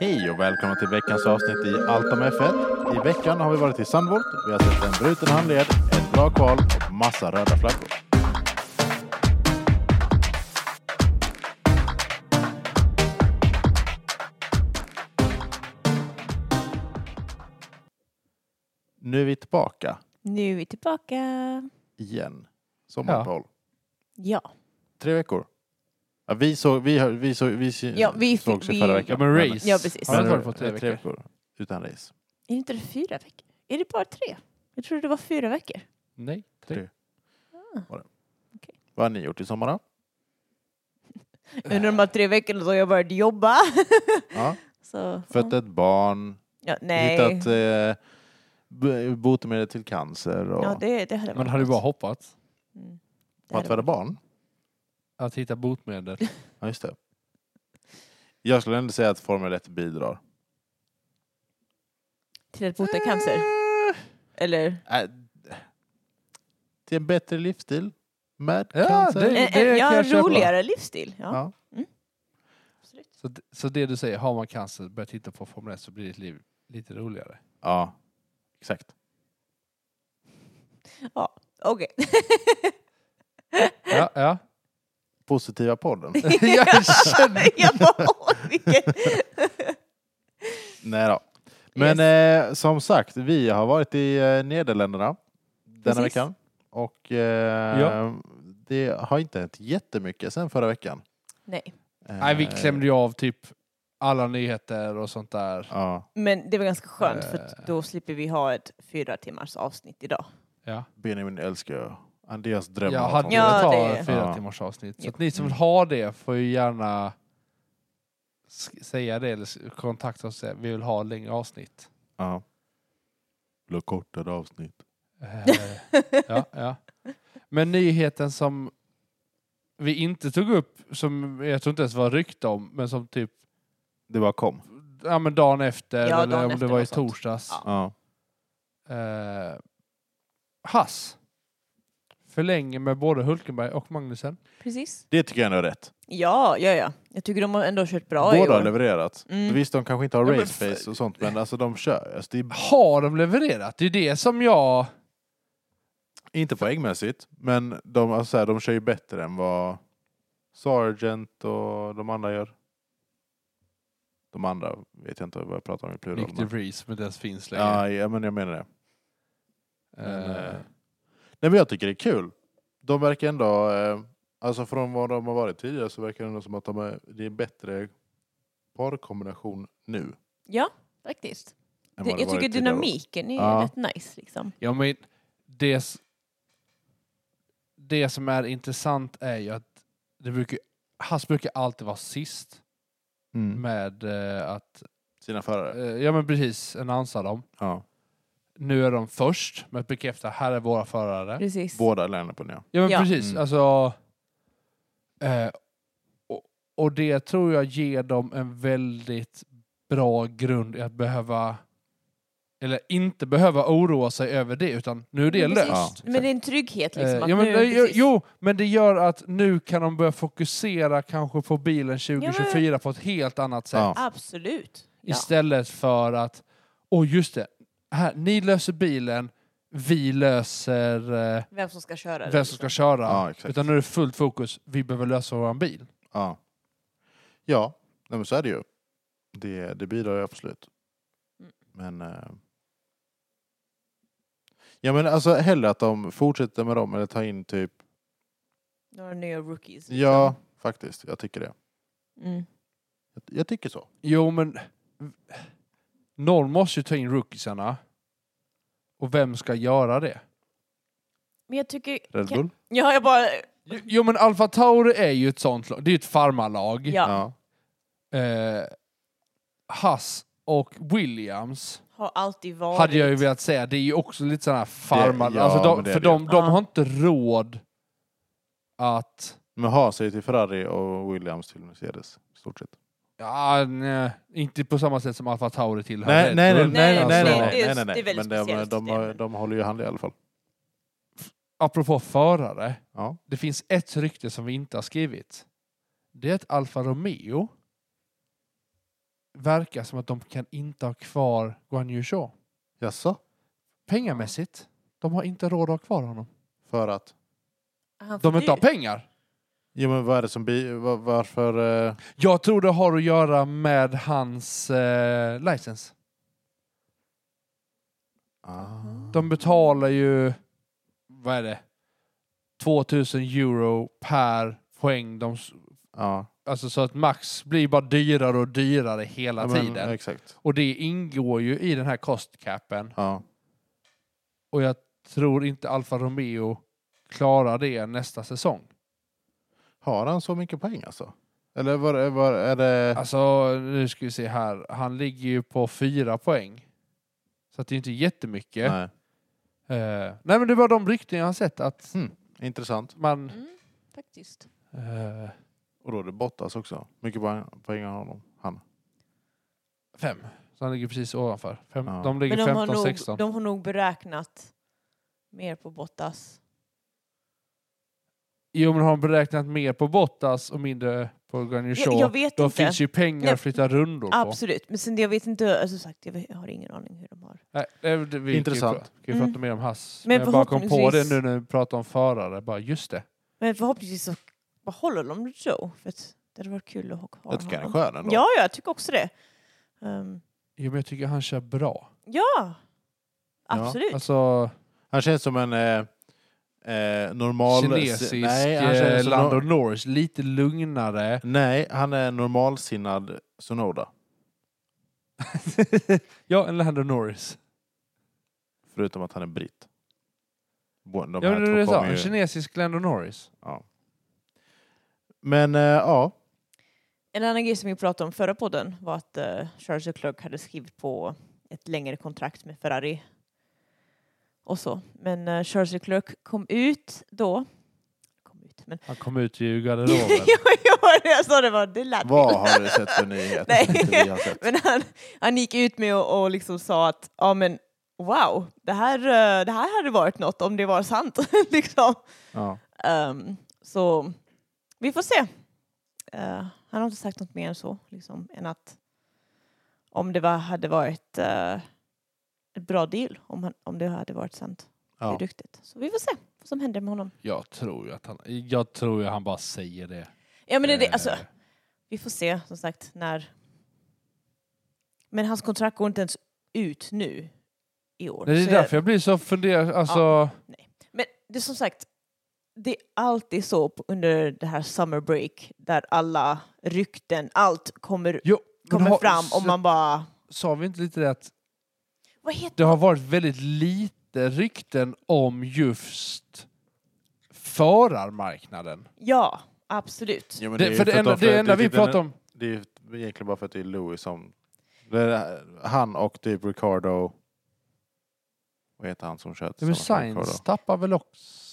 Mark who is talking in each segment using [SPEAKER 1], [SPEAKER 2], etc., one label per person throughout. [SPEAKER 1] Hej och välkomna till veckans avsnitt i Allt om F1. I veckan har vi varit i Sandvolt. Vi har sett en bruten handled, ett bra kval och massa röda flaggor. Nu är vi tillbaka
[SPEAKER 2] Nu är vi tillbaka.
[SPEAKER 1] igen. Sommaruppehåll.
[SPEAKER 2] Ja.
[SPEAKER 1] Tre veckor. Ja, vi såg, vi, hör- vi såg, vi sy-
[SPEAKER 2] Ja, vi fick-
[SPEAKER 1] sågs ju
[SPEAKER 2] vi-
[SPEAKER 1] förra veckan.
[SPEAKER 3] Ja men race.
[SPEAKER 2] Ja, precis.
[SPEAKER 3] Har det inte
[SPEAKER 1] Men-
[SPEAKER 3] varit på tre veckor?
[SPEAKER 1] Utan race.
[SPEAKER 2] Är det inte det fyra veckor? Är det bara tre? Jag trodde det var fyra veckor.
[SPEAKER 3] Nej,
[SPEAKER 1] Tre.
[SPEAKER 3] tre.
[SPEAKER 2] Ah.
[SPEAKER 1] Vad har ni gjort i sommar då?
[SPEAKER 2] Under de här tre veckorna så har jag börjat jobba.
[SPEAKER 1] Ja.
[SPEAKER 2] Så,
[SPEAKER 1] Fött ett barn,
[SPEAKER 2] ja, nej.
[SPEAKER 1] hittat eh, b- botemedel till cancer och
[SPEAKER 2] Ja, det, det hade
[SPEAKER 3] Men
[SPEAKER 2] varit
[SPEAKER 3] har du
[SPEAKER 2] något.
[SPEAKER 3] bara hoppats
[SPEAKER 2] Mm. Det
[SPEAKER 1] och att
[SPEAKER 2] hade
[SPEAKER 1] föda
[SPEAKER 2] varit-
[SPEAKER 1] barn.
[SPEAKER 3] att hitta botemedel?
[SPEAKER 1] Ja, just det. Jag skulle ändå säga att Formel 1 bidrar.
[SPEAKER 2] Till att bota cancer? Eller?
[SPEAKER 1] Eh, äh, till en bättre livsstil med
[SPEAKER 3] Ja,
[SPEAKER 1] cancer.
[SPEAKER 3] det-
[SPEAKER 2] Eh, eh, ja,
[SPEAKER 3] kan jag köpa.
[SPEAKER 2] roligare livsstil. Ja.
[SPEAKER 1] Ja.
[SPEAKER 2] Mm. Absolut.
[SPEAKER 3] Så, d- så det du säger, har man cancer, börja titta på Formel 1 så blir ditt liv lite roligare.
[SPEAKER 1] Ja, exakt.
[SPEAKER 2] Okej.
[SPEAKER 3] Ja, ja.
[SPEAKER 1] Positiva podden.
[SPEAKER 3] jag känner
[SPEAKER 2] jag bara, åh, vilken...
[SPEAKER 1] Nej då. Men eh, som sagt, vi har varit i eh, Nederländerna denna
[SPEAKER 2] Precis.
[SPEAKER 1] veckan. Och eh,
[SPEAKER 3] Ja.
[SPEAKER 1] det har inte hänt jättemycket sen förra veckan.
[SPEAKER 2] Nej.
[SPEAKER 3] Nej, vi
[SPEAKER 1] Eh,
[SPEAKER 3] klämde ju av typ alla nyheter och sånt där.
[SPEAKER 1] Ja,
[SPEAKER 2] Men det var ganska skönt för
[SPEAKER 3] Eh.
[SPEAKER 2] att då slipper vi ha ett fyra timmars avsnitt idag.
[SPEAKER 3] Ja.
[SPEAKER 1] Benjamin älskar ju Andreas dröm.
[SPEAKER 3] Jag
[SPEAKER 1] om att
[SPEAKER 3] hade
[SPEAKER 1] ha-
[SPEAKER 2] Ja,
[SPEAKER 3] velat
[SPEAKER 2] det-
[SPEAKER 3] ha fyra
[SPEAKER 1] Ja.
[SPEAKER 3] timmars avsnitt. Så
[SPEAKER 2] Ja.
[SPEAKER 3] att ni som vill
[SPEAKER 1] Mm.
[SPEAKER 3] ha det får ju gärna sk- säga det eller s- kontakta oss och säga vi vill ha längre avsnitt.
[SPEAKER 1] ja. Eller kortare avsnitt.
[SPEAKER 3] Eh, ja, ja. Men nyheten som vi inte tog upp, som jag tror inte ens var rykte om, men som typ
[SPEAKER 1] Det bara kom.
[SPEAKER 3] ja, men dagen efter,
[SPEAKER 2] Ja,
[SPEAKER 3] eller
[SPEAKER 2] dagen
[SPEAKER 3] om
[SPEAKER 2] efter
[SPEAKER 3] det var i
[SPEAKER 2] något sånt.
[SPEAKER 3] torsdags.
[SPEAKER 2] Ja.
[SPEAKER 1] Ja.
[SPEAKER 3] Eh, Hass förlänger med både Hulkenberg och Magnusen.
[SPEAKER 2] Precis.
[SPEAKER 1] Det tycker jag ändå är rätt.
[SPEAKER 2] Ja, ja, ja. Jag tycker de har ändå kört bra i
[SPEAKER 1] Båda har
[SPEAKER 2] år.
[SPEAKER 1] levererat.
[SPEAKER 2] Mm.
[SPEAKER 1] Visst, de kanske inte har
[SPEAKER 3] Ja, men
[SPEAKER 1] raceface och sånt, men alltså de kör. Alltså, det är
[SPEAKER 3] Har de levererat? Det är det som jag...
[SPEAKER 1] inte poängmässigt, men de, alltså, så här, de kör ju bättre än vad Sargent och de andra gör. De andra vet jag inte vad jag pratar om i plural.
[SPEAKER 3] Nick
[SPEAKER 1] men-
[SPEAKER 3] DeVries, men den finns längre.
[SPEAKER 1] Ja, ja, men jag menar det. Men,
[SPEAKER 3] Eh,
[SPEAKER 1] eh, nej, men jag tycker det är kul. De verkar ändå, eh, alltså från vad de har varit tidigare så verkar det ändå som att de är, det är bättre parkombination nu. Än
[SPEAKER 2] Ja, faktiskt.
[SPEAKER 1] vad det
[SPEAKER 2] Det, jag
[SPEAKER 1] varit
[SPEAKER 3] typ
[SPEAKER 2] tycker
[SPEAKER 1] tidigare år.
[SPEAKER 2] dynamiken är
[SPEAKER 1] Ja.
[SPEAKER 2] rätt nice liksom.
[SPEAKER 3] Ja, men det, s- det som är intressant är ju att det brukar, Hass brukar alltid vara sist
[SPEAKER 1] Mm.
[SPEAKER 3] med eh, att,
[SPEAKER 1] Sina förare.
[SPEAKER 3] eh, ja men precis, annonsa dem.
[SPEAKER 1] Ja.
[SPEAKER 3] Nu är de först med att bekräfta, här är våra förare.
[SPEAKER 2] Precis.
[SPEAKER 1] Båda lärarna på nya.
[SPEAKER 3] Ja men
[SPEAKER 2] Ja.
[SPEAKER 3] precis,
[SPEAKER 1] Mm.
[SPEAKER 3] alltså. Eh, och, och det tror jag ger dem en väldigt bra grund i att behöva, eller inte behöva oroa sig över det, utan nu är det
[SPEAKER 2] Men
[SPEAKER 3] löst.
[SPEAKER 2] precis.
[SPEAKER 1] Ja,
[SPEAKER 2] Men det är en trygghet liksom.
[SPEAKER 3] Eh,
[SPEAKER 2] att
[SPEAKER 3] ja, men,
[SPEAKER 2] nu,
[SPEAKER 3] det- jo,
[SPEAKER 2] precis.
[SPEAKER 3] jo, men det gör att nu kan de börja fokusera kanske på bilen 2024 på ett helt annat sätt.
[SPEAKER 1] Ja.
[SPEAKER 2] Absolut. Ja.
[SPEAKER 3] Istället för att, åh just det, här, ni löser bilen, vi löser eh,
[SPEAKER 2] Vem som ska köra det,
[SPEAKER 3] vem som ska
[SPEAKER 2] liksom.
[SPEAKER 3] köra.
[SPEAKER 1] Ja, exakt.
[SPEAKER 3] Utan nu är det fullt fokus, vi behöver lösa våran bil.
[SPEAKER 1] Ja, ja nej, men så är det ju. Det, det bidrar ju absolut.
[SPEAKER 2] Mm.
[SPEAKER 1] Men... Eh, ja men alltså hellre att de fortsätter med dem eller tar in typ...
[SPEAKER 2] Några nya rookies. liksom.
[SPEAKER 1] Ja, faktiskt. Jag tycker det.
[SPEAKER 2] Mm.
[SPEAKER 1] Jag, jag tycker så.
[SPEAKER 3] Jo men, någon måste ju ta in rookiesarna. Och vem ska göra det?
[SPEAKER 2] Men jag tycker...
[SPEAKER 1] Red Bull?
[SPEAKER 2] Ja, jag bara...
[SPEAKER 3] Jo- Jo men Alfa Tauri är ju ett sånt lag, det är ju ett farmarlag.
[SPEAKER 2] Ja,
[SPEAKER 3] eh, Hass och Williams
[SPEAKER 2] har alltid varit...
[SPEAKER 3] hade jag ju velat säga, det är ju också lite sådana här farmar...
[SPEAKER 1] ja,
[SPEAKER 3] alltså
[SPEAKER 1] men
[SPEAKER 3] de,
[SPEAKER 1] det är
[SPEAKER 3] för
[SPEAKER 1] det ju.
[SPEAKER 3] de, de
[SPEAKER 2] Ja.
[SPEAKER 3] har inte råd att...
[SPEAKER 1] Men ha sig till Ferrari och Williams till Mercedes. i Stort sett.
[SPEAKER 3] Ja, nej, inte på samma sätt som Alfa Tauri tillhör Red
[SPEAKER 1] Nej, nej, nej,
[SPEAKER 3] Bull.
[SPEAKER 1] nej, nej, nej,
[SPEAKER 3] alltså,
[SPEAKER 2] det-
[SPEAKER 1] nej,
[SPEAKER 2] alltså, det är-
[SPEAKER 1] nej,
[SPEAKER 2] det är
[SPEAKER 1] nej.
[SPEAKER 2] väldigt
[SPEAKER 1] Men de, de,
[SPEAKER 2] speciellt
[SPEAKER 1] de, har-
[SPEAKER 2] system.
[SPEAKER 1] de håller ju hand i alla fall.
[SPEAKER 3] Apropå förare,
[SPEAKER 1] Ja.
[SPEAKER 3] det finns ett rykte som vi inte har skrivit. det är ett Alfa Romeo. Verkar som att de kan inte ha kvar Guan Yu Zhou.
[SPEAKER 1] Jaså?
[SPEAKER 3] Pengamässigt. De har inte råd att ha kvar honom.
[SPEAKER 1] För att?
[SPEAKER 2] Han
[SPEAKER 3] De
[SPEAKER 2] får
[SPEAKER 3] inte har
[SPEAKER 2] dyrt.
[SPEAKER 3] pengar.
[SPEAKER 1] Jo men vad är det som bi... va- Varför? Eh,
[SPEAKER 3] Jag tror det har att göra med hans eh, licens.
[SPEAKER 1] ah.
[SPEAKER 3] De betalar ju, vad är det, 2000 euro per poäng. De, s-
[SPEAKER 1] Ja,
[SPEAKER 3] alltså så att max blir bara dyrare och dyrare hela
[SPEAKER 1] ja men,
[SPEAKER 3] tiden.
[SPEAKER 1] exakt.
[SPEAKER 3] Och det ingår ju i den här cost capen.
[SPEAKER 1] Ja.
[SPEAKER 3] Och jag tror inte Alfa Romeo klarar det nästa säsong.
[SPEAKER 1] Har han så mycket poäng alltså? Eller var, var är det...
[SPEAKER 3] Alltså, nu ska vi se här. Han ligger ju på fyra poäng. Så att det är inte jättemycket. Nej,
[SPEAKER 1] Nej.
[SPEAKER 3] nej men det var de rykten jag har sett att
[SPEAKER 1] Intressant.
[SPEAKER 3] man...
[SPEAKER 2] Mm, faktiskt.
[SPEAKER 3] eh,
[SPEAKER 1] Och då är det Bottas också. Mycket poäng, poäng har honom. Han.
[SPEAKER 3] fem. Så han ligger precis ovanför. Fem,
[SPEAKER 1] Ja.
[SPEAKER 2] Men
[SPEAKER 3] De ligger
[SPEAKER 2] de har,
[SPEAKER 3] 15,
[SPEAKER 2] nog,
[SPEAKER 3] 16.
[SPEAKER 2] de har nog beräknat mer på Bottas.
[SPEAKER 3] Jo men har de beräknat mer på Bottas och mindre på Granny
[SPEAKER 2] Jag, jag vet
[SPEAKER 3] Då
[SPEAKER 2] inte.
[SPEAKER 3] finns ju pengar
[SPEAKER 2] Nej.
[SPEAKER 3] att flytta rundor på.
[SPEAKER 2] Absolut, men sen det, jag vet inte, alltså sagt, jag vet- jag har ingen aning hur de har.
[SPEAKER 3] Nej, det, det, vi
[SPEAKER 1] Intressant.
[SPEAKER 3] Kan ju, pra- kan ju
[SPEAKER 2] Mm.
[SPEAKER 3] prata mer om Hass.
[SPEAKER 2] Men
[SPEAKER 3] Men jag bara kom på det
[SPEAKER 2] förhoppningsvis-
[SPEAKER 3] nu när vi pratar om förare. Bara, just det.
[SPEAKER 2] Men förhoppningsvis så behåller de Joe, för att det hade varit kul att ha kvar
[SPEAKER 1] Jag tycker han är skön ändå.
[SPEAKER 2] Ja, ja, jag tycker också det. Ehm,
[SPEAKER 3] Jo, men jag tycker han kör bra.
[SPEAKER 2] ja,
[SPEAKER 1] Ja,
[SPEAKER 2] absolut.
[SPEAKER 3] Alltså,
[SPEAKER 1] Han känns som en eh, eh, normal...
[SPEAKER 3] kinesisk
[SPEAKER 1] Nej, han alltså känns
[SPEAKER 3] eh,
[SPEAKER 1] som
[SPEAKER 3] Lando
[SPEAKER 1] no-
[SPEAKER 3] Norris. Lite lugnare.
[SPEAKER 1] Nej, han är en normalsinnad Sonoda.
[SPEAKER 3] ja, en Lando Norris.
[SPEAKER 1] Förutom att han är britt. Bo- De
[SPEAKER 3] Ja,
[SPEAKER 1] här
[SPEAKER 3] men det
[SPEAKER 1] två
[SPEAKER 3] är så.
[SPEAKER 1] kommer
[SPEAKER 3] En
[SPEAKER 1] ju...
[SPEAKER 3] kinesisk Lando Norris.
[SPEAKER 1] ja. Men eh, ja,
[SPEAKER 2] En annan grej som vi pratade om förra podden var att eh, Charles Leclerc hade skrivit på ett längre kontrakt med Ferrari. Och så. Men eh, Charles Leclerc kom ut då. Kom ut, men...
[SPEAKER 3] Han kom ut i
[SPEAKER 2] ja,
[SPEAKER 3] garderoben.
[SPEAKER 2] ja, jag sa det var det lät
[SPEAKER 1] vad har du sett för nyhet?
[SPEAKER 2] Nej.
[SPEAKER 1] Inte vi har sett.
[SPEAKER 2] Men han, han gick ut med och, och liksom sa att ja men wow, det här, eh, det här hade varit något om det var sant. liksom.
[SPEAKER 1] Ja.
[SPEAKER 2] Ehm, så vi får se. Eh, han har inte sagt något mer än så, liksom, än att om det var, hade varit eh, ett bra deal, om, han, om det hade varit sant. Det
[SPEAKER 1] Ja.
[SPEAKER 2] är duktigt. Så vi får se vad som händer med honom.
[SPEAKER 3] jag tror ju att han, jag tror ju att han bara säger det.
[SPEAKER 2] Ja, men det, är det, alltså,
[SPEAKER 3] Eh,
[SPEAKER 2] vi får se, som sagt, när... Men hans kontrakt går inte ens ut nu i år.
[SPEAKER 3] nej, det
[SPEAKER 2] Så
[SPEAKER 3] är därför jag blir så fundersam. Alltså,
[SPEAKER 2] Men det är som sagt, det är alltid så på- under det här summer break där alla rykten, allt kommer,
[SPEAKER 3] Jo, men
[SPEAKER 2] kommer
[SPEAKER 3] har-
[SPEAKER 2] fram och man bara...
[SPEAKER 3] Sa vi inte lite det att
[SPEAKER 2] Vad heter
[SPEAKER 3] det har varit väldigt lite rykten om just förarmarknaden.
[SPEAKER 2] Ja, absolut.
[SPEAKER 1] Ja, men
[SPEAKER 3] Det,
[SPEAKER 1] är ju
[SPEAKER 3] för det
[SPEAKER 1] att
[SPEAKER 3] enda,
[SPEAKER 1] de-
[SPEAKER 3] det enda vi
[SPEAKER 1] typ den-
[SPEAKER 3] pratar om,
[SPEAKER 1] Det är ju egentligen bara för att det är Louis som... Det är han och typ Ricardo... Vad heter han som kör
[SPEAKER 3] det är väl
[SPEAKER 1] tillsammans med Ricardo?
[SPEAKER 3] Sainz tappar väl också...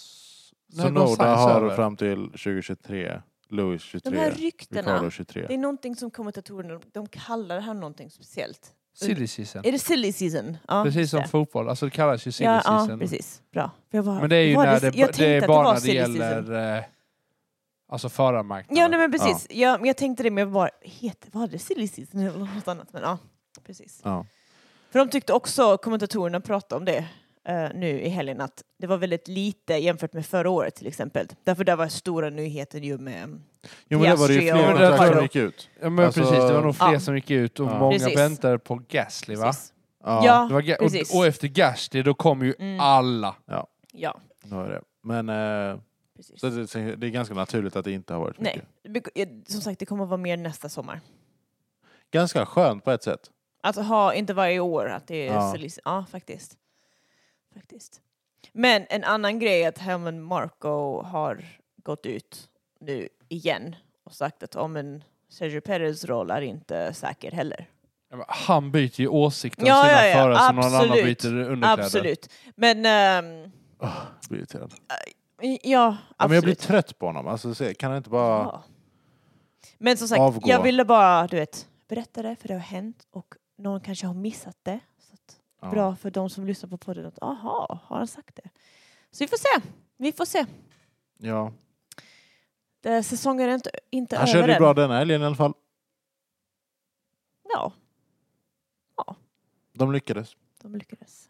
[SPEAKER 3] Nej, det var
[SPEAKER 1] Sonoda
[SPEAKER 3] Sainz
[SPEAKER 1] har
[SPEAKER 3] över.
[SPEAKER 1] fram till 2023, Louis
[SPEAKER 2] De
[SPEAKER 1] 23,
[SPEAKER 2] här ryktena,
[SPEAKER 1] Ricardo 23.
[SPEAKER 2] det är någonting som kommentatorerna, de- de kallar det här någonting speciellt.
[SPEAKER 3] Silly season.
[SPEAKER 2] Är det silly season? Ja,
[SPEAKER 3] Precis
[SPEAKER 2] Mm. just
[SPEAKER 3] som
[SPEAKER 2] det.
[SPEAKER 3] fotboll, alltså det kallas ju silly
[SPEAKER 2] ja, ja,
[SPEAKER 3] season.
[SPEAKER 2] precis. Bra. För jag var,
[SPEAKER 3] Men det är ju
[SPEAKER 2] var
[SPEAKER 3] när
[SPEAKER 2] det,
[SPEAKER 3] det,
[SPEAKER 2] jag
[SPEAKER 3] det,
[SPEAKER 2] tänkte att
[SPEAKER 3] är bara
[SPEAKER 2] var
[SPEAKER 3] när det
[SPEAKER 2] silly season.
[SPEAKER 3] gäller eh, alltså förarmarknaden.
[SPEAKER 2] Ja, nej, men precis. Ja. men jag tänkte det, men jag bara, heter, var det silly season eller något annat? Men ja, precis.
[SPEAKER 1] Ja.
[SPEAKER 2] För de tyckte också, kommentatorerna pratade om det eh, nu i helgen, att det var väldigt lite jämfört med förra året till exempel. Därför där var stora nyheten ju med...
[SPEAKER 1] Jo men det var det ju
[SPEAKER 2] Piastri
[SPEAKER 1] fler
[SPEAKER 2] och-
[SPEAKER 3] Jo, men det
[SPEAKER 1] kontrakt
[SPEAKER 3] tror
[SPEAKER 1] som
[SPEAKER 3] jag.
[SPEAKER 1] gick ut.
[SPEAKER 3] Ja, men
[SPEAKER 1] Alltså-
[SPEAKER 3] precis, det var nog fler
[SPEAKER 2] Ja.
[SPEAKER 3] som gick ut och
[SPEAKER 1] Ja.
[SPEAKER 3] många
[SPEAKER 2] Precis.
[SPEAKER 3] väntade på Gasly va?
[SPEAKER 2] Precis.
[SPEAKER 1] Ja,
[SPEAKER 2] Ja.
[SPEAKER 3] Det var Ga-
[SPEAKER 2] Precis.
[SPEAKER 3] och, och efter Gasly då kom ju
[SPEAKER 2] Mm.
[SPEAKER 3] alla.
[SPEAKER 2] Ja,
[SPEAKER 1] det var det. Men eh,
[SPEAKER 2] precis.
[SPEAKER 1] så det, så det är ganska naturligt att det inte har varit mycket.
[SPEAKER 2] Nej, Bec- eh, som sagt det kommer att vara mer nästa sommar.
[SPEAKER 1] Ganska skönt på ett sätt.
[SPEAKER 2] Alltså ha, inte varje år att det är
[SPEAKER 1] Ja.
[SPEAKER 2] ja. ja, faktiskt. faktiskt. Men en annan grej är att Helmut Marko har gått ut nu igen och sagt att om en Sergio Perez roll är inte säker heller.
[SPEAKER 3] Ja, men Han byter ju åsikter om
[SPEAKER 2] Ja,
[SPEAKER 3] sina
[SPEAKER 2] ja, ja,
[SPEAKER 3] förare som någon annan
[SPEAKER 2] absolut.
[SPEAKER 3] byter underkläder.
[SPEAKER 2] Absolut. Men ehm,
[SPEAKER 1] Jag blir irriterad.
[SPEAKER 2] ja,
[SPEAKER 1] Ja,
[SPEAKER 2] absolut.
[SPEAKER 1] men jag blir trött på honom. Alltså, se, kan han inte bara...
[SPEAKER 2] Ja. Men som sagt,
[SPEAKER 1] Avgå.
[SPEAKER 2] jag ville bara du vet, berätta det för det har hänt och någon kanske har missat det. Så att,
[SPEAKER 1] Ja.
[SPEAKER 2] Bra för de som lyssnar på podden att aha, har han sagt det? Så vi får se. Vi får se.
[SPEAKER 1] Ja.
[SPEAKER 2] Det, Eh, säsongen är inte, inte
[SPEAKER 1] Han
[SPEAKER 2] över
[SPEAKER 1] körde ju
[SPEAKER 2] än.
[SPEAKER 1] bra den här helgen i alla fall.
[SPEAKER 2] Ja,
[SPEAKER 1] De lyckades.
[SPEAKER 2] de lyckades.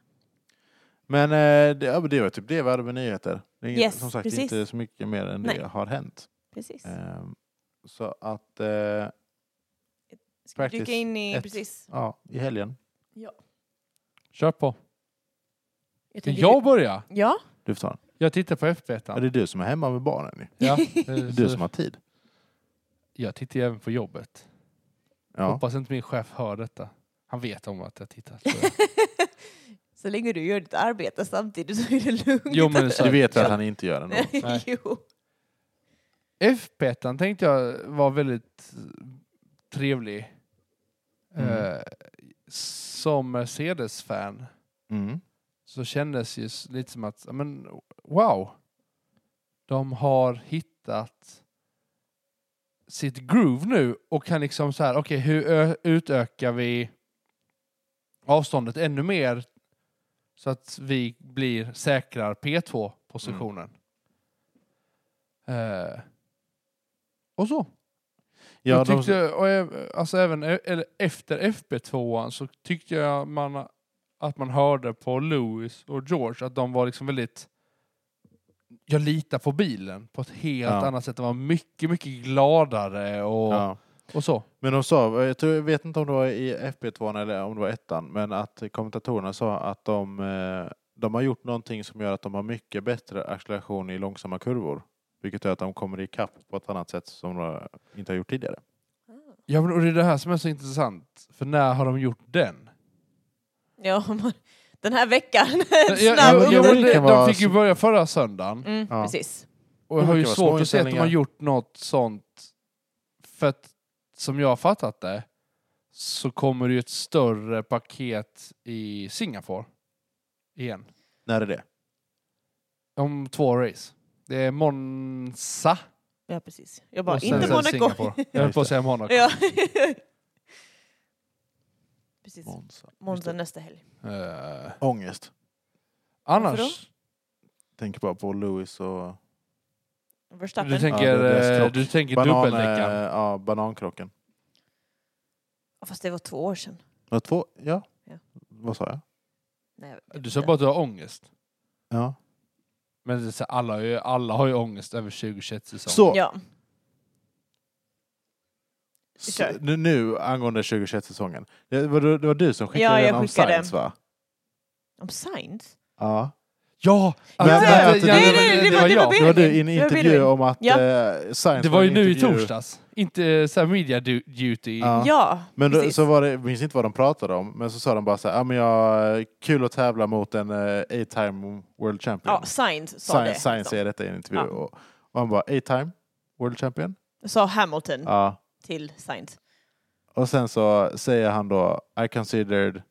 [SPEAKER 1] Men eh, det, ja, men det var typ det vi hade med nyheter. Det är inget-
[SPEAKER 2] Yes,
[SPEAKER 1] som sagt
[SPEAKER 2] precis.
[SPEAKER 1] inte så mycket mer än
[SPEAKER 2] Nej.
[SPEAKER 1] det har hänt.
[SPEAKER 2] Precis.
[SPEAKER 3] Eh,
[SPEAKER 1] Ehm, så att eh,
[SPEAKER 2] Ska vi dyka
[SPEAKER 1] practice
[SPEAKER 2] in i...
[SPEAKER 1] ett.
[SPEAKER 2] Precis.
[SPEAKER 1] ja, i helgen.
[SPEAKER 3] Kör på.
[SPEAKER 2] Jag
[SPEAKER 3] Kan
[SPEAKER 2] tänker-
[SPEAKER 3] jag börja?
[SPEAKER 2] Ja.
[SPEAKER 1] Du får ta den.
[SPEAKER 3] Jag tittar på
[SPEAKER 1] Ja,
[SPEAKER 3] FB1.
[SPEAKER 1] det är du som är hemma med barnen. ju.
[SPEAKER 3] Ja,
[SPEAKER 1] Det
[SPEAKER 3] eh,
[SPEAKER 1] är du som
[SPEAKER 3] så-
[SPEAKER 1] har tid.
[SPEAKER 3] jag tittar ju även på jobbet.
[SPEAKER 1] Ja.
[SPEAKER 3] Hoppas inte min chef hör detta. Han vet om att jag tittar. tror jag.
[SPEAKER 2] Så länge du gör ditt arbete samtidigt så är det lugnt.
[SPEAKER 3] Jo, men så
[SPEAKER 1] Du
[SPEAKER 3] här,
[SPEAKER 1] vet att han inte gör ändå.
[SPEAKER 3] Nej.
[SPEAKER 2] jo.
[SPEAKER 3] FB1 tänkte jag var väldigt trevlig.
[SPEAKER 1] Mm.
[SPEAKER 3] Eh, som Mercedes-fan
[SPEAKER 1] Mm.
[SPEAKER 3] så kändes ju s- lite som att, ja, men wow. De har hittat sitt groove nu och kan liksom så här, okej hur ö- utökar vi avståndet ännu mer så att vi blir säkrar P2-positionen. Eh, och så.
[SPEAKER 1] Ja,
[SPEAKER 3] jag
[SPEAKER 1] de,
[SPEAKER 3] tyckte, och äv- alltså även e- eller efter FB2 så tyckte jag man, att man hörde på Lewis och George att de var liksom väldigt jag litar på bilen på ett helt
[SPEAKER 1] Ja.
[SPEAKER 3] annat sätt. De var mycket, mycket gladare och,
[SPEAKER 1] ja.
[SPEAKER 3] och så.
[SPEAKER 1] Men de sa, jag, tror, jag vet inte om det var i FB2 eller om det var ettan, men att kommentatorerna sa att de, eh, de har gjort någonting som gör att de har mycket bättre acceleration i långsamma kurvor. Vilket gör att de kommer ikapp på ett annat sätt som de inte har gjort tidigare.
[SPEAKER 3] Ja, men, och det är det här som är så intressant. För när har de gjort den?
[SPEAKER 2] Ja, man, den här veckan.
[SPEAKER 3] Ja,
[SPEAKER 2] en
[SPEAKER 3] ja,
[SPEAKER 2] snabb
[SPEAKER 3] ja, men
[SPEAKER 1] det
[SPEAKER 2] under...
[SPEAKER 3] det-
[SPEAKER 1] kan vara
[SPEAKER 3] de fick ju
[SPEAKER 1] så-
[SPEAKER 3] börja förra söndagen.
[SPEAKER 2] Mm,
[SPEAKER 1] Ja.
[SPEAKER 2] Precis.
[SPEAKER 3] Och jag har
[SPEAKER 1] Det
[SPEAKER 3] ju
[SPEAKER 1] kan vara
[SPEAKER 3] svårt
[SPEAKER 1] små
[SPEAKER 3] att se att de har
[SPEAKER 1] inställningar.
[SPEAKER 3] gjort något sånt. För att som jag har fattat det så kommer det ju ett större paket i Singapore. Igen.
[SPEAKER 1] När är det?
[SPEAKER 3] Om två race. Det är Monza.
[SPEAKER 2] Ja, precis. Jag bara,
[SPEAKER 3] och sen-
[SPEAKER 2] inte
[SPEAKER 3] sen
[SPEAKER 2] Monaco.
[SPEAKER 3] Singapore. Jag höll på att säga Monaco.
[SPEAKER 2] Ja. precis.
[SPEAKER 1] Monza.
[SPEAKER 2] Måndag nästa helg.
[SPEAKER 3] Eh,
[SPEAKER 1] Ångest.
[SPEAKER 2] Varför då?
[SPEAKER 3] annars,
[SPEAKER 1] Tänker bara på Lewis och
[SPEAKER 2] Verstappen.
[SPEAKER 3] du tänker,
[SPEAKER 1] Ja, det- det är
[SPEAKER 3] eh,
[SPEAKER 1] skrock.
[SPEAKER 3] du tänker
[SPEAKER 1] banan,
[SPEAKER 3] dubbeldäckaren.
[SPEAKER 1] eh, ja, banankrocken.
[SPEAKER 2] Ja, Fast det var två år sedan.
[SPEAKER 1] Var det två? Ja.
[SPEAKER 2] Ja.
[SPEAKER 1] Vad sa jag?
[SPEAKER 2] Nej, jag vet
[SPEAKER 3] Du sa
[SPEAKER 2] inte.
[SPEAKER 3] bara att du har ångest.
[SPEAKER 1] Ja.
[SPEAKER 3] Men det är så här, alla, har ju, alla har ju ångest över 2021
[SPEAKER 1] Så,
[SPEAKER 3] säsongen.
[SPEAKER 2] Ja,
[SPEAKER 1] s-
[SPEAKER 2] kör.
[SPEAKER 1] nu, nu angående 2021-säsongen. Det var, det var du som skickade
[SPEAKER 2] Ja, jag
[SPEAKER 1] den om
[SPEAKER 2] skickade.
[SPEAKER 1] Science va?
[SPEAKER 2] om Sainz.
[SPEAKER 1] Ja.
[SPEAKER 3] Ja!
[SPEAKER 1] Men-
[SPEAKER 3] att-
[SPEAKER 1] men att-
[SPEAKER 3] ja,
[SPEAKER 1] nej,
[SPEAKER 3] det-
[SPEAKER 1] nej,
[SPEAKER 3] det-
[SPEAKER 1] det
[SPEAKER 3] det
[SPEAKER 1] var-
[SPEAKER 3] var
[SPEAKER 2] det
[SPEAKER 3] jag.
[SPEAKER 2] var
[SPEAKER 1] Det var du i en
[SPEAKER 2] Benjamin. Det var
[SPEAKER 1] intervju
[SPEAKER 2] Benjamin.
[SPEAKER 1] om att
[SPEAKER 2] Ja.
[SPEAKER 1] eh, Science
[SPEAKER 3] Det var ju
[SPEAKER 1] en
[SPEAKER 3] nu i
[SPEAKER 1] intervju-
[SPEAKER 3] torsdags. Inte eh, så här media du- duty.
[SPEAKER 1] Ja.
[SPEAKER 2] Ja,
[SPEAKER 1] Men då,
[SPEAKER 2] precis.
[SPEAKER 1] så var det, jag minns inte vad de pratade om, men så sa de bara så här, ah, men jag, kul att tävla mot en eh, A-time World Champion.
[SPEAKER 2] Ja, Sainz sa
[SPEAKER 1] Science,
[SPEAKER 2] det.
[SPEAKER 1] Science
[SPEAKER 2] liksom.
[SPEAKER 1] säger detta i en intervju.
[SPEAKER 2] Ja.
[SPEAKER 1] Och, och han bara, A-time World Champion?
[SPEAKER 2] Sa Hamilton
[SPEAKER 1] Ja.
[SPEAKER 2] till Sainz.
[SPEAKER 1] Och sen så säger han då, I considered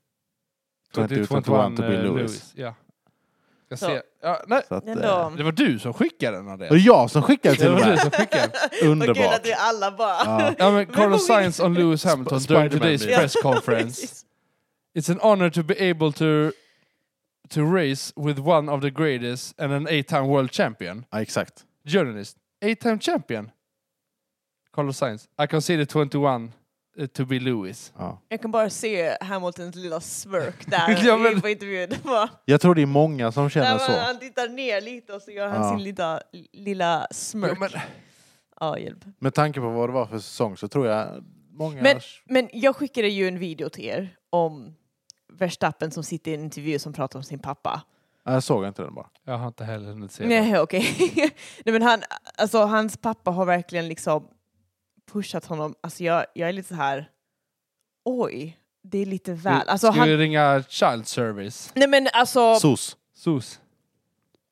[SPEAKER 1] 2021 to be Lewis.
[SPEAKER 3] eh, Ja. Jag
[SPEAKER 2] Så.
[SPEAKER 3] ser. Ja, nej.
[SPEAKER 1] Så att, eh,
[SPEAKER 2] Ändå.
[SPEAKER 3] Det var du som skickade den Andreas.
[SPEAKER 1] och jag som skickade till
[SPEAKER 3] Det
[SPEAKER 1] och
[SPEAKER 3] var du
[SPEAKER 1] med.
[SPEAKER 3] som skickade.
[SPEAKER 2] Vad kul
[SPEAKER 1] Underbart.
[SPEAKER 2] att vi alla bara...
[SPEAKER 1] Ja.
[SPEAKER 3] Ja, men
[SPEAKER 2] Men
[SPEAKER 3] Carlos
[SPEAKER 2] vad vi-
[SPEAKER 3] Sainz on Lewis Hamilton
[SPEAKER 1] Sp-
[SPEAKER 3] during
[SPEAKER 1] Spiderman
[SPEAKER 3] today's
[SPEAKER 1] blir det.
[SPEAKER 3] press conference.
[SPEAKER 2] Precis.
[SPEAKER 3] It's an honor to be able to to race with one of the greatest and an eight-time world champion.
[SPEAKER 1] ja, exakt.
[SPEAKER 3] Journalist. Eight-time champion. Carlos Sainz. I consider 21 eh, to be Lewis.
[SPEAKER 1] Ja.
[SPEAKER 2] Jag kan bara se Hamiltons lilla smirk där
[SPEAKER 3] Ja, men-
[SPEAKER 2] i- på intervjun. Det var-
[SPEAKER 1] Jag tror det är många som känner
[SPEAKER 2] Där man,
[SPEAKER 1] så.
[SPEAKER 2] han tittar ner lite och så gör han
[SPEAKER 1] Ja.
[SPEAKER 2] sin lilla, lilla
[SPEAKER 3] Ja,
[SPEAKER 2] smirk. Ja,
[SPEAKER 3] men,
[SPEAKER 2] hjälp.
[SPEAKER 1] Med tanke på vad det var för säsong så tror jag många...
[SPEAKER 2] Men- Men jag skickade ju en video till er om Verstappen som sitter i en intervju som pratar om sin pappa.
[SPEAKER 1] Ja, Jag såg inte den bara.
[SPEAKER 3] jag har inte heller hunnit se den.
[SPEAKER 2] Nej, okej. Nej, men han, alltså, hans pappa har verkligen liksom pushat honom. Alltså, jag, jag är lite så här, oj, det är lite väl. Alltså,
[SPEAKER 3] Ska vi
[SPEAKER 2] han,
[SPEAKER 3] ringa Child Service?
[SPEAKER 2] nej, men alltså,
[SPEAKER 1] SOS.
[SPEAKER 3] SOS.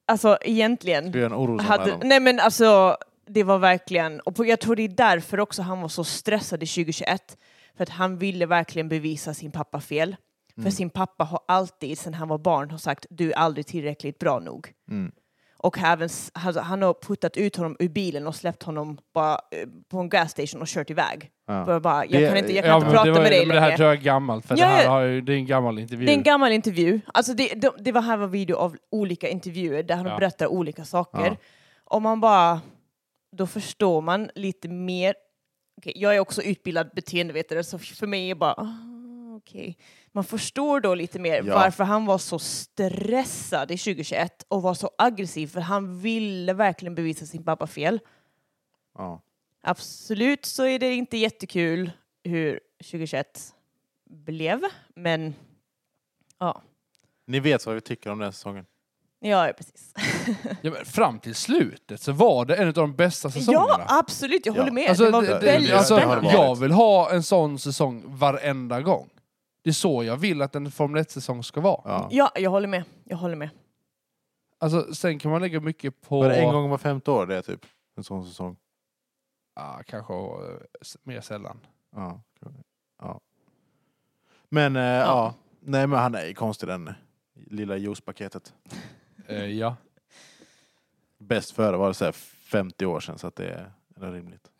[SPEAKER 2] alltså egentligen.
[SPEAKER 1] Ska göra en
[SPEAKER 2] hade,
[SPEAKER 1] orosanmälan.
[SPEAKER 2] nej men alltså, det var verkligen, och på, jag tror det är därför också han var så stressad i 2021. För att han ville verkligen bevisa sin pappa fel. För
[SPEAKER 1] Mm.
[SPEAKER 2] sin pappa har alltid, sedan han var barn, har sagt du är aldrig tillräckligt bra nog.
[SPEAKER 1] Mm.
[SPEAKER 2] Och har även, s- alltså, han har puttat ut honom ur bilen och släppt honom bara, eh, på en gasstation och kört iväg.
[SPEAKER 1] Ja.
[SPEAKER 2] Bara, bara, jag
[SPEAKER 1] Det-
[SPEAKER 2] kan inte, jag
[SPEAKER 1] ja,
[SPEAKER 2] kan inte
[SPEAKER 3] men
[SPEAKER 2] prata
[SPEAKER 3] det var-
[SPEAKER 2] med dig
[SPEAKER 3] men Det här
[SPEAKER 2] längre.
[SPEAKER 3] tror jag är gammalt, för
[SPEAKER 2] Ja,
[SPEAKER 3] det här
[SPEAKER 2] ja.
[SPEAKER 3] har ju, det är en gammal intervju.
[SPEAKER 2] Det är en gammal intervju. Alltså det, de, det var här var video av olika intervjuer där han
[SPEAKER 3] Ja.
[SPEAKER 2] berättar olika saker.
[SPEAKER 1] Ja.
[SPEAKER 2] Och man bara... då förstår man lite mer. Okej, jag är också utbildad beteendevetare, så för mig är bara... Ah, okej. Man förstår då lite mer
[SPEAKER 1] Ja.
[SPEAKER 2] varför han var så stressad i 2021 och var så aggressiv, för han ville verkligen bevisa sin pappa fel.
[SPEAKER 1] Ja.
[SPEAKER 2] Absolut så är det inte jättekul hur 2021 blev, men
[SPEAKER 1] Ni vet vad vi tycker om den här säsongen.
[SPEAKER 2] ja, ja, precis.
[SPEAKER 3] Ja, men fram till slutet så var det en av de bästa säsongerna.
[SPEAKER 2] Ja, absolut, jag
[SPEAKER 1] Ja.
[SPEAKER 2] håller med.
[SPEAKER 3] Alltså,
[SPEAKER 2] det var
[SPEAKER 1] det- det-
[SPEAKER 2] väldigt
[SPEAKER 3] alltså,
[SPEAKER 1] det har det
[SPEAKER 2] spännande.
[SPEAKER 1] varit.
[SPEAKER 3] jag vill ha en sån säsong varenda gång. Det är så jag vill att en Formel 1-säsong ska vara.
[SPEAKER 1] Ja.
[SPEAKER 2] Ja, jag håller med. Jag håller med.
[SPEAKER 3] Alltså, sen kan man lägga mycket på...
[SPEAKER 1] Var det en gång var femte år det är typ? En sån säsong.
[SPEAKER 3] Ja, kanske eh, s- mer sällan.
[SPEAKER 1] Ja. ja. Men eh, ja. Nej men han är ju konstig den lilla juicepaketet.
[SPEAKER 3] Eh, ja.
[SPEAKER 1] Bäst före var det så här 50 år sedan så att det är det är rimligt.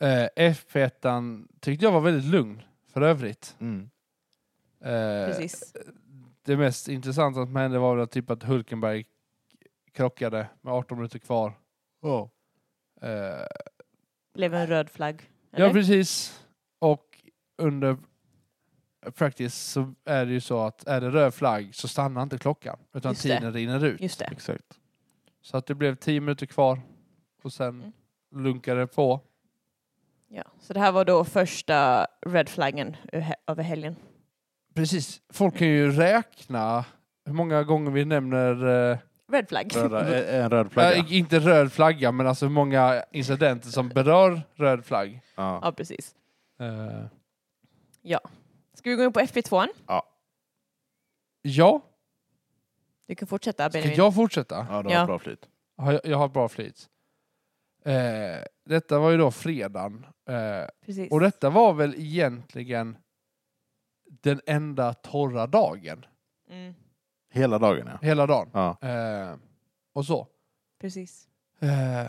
[SPEAKER 3] Eh, F1 tyckte jag var väldigt lugn, för övrigt.
[SPEAKER 1] Mm.
[SPEAKER 3] Eh,
[SPEAKER 2] Precis.
[SPEAKER 3] det mest intressanta som hände var väl att typ att Hulkenberg krockade med 18 minuter kvar.
[SPEAKER 1] Ja.
[SPEAKER 3] Eh,
[SPEAKER 2] Blev en röd flagg.
[SPEAKER 3] Ja,
[SPEAKER 2] eller?
[SPEAKER 3] precis. Och under practice så är det ju så att är det röd flagg så stannar inte klockan utan
[SPEAKER 2] Just det.
[SPEAKER 3] tiden rinner ut.
[SPEAKER 2] Just det.
[SPEAKER 1] Exakt.
[SPEAKER 3] Så att det blev 10 minuter kvar och sen
[SPEAKER 2] Mm.
[SPEAKER 3] lunkade det på.
[SPEAKER 2] Ja. Så det här var då första red flaggen ö- he- över helgen.
[SPEAKER 3] Precis. Folk kan ju räkna hur många gånger vi nämner, eh,
[SPEAKER 2] Red flagg.
[SPEAKER 1] Röda, eh, en röd
[SPEAKER 3] äh,
[SPEAKER 1] flagga.
[SPEAKER 3] inte röd flagga, men alltså hur många incidenter som berör röd flagg.
[SPEAKER 1] Ja.
[SPEAKER 2] Ja, precis.
[SPEAKER 3] Eh,
[SPEAKER 2] Ska vi gå in på FP2? an?
[SPEAKER 3] ja,
[SPEAKER 2] Du kan fortsätta
[SPEAKER 3] ska
[SPEAKER 2] Benjamin.
[SPEAKER 3] jag fortsätta?
[SPEAKER 1] Ja, det var
[SPEAKER 2] Ja.
[SPEAKER 1] bra flyt.
[SPEAKER 3] Har Jag, jag har bra flyt. Eh, detta var ju då fredagen. Eh,
[SPEAKER 2] Precis.
[SPEAKER 3] Och detta var väl egentligen den enda torra dagen,
[SPEAKER 2] Mm,
[SPEAKER 1] Hela dagen ja.
[SPEAKER 3] hela dagen.
[SPEAKER 1] Ja.
[SPEAKER 3] Eh, och så.
[SPEAKER 2] precis.
[SPEAKER 3] Eh,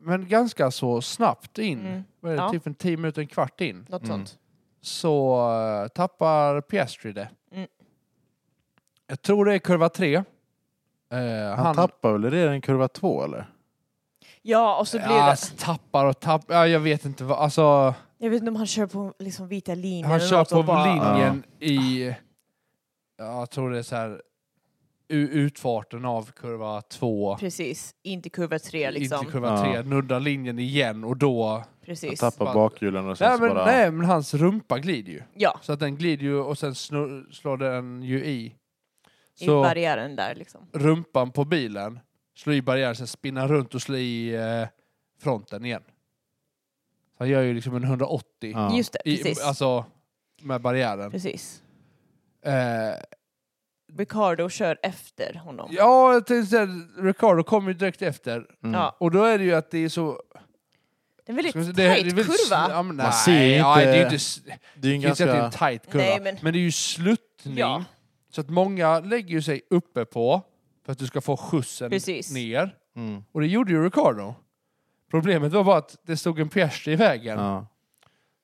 [SPEAKER 3] men ganska så snabbt in,
[SPEAKER 2] Mm.
[SPEAKER 3] vad är det,
[SPEAKER 2] Ja.
[SPEAKER 3] typ en 10 minuter, en kvart in,
[SPEAKER 2] Något
[SPEAKER 1] Mm.
[SPEAKER 2] sånt.
[SPEAKER 3] så eh, tappar Piastri det.
[SPEAKER 2] Mm.
[SPEAKER 3] Jag tror det är kurva tre. Eh,
[SPEAKER 1] Han, tappar väl redan i kurva två eller?
[SPEAKER 2] Ja, och så blir
[SPEAKER 3] ja,
[SPEAKER 2] det...
[SPEAKER 3] alltså, tappar och tappar. Ja, jag vet inte vad. Alltså,
[SPEAKER 2] Jag vet inte om han kör på liksom vita linjer.
[SPEAKER 3] Han
[SPEAKER 2] eller
[SPEAKER 3] kör
[SPEAKER 2] något
[SPEAKER 3] på
[SPEAKER 2] och bara-
[SPEAKER 3] linjen i, ja, jag tror det är så här, u- utfarten av kurva två,
[SPEAKER 2] Precis. Inte kurva tre liksom.
[SPEAKER 3] inte kurva tre,
[SPEAKER 1] Ja.
[SPEAKER 3] nuddar linjen igen och då...
[SPEAKER 1] Han
[SPEAKER 2] Precis.
[SPEAKER 1] tappar
[SPEAKER 3] Bara-
[SPEAKER 1] bakhjulen och sen
[SPEAKER 3] Nej
[SPEAKER 1] så
[SPEAKER 3] men,
[SPEAKER 1] bara...
[SPEAKER 3] nej men hans rumpa glider ju.
[SPEAKER 2] Ja,
[SPEAKER 3] Så att den glider ju och sen snur, slår den ju i.
[SPEAKER 2] i
[SPEAKER 3] Så
[SPEAKER 2] barriären där liksom.
[SPEAKER 3] rumpan på bilen slår i barriären, sen spinner han runt och slår i eh, fronten igen. Så han gör ju liksom en 180
[SPEAKER 1] Ja.
[SPEAKER 2] Just det,
[SPEAKER 3] i,
[SPEAKER 2] precis.
[SPEAKER 3] alltså med barriären.
[SPEAKER 2] precis.
[SPEAKER 3] Eh,
[SPEAKER 2] Ricardo kör efter honom.
[SPEAKER 3] Ja, jag tänkte säga, Ricardo kom ju direkt efter.
[SPEAKER 1] Mm.
[SPEAKER 2] Ja.
[SPEAKER 3] Och då är det ju att det är så...
[SPEAKER 2] Det är en väldigt
[SPEAKER 3] ska man säga,
[SPEAKER 2] tajt
[SPEAKER 3] det är- det är väldigt sl-
[SPEAKER 2] kurva.
[SPEAKER 3] Ja, men,
[SPEAKER 1] Man
[SPEAKER 3] nej,
[SPEAKER 1] ser ju
[SPEAKER 3] ja,
[SPEAKER 1] inte-
[SPEAKER 3] det är ju inte... s- jag
[SPEAKER 1] Det är ju en
[SPEAKER 3] kan
[SPEAKER 1] ganska...
[SPEAKER 3] inte säga att det är en tight kurva.
[SPEAKER 2] Nej,
[SPEAKER 3] men...
[SPEAKER 2] men-
[SPEAKER 3] det är ju sluttning.
[SPEAKER 2] Ja.
[SPEAKER 3] Så att många lägger ju sig uppe på för att du ska få skjutsen
[SPEAKER 2] Precis.
[SPEAKER 3] ner.
[SPEAKER 1] Mm.
[SPEAKER 3] Och det gjorde ju Ricardo. Problemet var bara att det stod en Piastri i vägen.
[SPEAKER 1] Ja.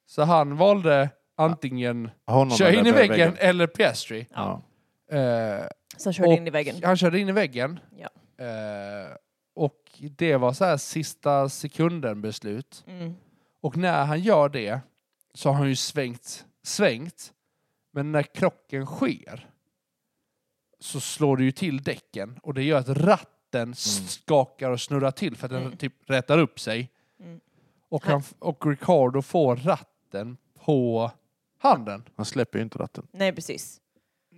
[SPEAKER 3] Så han valde antingen
[SPEAKER 1] Honom
[SPEAKER 3] köra
[SPEAKER 1] eller
[SPEAKER 3] in i
[SPEAKER 1] på
[SPEAKER 3] väggen, eller Piastri.
[SPEAKER 1] Ja.
[SPEAKER 3] Eh,
[SPEAKER 2] Så han körde
[SPEAKER 3] Och
[SPEAKER 2] in i väggen.
[SPEAKER 3] Han körde in i väggen.
[SPEAKER 2] Ja.
[SPEAKER 3] Eh, och det var så här sista sekunden beslut.
[SPEAKER 2] Mm.
[SPEAKER 3] Och när han gör det så har han ju svängt, svängt. Men när krocken sker så slår det ju till däcken och det gör att ratten skakar och snurrar till för att den
[SPEAKER 2] Mm.
[SPEAKER 3] typ rätar upp sig.
[SPEAKER 2] Mm.
[SPEAKER 3] Och, han, och Ricardo får ratten på handen.
[SPEAKER 1] Han släpper ju inte ratten.
[SPEAKER 2] Nej, precis.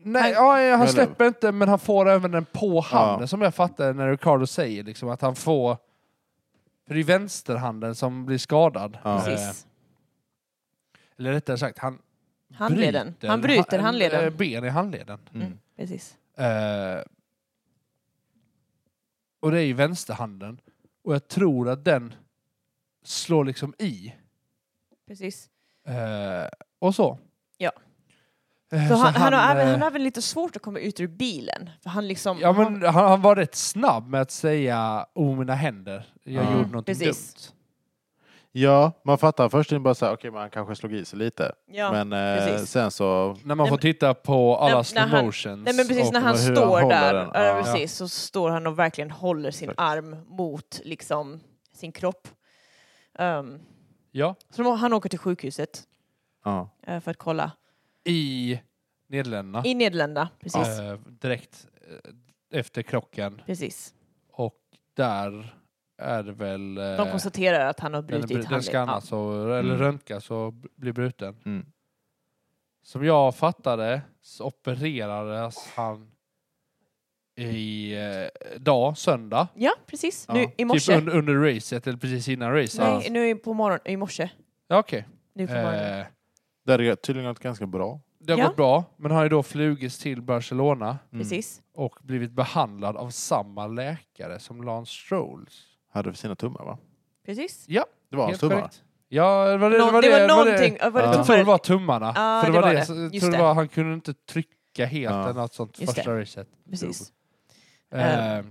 [SPEAKER 3] Nej, ja, han
[SPEAKER 1] Eller-
[SPEAKER 3] släpper inte, men han får även den på handen, som jag fattar när Ricardo säger. Liksom, att han får... För det är vänsterhanden som blir skadad.
[SPEAKER 1] Ja.
[SPEAKER 3] Eh,
[SPEAKER 2] precis.
[SPEAKER 3] Eller rättare sagt, han
[SPEAKER 2] Handleden.
[SPEAKER 3] Eh, bryter,
[SPEAKER 2] Han bryter
[SPEAKER 3] ha-
[SPEAKER 2] handleden.
[SPEAKER 3] eh, Ben i handleden.
[SPEAKER 1] Mm.
[SPEAKER 2] Mm. Precis.
[SPEAKER 3] Eh, och det är ju vänsterhanden. Och jag tror att den slår liksom i.
[SPEAKER 2] precis.
[SPEAKER 3] Eh, och så.
[SPEAKER 2] Ja.
[SPEAKER 3] Eh,
[SPEAKER 2] Så han, han, har
[SPEAKER 3] eh,
[SPEAKER 2] även, han har även lite svårt att komma ut ur bilen. För han liksom...
[SPEAKER 3] Ja,
[SPEAKER 2] han,
[SPEAKER 3] men han, han var rätt snabb med att säga oh, mina händer, jag
[SPEAKER 1] Ja.
[SPEAKER 3] gjorde någonting
[SPEAKER 2] Precis.
[SPEAKER 3] dumt.
[SPEAKER 1] Ja, man fattar först inte bara så här, okej, man kanske slog i sig lite.
[SPEAKER 2] Ja.
[SPEAKER 1] men eh,
[SPEAKER 2] precis.
[SPEAKER 1] sen så,
[SPEAKER 3] När man
[SPEAKER 2] Nej,
[SPEAKER 3] får
[SPEAKER 2] men-
[SPEAKER 3] titta på alla
[SPEAKER 2] Nej,
[SPEAKER 3] slow
[SPEAKER 2] när han-
[SPEAKER 3] motions.
[SPEAKER 2] Nej men precis,
[SPEAKER 3] och-
[SPEAKER 2] när han
[SPEAKER 1] hur han
[SPEAKER 2] står
[SPEAKER 1] håller
[SPEAKER 2] där,
[SPEAKER 1] den.
[SPEAKER 2] ja.
[SPEAKER 1] Ja.
[SPEAKER 2] precis, så står han och verkligen håller sin
[SPEAKER 1] Exakt.
[SPEAKER 2] arm mot liksom, sin kropp. Ehm,
[SPEAKER 3] Ja,
[SPEAKER 2] så de- han åker till sjukhuset
[SPEAKER 1] ja.
[SPEAKER 2] eh, för att kolla.
[SPEAKER 3] i Nederländerna.
[SPEAKER 2] I Nederländerna, precis.
[SPEAKER 3] Eh, direkt eh, efter krocken.
[SPEAKER 2] precis.
[SPEAKER 3] Och där är det väl... eh,
[SPEAKER 2] De konstaterar att han har
[SPEAKER 3] den,
[SPEAKER 2] brutit
[SPEAKER 3] är bru- den alltså-
[SPEAKER 2] handled-
[SPEAKER 3] skannas och, eller
[SPEAKER 1] Mm.
[SPEAKER 3] röntgas och b- blir bruten.
[SPEAKER 1] Mm.
[SPEAKER 3] Som jag fattade så opererades han i eh, dag, söndag.
[SPEAKER 2] Ja, precis.
[SPEAKER 1] Ja.
[SPEAKER 2] Nu i morse.
[SPEAKER 3] Typ under, under racet eller precis innan racet.
[SPEAKER 1] Ja.
[SPEAKER 2] Nej, nu i- på morgon, i morse.
[SPEAKER 3] Ja, okej.
[SPEAKER 2] Nu på morgonen.
[SPEAKER 3] Eh,
[SPEAKER 1] det hade tydligen gått ganska bra.
[SPEAKER 3] det har
[SPEAKER 2] Ja.
[SPEAKER 3] gått bra, men har ju då flugits till Barcelona
[SPEAKER 1] Mm.
[SPEAKER 2] Precis.
[SPEAKER 3] och blivit behandlad av samma läkare som Lance Strolls.
[SPEAKER 1] Hade för sina tummar va?
[SPEAKER 2] Precis.
[SPEAKER 1] Det var hans
[SPEAKER 3] Helt
[SPEAKER 1] tummar.
[SPEAKER 3] korrekt. Ja, det var det,
[SPEAKER 2] Nå-
[SPEAKER 3] det, var det, det var det.
[SPEAKER 2] någonting. ja, Var det
[SPEAKER 1] Ja.
[SPEAKER 3] Jag tror det
[SPEAKER 2] tummar?
[SPEAKER 3] var tummarna.
[SPEAKER 2] Ja,
[SPEAKER 3] för det, var det. Så- Jag
[SPEAKER 2] Just
[SPEAKER 3] tror det
[SPEAKER 2] det.
[SPEAKER 3] var, han kunde inte trycka helt
[SPEAKER 1] Ja.
[SPEAKER 3] eller något sånt
[SPEAKER 2] Just
[SPEAKER 3] första racet.
[SPEAKER 2] Precis.
[SPEAKER 3] Eh,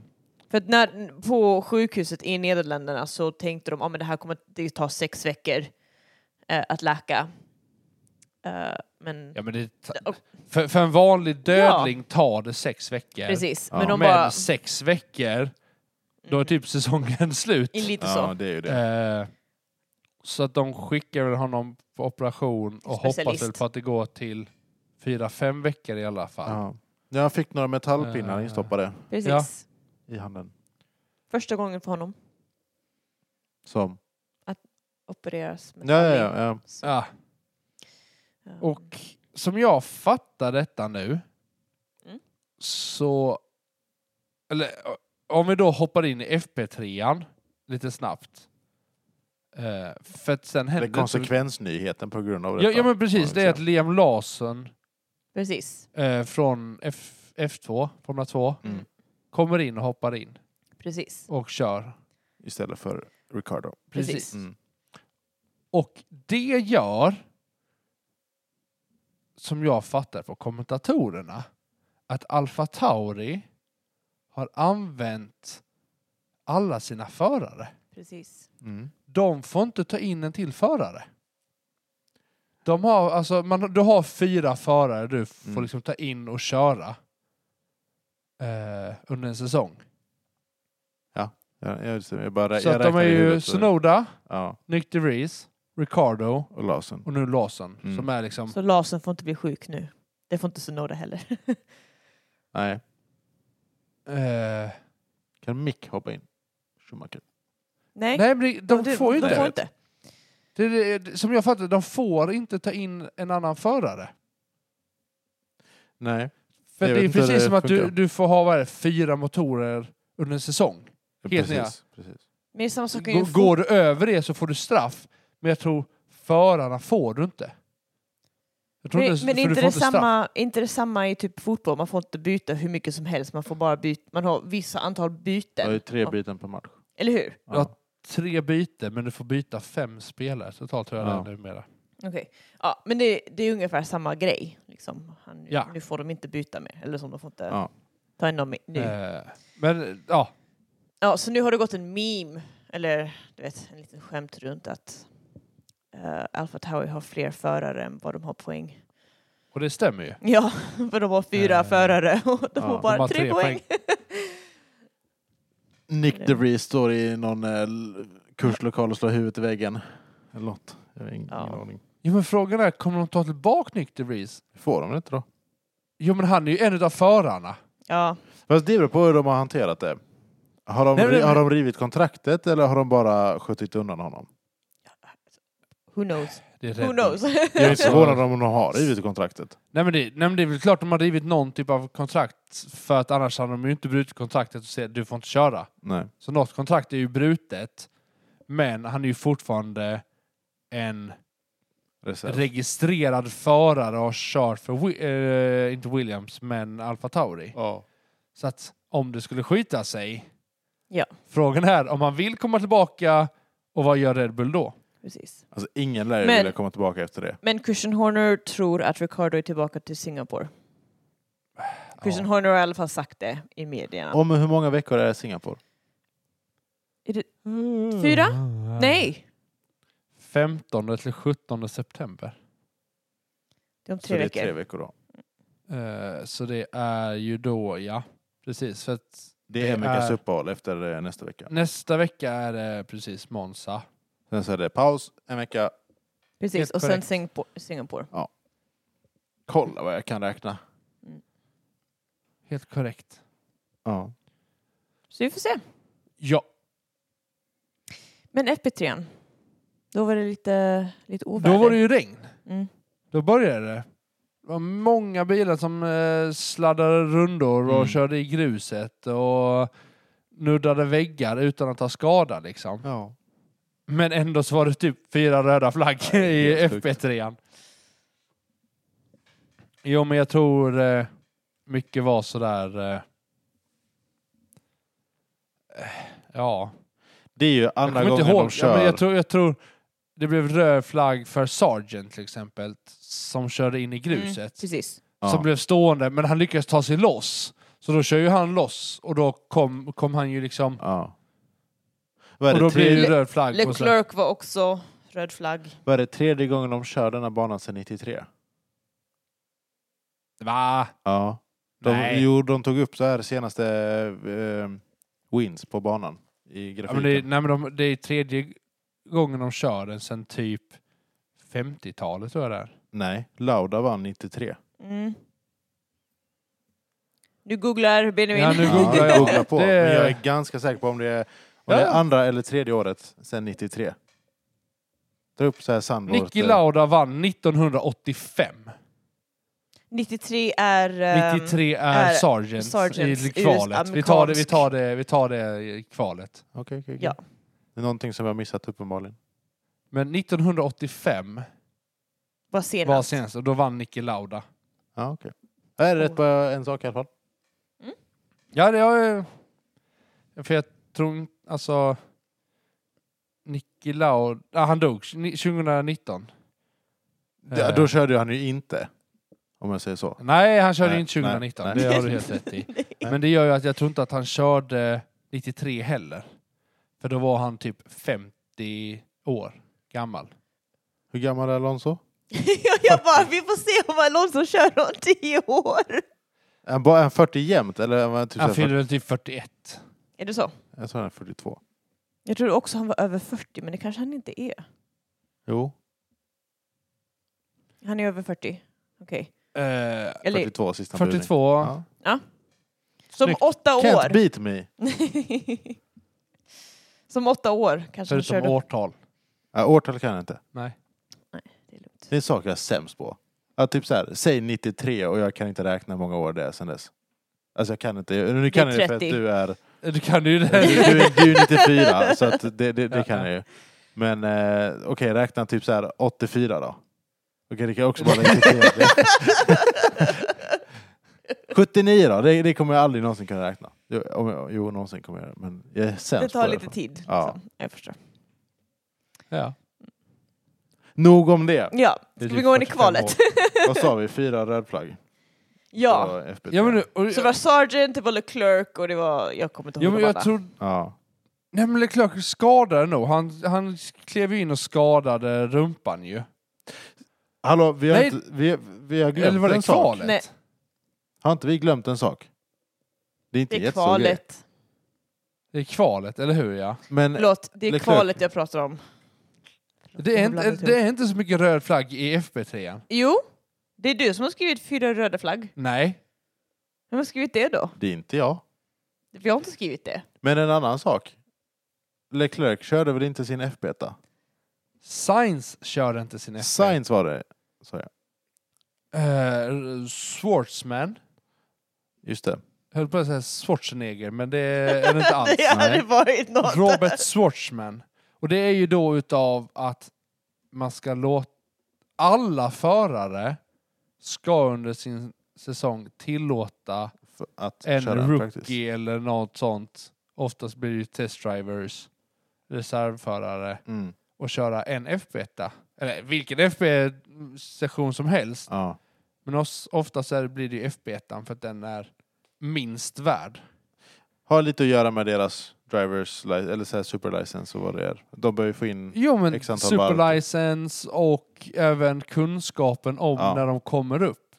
[SPEAKER 2] För att när, på sjukhuset i Nederländerna så tänkte de att men det här kommer att det ta sex veckor eh, att läka. Eh, men
[SPEAKER 3] ja, men det, ta-
[SPEAKER 2] och-
[SPEAKER 3] för, för en vanlig dödling tar det sex veckor.
[SPEAKER 2] precis,
[SPEAKER 1] Ja.
[SPEAKER 2] men de
[SPEAKER 3] Men
[SPEAKER 2] bara...
[SPEAKER 3] sex veckor, då är
[SPEAKER 2] Mm,
[SPEAKER 3] typ säsongen slut.
[SPEAKER 2] i lite
[SPEAKER 1] Ja,
[SPEAKER 2] så.
[SPEAKER 1] det är ju det.
[SPEAKER 3] Eh, så att de skickar väl honom på operation och hoppas
[SPEAKER 2] Specialist.
[SPEAKER 3] väl på att det går till fyra, fem veckor i alla fall.
[SPEAKER 1] Ja. Ja, han fick några metallpinnar
[SPEAKER 3] Eh.
[SPEAKER 1] instoppade
[SPEAKER 2] Precis.
[SPEAKER 3] Ja.
[SPEAKER 1] i handen.
[SPEAKER 2] Första gången för honom
[SPEAKER 1] Som...
[SPEAKER 2] opereras med
[SPEAKER 1] Ja, ja,
[SPEAKER 2] tandling.
[SPEAKER 1] ja, ja.
[SPEAKER 2] Så,
[SPEAKER 3] Ja,
[SPEAKER 2] eh,
[SPEAKER 3] och som jag fattar detta nu
[SPEAKER 2] Mm.
[SPEAKER 3] så... Eller ö, om vi då hoppar in i FP3an lite snabbt. Eh, för att sen
[SPEAKER 1] Det
[SPEAKER 3] händer...
[SPEAKER 1] är konsekvensnyheten på grund av
[SPEAKER 3] ja,
[SPEAKER 1] detta.
[SPEAKER 3] ja men precis, det är att Liam Larsson
[SPEAKER 2] Precis,
[SPEAKER 3] eh, från F, F2, Formula 2,
[SPEAKER 1] Mm.
[SPEAKER 3] kommer in och hoppar in
[SPEAKER 2] precis.
[SPEAKER 3] och kör.
[SPEAKER 1] Istället för Ricardo.
[SPEAKER 2] Precis.
[SPEAKER 1] Mm.
[SPEAKER 3] Och det gör, som jag fattar på kommentatorerna, att Alfa Tauri har använt alla sina förare.
[SPEAKER 2] precis.
[SPEAKER 1] Mm.
[SPEAKER 3] De får inte ta in en till förare. De har, alltså, man, du har fyra förare du får
[SPEAKER 1] Mm.
[SPEAKER 3] liksom ta in och köra eh, under en säsong.
[SPEAKER 1] Ja, jag, jag bara,
[SPEAKER 3] Så
[SPEAKER 1] jag
[SPEAKER 3] att de är
[SPEAKER 1] räknar i
[SPEAKER 3] ju
[SPEAKER 1] huvudet. eh.
[SPEAKER 3] Sonoda,
[SPEAKER 1] Ja,
[SPEAKER 3] Nick DeVries, Ricardo
[SPEAKER 1] och Larsen.
[SPEAKER 3] och nu Lawson
[SPEAKER 1] Mm.
[SPEAKER 3] som är liksom
[SPEAKER 2] Så Larsen får inte bli sjuk nu. Det får inte Sunoda heller.
[SPEAKER 1] Nej,
[SPEAKER 3] eh,
[SPEAKER 1] kan Mick hoppa in? Schumacher.
[SPEAKER 2] Nej,
[SPEAKER 3] Nej, men det- de, de får ju
[SPEAKER 2] de
[SPEAKER 3] inte.
[SPEAKER 2] får
[SPEAKER 1] Nej.
[SPEAKER 2] inte.
[SPEAKER 3] Det, det, det, som jag fattar de får inte ta in en annan förare.
[SPEAKER 1] Nej.
[SPEAKER 3] För
[SPEAKER 1] Jag
[SPEAKER 3] det
[SPEAKER 1] vet
[SPEAKER 3] är
[SPEAKER 1] inte hur
[SPEAKER 3] precis
[SPEAKER 1] det
[SPEAKER 3] som att du,
[SPEAKER 1] funkar.
[SPEAKER 3] du får ha vad är det, fyra motorer under en säsong. Helt nya.
[SPEAKER 1] precis, precis.
[SPEAKER 2] Men det är samma sak i
[SPEAKER 3] Går, går du över det så får du straff, men jag tror förarna får du inte. Jag tror
[SPEAKER 2] Men,
[SPEAKER 3] inte
[SPEAKER 2] men
[SPEAKER 3] för
[SPEAKER 2] är
[SPEAKER 3] du
[SPEAKER 2] inte,
[SPEAKER 3] får
[SPEAKER 2] det
[SPEAKER 3] inte straff.
[SPEAKER 2] samma, är inte det samma i typ fotboll? Man får inte byta hur mycket som helst. Man får bara byta. Man har vissa antal
[SPEAKER 1] Det är ju
[SPEAKER 2] byten.
[SPEAKER 1] tre byten per match.
[SPEAKER 2] Eller hur?
[SPEAKER 1] Ja.
[SPEAKER 3] Ja. Tre byten, men du får byta fem spelare totalt tror jag
[SPEAKER 1] Ja.
[SPEAKER 3] det är numera.
[SPEAKER 2] Okej. Ja, men det, det är ungefär samma grej. Liksom. Han,
[SPEAKER 3] Ja.
[SPEAKER 2] Nu får de inte byta mer. Eller som de får inte
[SPEAKER 1] Ja.
[SPEAKER 2] ta in dem i- nu.
[SPEAKER 3] Eh, men ja,
[SPEAKER 2] Ja, så nu har det gått en meme, eller du vet, en liten skämt runt att uh, Alpha Tauri har fler förare än vad de har poäng.
[SPEAKER 3] och det stämmer ju.
[SPEAKER 2] Ja, för de har fyra
[SPEAKER 3] Eh,
[SPEAKER 2] förare och de
[SPEAKER 1] ja,
[SPEAKER 2] har
[SPEAKER 1] de
[SPEAKER 2] bara
[SPEAKER 3] har
[SPEAKER 2] tre,
[SPEAKER 3] tre
[SPEAKER 2] poäng.
[SPEAKER 1] Nick DeVries står i någon eh, l- kurslokal och slår huvudet i väggen. Eller något. Jag har ingen,
[SPEAKER 2] Ja.
[SPEAKER 1] ingen aning.
[SPEAKER 3] Jo, men frågan är, kommer de ta tillbaka Nick DeVries?
[SPEAKER 1] Får de det inte då?
[SPEAKER 3] Jo, men han är ju en av förarna.
[SPEAKER 2] ja,
[SPEAKER 1] Fast det beror på hur de har hanterat det. Har de,
[SPEAKER 3] Nej, men-
[SPEAKER 1] har de rivit kontraktet eller har de bara skjutit undan honom?
[SPEAKER 2] who knows?
[SPEAKER 3] Det är Red
[SPEAKER 2] Who
[SPEAKER 3] Bull.
[SPEAKER 2] knows?
[SPEAKER 1] Jag är inte
[SPEAKER 3] Ja.
[SPEAKER 1] förvånad om de har rivit kontraktet.
[SPEAKER 3] Nej men, det, nej men det är väl klart de har drivit någon typ av kontrakt för att annars hade de ju inte brutit kontraktet och sagt du får inte köra.
[SPEAKER 1] Nej.
[SPEAKER 3] Så något kontrakt är ju brutet men han är ju fortfarande en
[SPEAKER 1] Reserv.
[SPEAKER 3] registrerad förare och har kört för, Wi- eh, inte Williams, men Alfa Tauri.
[SPEAKER 1] ja.
[SPEAKER 3] Så att om det skulle skita sig,
[SPEAKER 2] Ja.
[SPEAKER 3] frågan är om han vill komma tillbaka och vad gör Red Bull då?
[SPEAKER 2] Precis.
[SPEAKER 1] Alltså ingen lär ju
[SPEAKER 2] Men-
[SPEAKER 1] vilja komma tillbaka efter det.
[SPEAKER 2] Men Christian Horner tror att Ricardo är tillbaka till Singapore. Christian
[SPEAKER 3] Ja.
[SPEAKER 2] Horner har i alla fall sagt det i medierna.
[SPEAKER 1] Om hur många veckor är Singapore?
[SPEAKER 2] Är det... Fyra? Nej!
[SPEAKER 3] 15 till 17 september.
[SPEAKER 2] Det är om
[SPEAKER 1] Så
[SPEAKER 2] tre
[SPEAKER 1] det är
[SPEAKER 2] veckor.
[SPEAKER 1] tre veckor då.
[SPEAKER 3] Eh, så det är ju då, ja, precis. För att
[SPEAKER 1] Det
[SPEAKER 3] Det
[SPEAKER 1] är en veckas
[SPEAKER 3] är-
[SPEAKER 1] uppehåll efter eh, nästa vecka.
[SPEAKER 3] nästa vecka är det precis Monza.
[SPEAKER 1] Sen så är det paus en vecka.
[SPEAKER 2] Precis,
[SPEAKER 3] Helt
[SPEAKER 2] och sen
[SPEAKER 3] korrekt.
[SPEAKER 2] Singapore. Singapore.
[SPEAKER 1] Kolla vad jag kan räkna.
[SPEAKER 3] Helt korrekt.
[SPEAKER 1] Ja.
[SPEAKER 2] Så vi får se.
[SPEAKER 3] Ja,
[SPEAKER 2] Men FP3, an, då var det lite, lite
[SPEAKER 3] då
[SPEAKER 2] oväder.
[SPEAKER 3] var det ju regn.
[SPEAKER 2] mm.
[SPEAKER 3] Då började det. Det var många bilar som eh, sladdade rundor och
[SPEAKER 1] Mm.
[SPEAKER 3] körde i gruset och nuddade väggar utan att ta skada liksom.
[SPEAKER 1] ja.
[SPEAKER 3] Men ändå så var det typ fyra röda flaggor
[SPEAKER 1] Ja, det är
[SPEAKER 3] i
[SPEAKER 1] helt sjukt.
[SPEAKER 3] FP3. Jo, men jag tror eh, mycket var sådär... Eh, eh, ja.
[SPEAKER 1] Det är ju
[SPEAKER 3] Jag
[SPEAKER 1] andra
[SPEAKER 3] kommer inte
[SPEAKER 1] gången
[SPEAKER 3] ihåg.
[SPEAKER 1] de kör.
[SPEAKER 3] Ja, men jag, tror, jag tror det blev röd flagg för Sargent till exempel, som körde in i gruset.
[SPEAKER 2] Mm, precis.
[SPEAKER 1] Ja.
[SPEAKER 3] Som blev stående, men han lyckades ta sig loss. Så då kör ju han loss och då kom, kom han ju liksom...
[SPEAKER 1] Ja. Vad är,
[SPEAKER 3] och då
[SPEAKER 1] det
[SPEAKER 3] blir
[SPEAKER 1] tredje,
[SPEAKER 3] det ju röd flagg. på sig.
[SPEAKER 2] Leclerc var också röd flagg.
[SPEAKER 1] vad är det tredje gången de kör denna banan sedan 93?
[SPEAKER 3] Va?
[SPEAKER 1] Ja. De,
[SPEAKER 3] Nej.
[SPEAKER 1] jo, de tog upp så här senaste eh, wins på banan i
[SPEAKER 3] Ja,
[SPEAKER 1] grafiken.
[SPEAKER 3] men det, är- nej, men de, det är tredje gången de kör den sen typ 50-talet tror jag det är.
[SPEAKER 1] Nej, Lauda vann 93.
[SPEAKER 2] Mm. Nu googlar Benjamin.
[SPEAKER 3] Ja, nu googlar jag.
[SPEAKER 1] googla på.
[SPEAKER 3] Det-
[SPEAKER 1] Men jag är ganska säker på om det är, om det
[SPEAKER 3] Ja.
[SPEAKER 1] är andra eller tredje året sedan 93. Dra upp så här sandvort.
[SPEAKER 3] Niki Lauda vann 1985.
[SPEAKER 2] 93 är... ehm,
[SPEAKER 3] 93 är,
[SPEAKER 2] är
[SPEAKER 3] Sargent
[SPEAKER 2] Sargents
[SPEAKER 3] i kvalet.
[SPEAKER 2] US-amerikansk.
[SPEAKER 3] Vi tar, det, vi, tar det, vi tar det i kvalet.
[SPEAKER 1] Okej, okej, okej.
[SPEAKER 2] Ja.
[SPEAKER 1] Det är någonting som jag har missat uppenbarligen.
[SPEAKER 3] Men 1985
[SPEAKER 2] Var senast.
[SPEAKER 3] var senast och då vann Niki Lauda.
[SPEAKER 1] Ja, okay. Jag är rätt på en sak i alla fall.
[SPEAKER 3] Ja, det har ju... För jag tror inte- alltså... Niki Lauda, ah, han dog ni- 2019.
[SPEAKER 1] Ja,
[SPEAKER 3] Eh.
[SPEAKER 1] då körde han ju inte. Om jag säger så.
[SPEAKER 3] Nej, han körde
[SPEAKER 1] Nej,
[SPEAKER 3] inte 2019.
[SPEAKER 1] nej,
[SPEAKER 3] det
[SPEAKER 1] nej.
[SPEAKER 3] har du helt rätt i. Men det gör ju att jag tror inte att han körde 93 heller. För då var han typ 50 år gammal.
[SPEAKER 1] Hur gammal är Alonso?
[SPEAKER 2] jag bara, vi får se om Alonso kör om tio år.
[SPEAKER 1] Är han bara är han 40 jämt? Eller är han typ
[SPEAKER 3] Han
[SPEAKER 1] så här
[SPEAKER 3] fyllde väl typ 41.
[SPEAKER 2] Är det så?
[SPEAKER 1] 40 jag tror han är 42.
[SPEAKER 2] Jag trodde också han var över 40, men det kanske han inte är.
[SPEAKER 1] Jo,
[SPEAKER 2] Han är över 40. Okej.
[SPEAKER 3] Eh,
[SPEAKER 2] Eller
[SPEAKER 1] 42 sista
[SPEAKER 3] 42.
[SPEAKER 1] Ja.
[SPEAKER 2] som
[SPEAKER 3] snyggt.
[SPEAKER 2] åtta
[SPEAKER 1] Can't
[SPEAKER 2] år.
[SPEAKER 1] beat me!
[SPEAKER 2] som åtta år kanske han
[SPEAKER 3] Förutom
[SPEAKER 2] körde.
[SPEAKER 3] årtal.
[SPEAKER 1] Ja, årtal kan jag inte.
[SPEAKER 3] Nej.
[SPEAKER 2] Det är lugnt.
[SPEAKER 1] Det är en sak jag är sämst på. Ja, typ så här, säg 93 och jag kan inte räkna hur många år det är sedan dess. Alltså jag kan inte. Nu kan jag det för att
[SPEAKER 2] 30.
[SPEAKER 1] du är,
[SPEAKER 3] Eh, Du kan ju
[SPEAKER 1] du,
[SPEAKER 3] det.
[SPEAKER 1] du, är- du är 94 så att det, det, det
[SPEAKER 3] Ja,
[SPEAKER 1] kan
[SPEAKER 3] ja.
[SPEAKER 1] jag ju. Men eh, okej, räkna typ så här 84 då. Okej, det kan jag också vara 93. 79 då, det, det kommer jag aldrig någonsin kunna räkna. Jo, om jag, jo någonsin kommer jag men jag är sämst
[SPEAKER 2] Det
[SPEAKER 1] på
[SPEAKER 2] tar
[SPEAKER 1] det.
[SPEAKER 2] lite tid.
[SPEAKER 1] Ja.
[SPEAKER 2] Liksom. Jag förstår.
[SPEAKER 3] Ja.
[SPEAKER 1] Nog om det.
[SPEAKER 2] Ja,
[SPEAKER 3] Det är
[SPEAKER 2] ska vi
[SPEAKER 3] typ
[SPEAKER 2] gå in i
[SPEAKER 3] 45
[SPEAKER 2] kvalet?
[SPEAKER 1] Vad sa vi? Fyra rödflagg?
[SPEAKER 2] ja.
[SPEAKER 1] FB3.
[SPEAKER 3] ja, men, nu- och,
[SPEAKER 2] Så det var Sargent, det var Leclerc och det var... Jag kommer inte ihåg
[SPEAKER 3] ja, men
[SPEAKER 2] de
[SPEAKER 3] jag
[SPEAKER 2] andra.
[SPEAKER 3] tror
[SPEAKER 1] Ja.
[SPEAKER 3] Nej men Leclerc skadade nog. Han, han klev ju in och skadade rumpan ju.
[SPEAKER 1] Hallå, vi har,
[SPEAKER 3] Nej.
[SPEAKER 1] inte, vi, vi har glömt
[SPEAKER 3] Eller var det
[SPEAKER 1] en sak.
[SPEAKER 3] kvalet?
[SPEAKER 2] Nej.
[SPEAKER 1] Har inte vi glömt en sak? Det är inte
[SPEAKER 2] Det är
[SPEAKER 1] jättestor grej.
[SPEAKER 2] kvalet.
[SPEAKER 3] Det är kvalet, eller hur ja?
[SPEAKER 1] Men
[SPEAKER 2] Förlåt, det är
[SPEAKER 1] Leclerc.
[SPEAKER 2] kvalet jag pratar om.
[SPEAKER 3] Det är,
[SPEAKER 2] Jag
[SPEAKER 3] inte,
[SPEAKER 2] blandar ihop.
[SPEAKER 3] det är inte så mycket röd flagg i FB3. an.
[SPEAKER 2] Jo, det är du som har skrivit fyra röda flagg.
[SPEAKER 3] Nej.
[SPEAKER 2] Vem har skrivit det då?
[SPEAKER 1] det är inte jag.
[SPEAKER 2] Vi har inte skrivit det.
[SPEAKER 1] Men en annan sak. Leclerc körde väl inte sin f beta
[SPEAKER 3] Sainz körde inte sin FB.
[SPEAKER 1] Sainz var det, sa jag.
[SPEAKER 3] Eh, Schwartzman.
[SPEAKER 1] Just det.
[SPEAKER 3] Jag höll på att säga Schwarzenegger, men det är det inte alls.
[SPEAKER 2] det hade
[SPEAKER 1] nej.
[SPEAKER 2] varit något.
[SPEAKER 3] Robert Schwartzman. Och det är ju då utav att man ska låta alla förare ska under sin säsong tillåta
[SPEAKER 1] För att
[SPEAKER 3] en
[SPEAKER 1] köra
[SPEAKER 3] rookie
[SPEAKER 1] practice.
[SPEAKER 3] eller något sånt. Oftast blir det ju testdrivers, reservförare
[SPEAKER 1] Mm.
[SPEAKER 3] och köra en FB1. Eller vilken FB-session som helst.
[SPEAKER 1] Ja.
[SPEAKER 3] Men os- oftast är det, blir det ju FB1 för att den är minst värd.
[SPEAKER 1] Har lite att göra med deras drivers li- eller så här superlicense och vad det är. De bör ju få in...
[SPEAKER 3] Jo men
[SPEAKER 1] X antal varv.
[SPEAKER 3] superlicens och även kunskapen om
[SPEAKER 1] Ja.
[SPEAKER 3] när de kommer upp.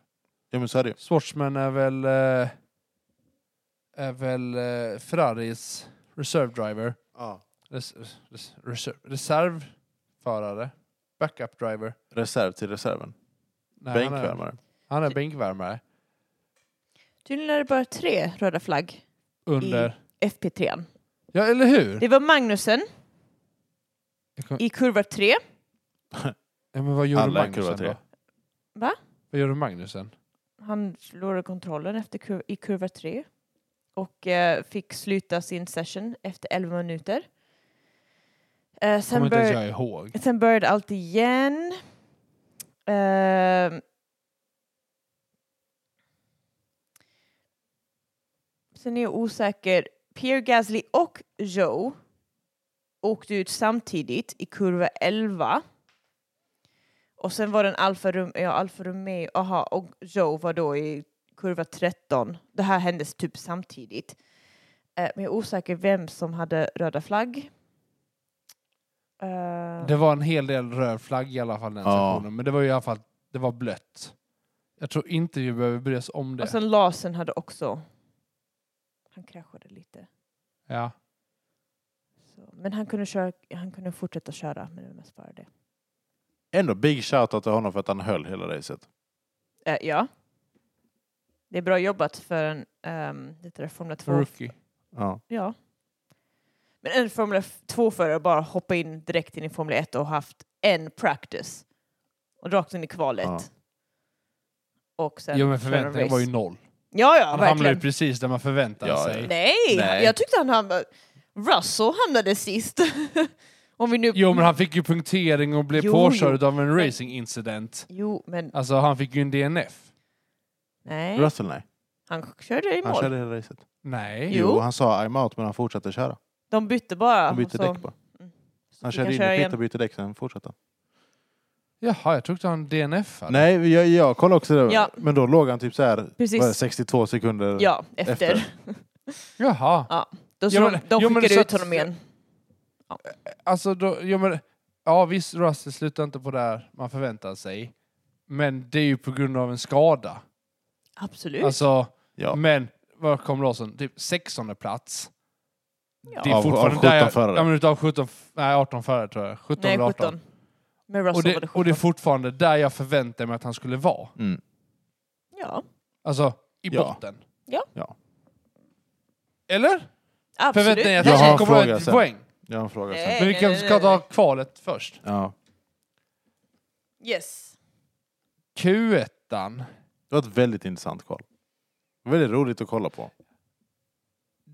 [SPEAKER 1] Ja men så är det ju.
[SPEAKER 3] Sportsman är väl eh, är väl eh, Ferraris reserve driver. Res, res, reserv, reservförare. Backup driver.
[SPEAKER 1] Reserv till reserven.
[SPEAKER 3] Nej, Han är,
[SPEAKER 1] Bänkvärmare.
[SPEAKER 3] han är bänkvärmare.
[SPEAKER 2] Tydligen är det bara tre röda flagg
[SPEAKER 3] Under.
[SPEAKER 2] FP3.
[SPEAKER 3] Ja, eller hur?
[SPEAKER 2] Det var Magnussen
[SPEAKER 3] Jag kom,
[SPEAKER 2] i kurva 3.
[SPEAKER 3] ja, men vad gjorde
[SPEAKER 1] Alla i kurva
[SPEAKER 3] Magnusen då?
[SPEAKER 1] tre.
[SPEAKER 2] Va?
[SPEAKER 3] Vad gjorde Magnusen?
[SPEAKER 2] Han slår kontrollen efter kur- i kurva 3 och eh, fick sluta sin session efter 11 minuter. Eh, sen,
[SPEAKER 3] Kommer inte ens
[SPEAKER 2] bör-
[SPEAKER 3] jag ihåg.
[SPEAKER 2] sen började allt igen. Ehm. sen är jag osäker. Pierre Gasly och Joe åkte ut samtidigt i kurva 11. Och sen var det en Alfa, Rom- ja, Alfa Romeo, aha, och Joe var då i kurva 13. Det här hände typ samtidigt. Eh, men jag är osäker vem som hade röda flagg. Ehm. Eh,
[SPEAKER 3] Det var en hel del röd flagg i alla fall den
[SPEAKER 1] Ja.
[SPEAKER 3] sektionen. Men det var ju i alla fall det var blött. Jag tror inte vi behöver bry oss om det.
[SPEAKER 2] Och sen Larsen hade också... Han kraschade lite.
[SPEAKER 3] ja.
[SPEAKER 2] Så. Men han kunde, köra, han kunde fortsätta köra, men det var mest bara det.
[SPEAKER 1] Ändå big shoutout till honom för att han höll hela racet.
[SPEAKER 2] Eh, ja. Det är bra jobbat för en um, det där Formula 2.
[SPEAKER 3] Rookie.
[SPEAKER 1] Ja.
[SPEAKER 2] Ja. Men en Formula 2-förare bara hoppa in direkt in i Formula 1 och haft en practice. Och rakt in i kvalet.
[SPEAKER 1] Ja.
[SPEAKER 2] Och sen
[SPEAKER 3] Jo men
[SPEAKER 2] köra en
[SPEAKER 3] förväntningen
[SPEAKER 2] race.
[SPEAKER 3] var ju noll.
[SPEAKER 2] Ja, ja,
[SPEAKER 3] Han hamnade ju
[SPEAKER 2] verkligen.
[SPEAKER 3] precis där man förväntade
[SPEAKER 1] Ja,
[SPEAKER 3] sig.
[SPEAKER 1] ja.
[SPEAKER 2] Nej,
[SPEAKER 1] Nej.
[SPEAKER 2] jag tyckte han hamnade... Russell hamnade sist. Om vi nu...
[SPEAKER 3] Jo men han fick ju punktering och blev
[SPEAKER 2] Jo,
[SPEAKER 3] påkörd av en racingincident.
[SPEAKER 2] Jo, men
[SPEAKER 3] Alltså han fick ju en DNF.
[SPEAKER 2] nej.
[SPEAKER 1] Russell nej.
[SPEAKER 2] Han körde i
[SPEAKER 1] Han
[SPEAKER 2] mål.
[SPEAKER 1] körde hela racet.
[SPEAKER 3] Nej.
[SPEAKER 2] Jo.
[SPEAKER 1] Jo, han sa I'm out men han fortsatte köra.
[SPEAKER 2] De bytte bara.
[SPEAKER 1] Han bytte
[SPEAKER 2] och så-
[SPEAKER 1] däck bara.
[SPEAKER 2] så
[SPEAKER 1] Han
[SPEAKER 2] fick
[SPEAKER 1] körde in
[SPEAKER 2] köra
[SPEAKER 1] i pit
[SPEAKER 2] igen.
[SPEAKER 1] och bytte däck sen fortsatte han.
[SPEAKER 3] Jaha, jag trodde han DNF hade.
[SPEAKER 1] Nej, jag, jag kollade också det.
[SPEAKER 2] Ja.
[SPEAKER 1] Men då låg han typ så här,
[SPEAKER 2] Precis.
[SPEAKER 1] vad är det, 62 sekunder
[SPEAKER 2] Ja, efter.
[SPEAKER 1] efter.
[SPEAKER 3] Jaha.
[SPEAKER 2] Då
[SPEAKER 3] Ja,
[SPEAKER 2] slog,
[SPEAKER 3] men-
[SPEAKER 2] de
[SPEAKER 3] jo, men
[SPEAKER 2] skickade
[SPEAKER 3] så
[SPEAKER 2] ut
[SPEAKER 3] att-
[SPEAKER 2] honom igen.
[SPEAKER 3] Alltså då, jo men, ja visst Russell slutar inte på där man förväntar sig. Men det är ju på grund av en skada.
[SPEAKER 2] Absolut.
[SPEAKER 3] Alltså,
[SPEAKER 1] Ja.
[SPEAKER 3] men vad kom Larsson? Typ 16 plats.
[SPEAKER 2] ja.
[SPEAKER 3] Det är
[SPEAKER 1] Av- av
[SPEAKER 3] fortfarande
[SPEAKER 1] 17
[SPEAKER 3] där jag,
[SPEAKER 1] förare.
[SPEAKER 3] Ja men utav 17, nej 18 förare tror jag. 17
[SPEAKER 2] Nej,
[SPEAKER 3] eller 18.
[SPEAKER 2] 17. Med Russell
[SPEAKER 3] Och
[SPEAKER 2] var det
[SPEAKER 3] det,
[SPEAKER 2] 17.
[SPEAKER 3] och det är fortfarande där jag förväntade mig att han skulle vara.
[SPEAKER 1] Mm.
[SPEAKER 2] ja,
[SPEAKER 3] Alltså, i
[SPEAKER 1] Ja.
[SPEAKER 3] botten.
[SPEAKER 2] Ja.
[SPEAKER 1] Ja.
[SPEAKER 3] Eller?
[SPEAKER 2] absolut.
[SPEAKER 3] Förväntningen är att
[SPEAKER 1] Jag
[SPEAKER 3] han
[SPEAKER 1] har en
[SPEAKER 3] ska komma
[SPEAKER 1] fråga
[SPEAKER 3] ut
[SPEAKER 1] sen.
[SPEAKER 3] poäng.
[SPEAKER 1] Jag har en fråga sen.
[SPEAKER 2] Nej.
[SPEAKER 3] Men vi kanske ska ta kvalet först.
[SPEAKER 1] Ja.
[SPEAKER 2] Yes.
[SPEAKER 3] Q1.
[SPEAKER 1] Det var ett väldigt intressant kval. Väldigt roligt att kolla på.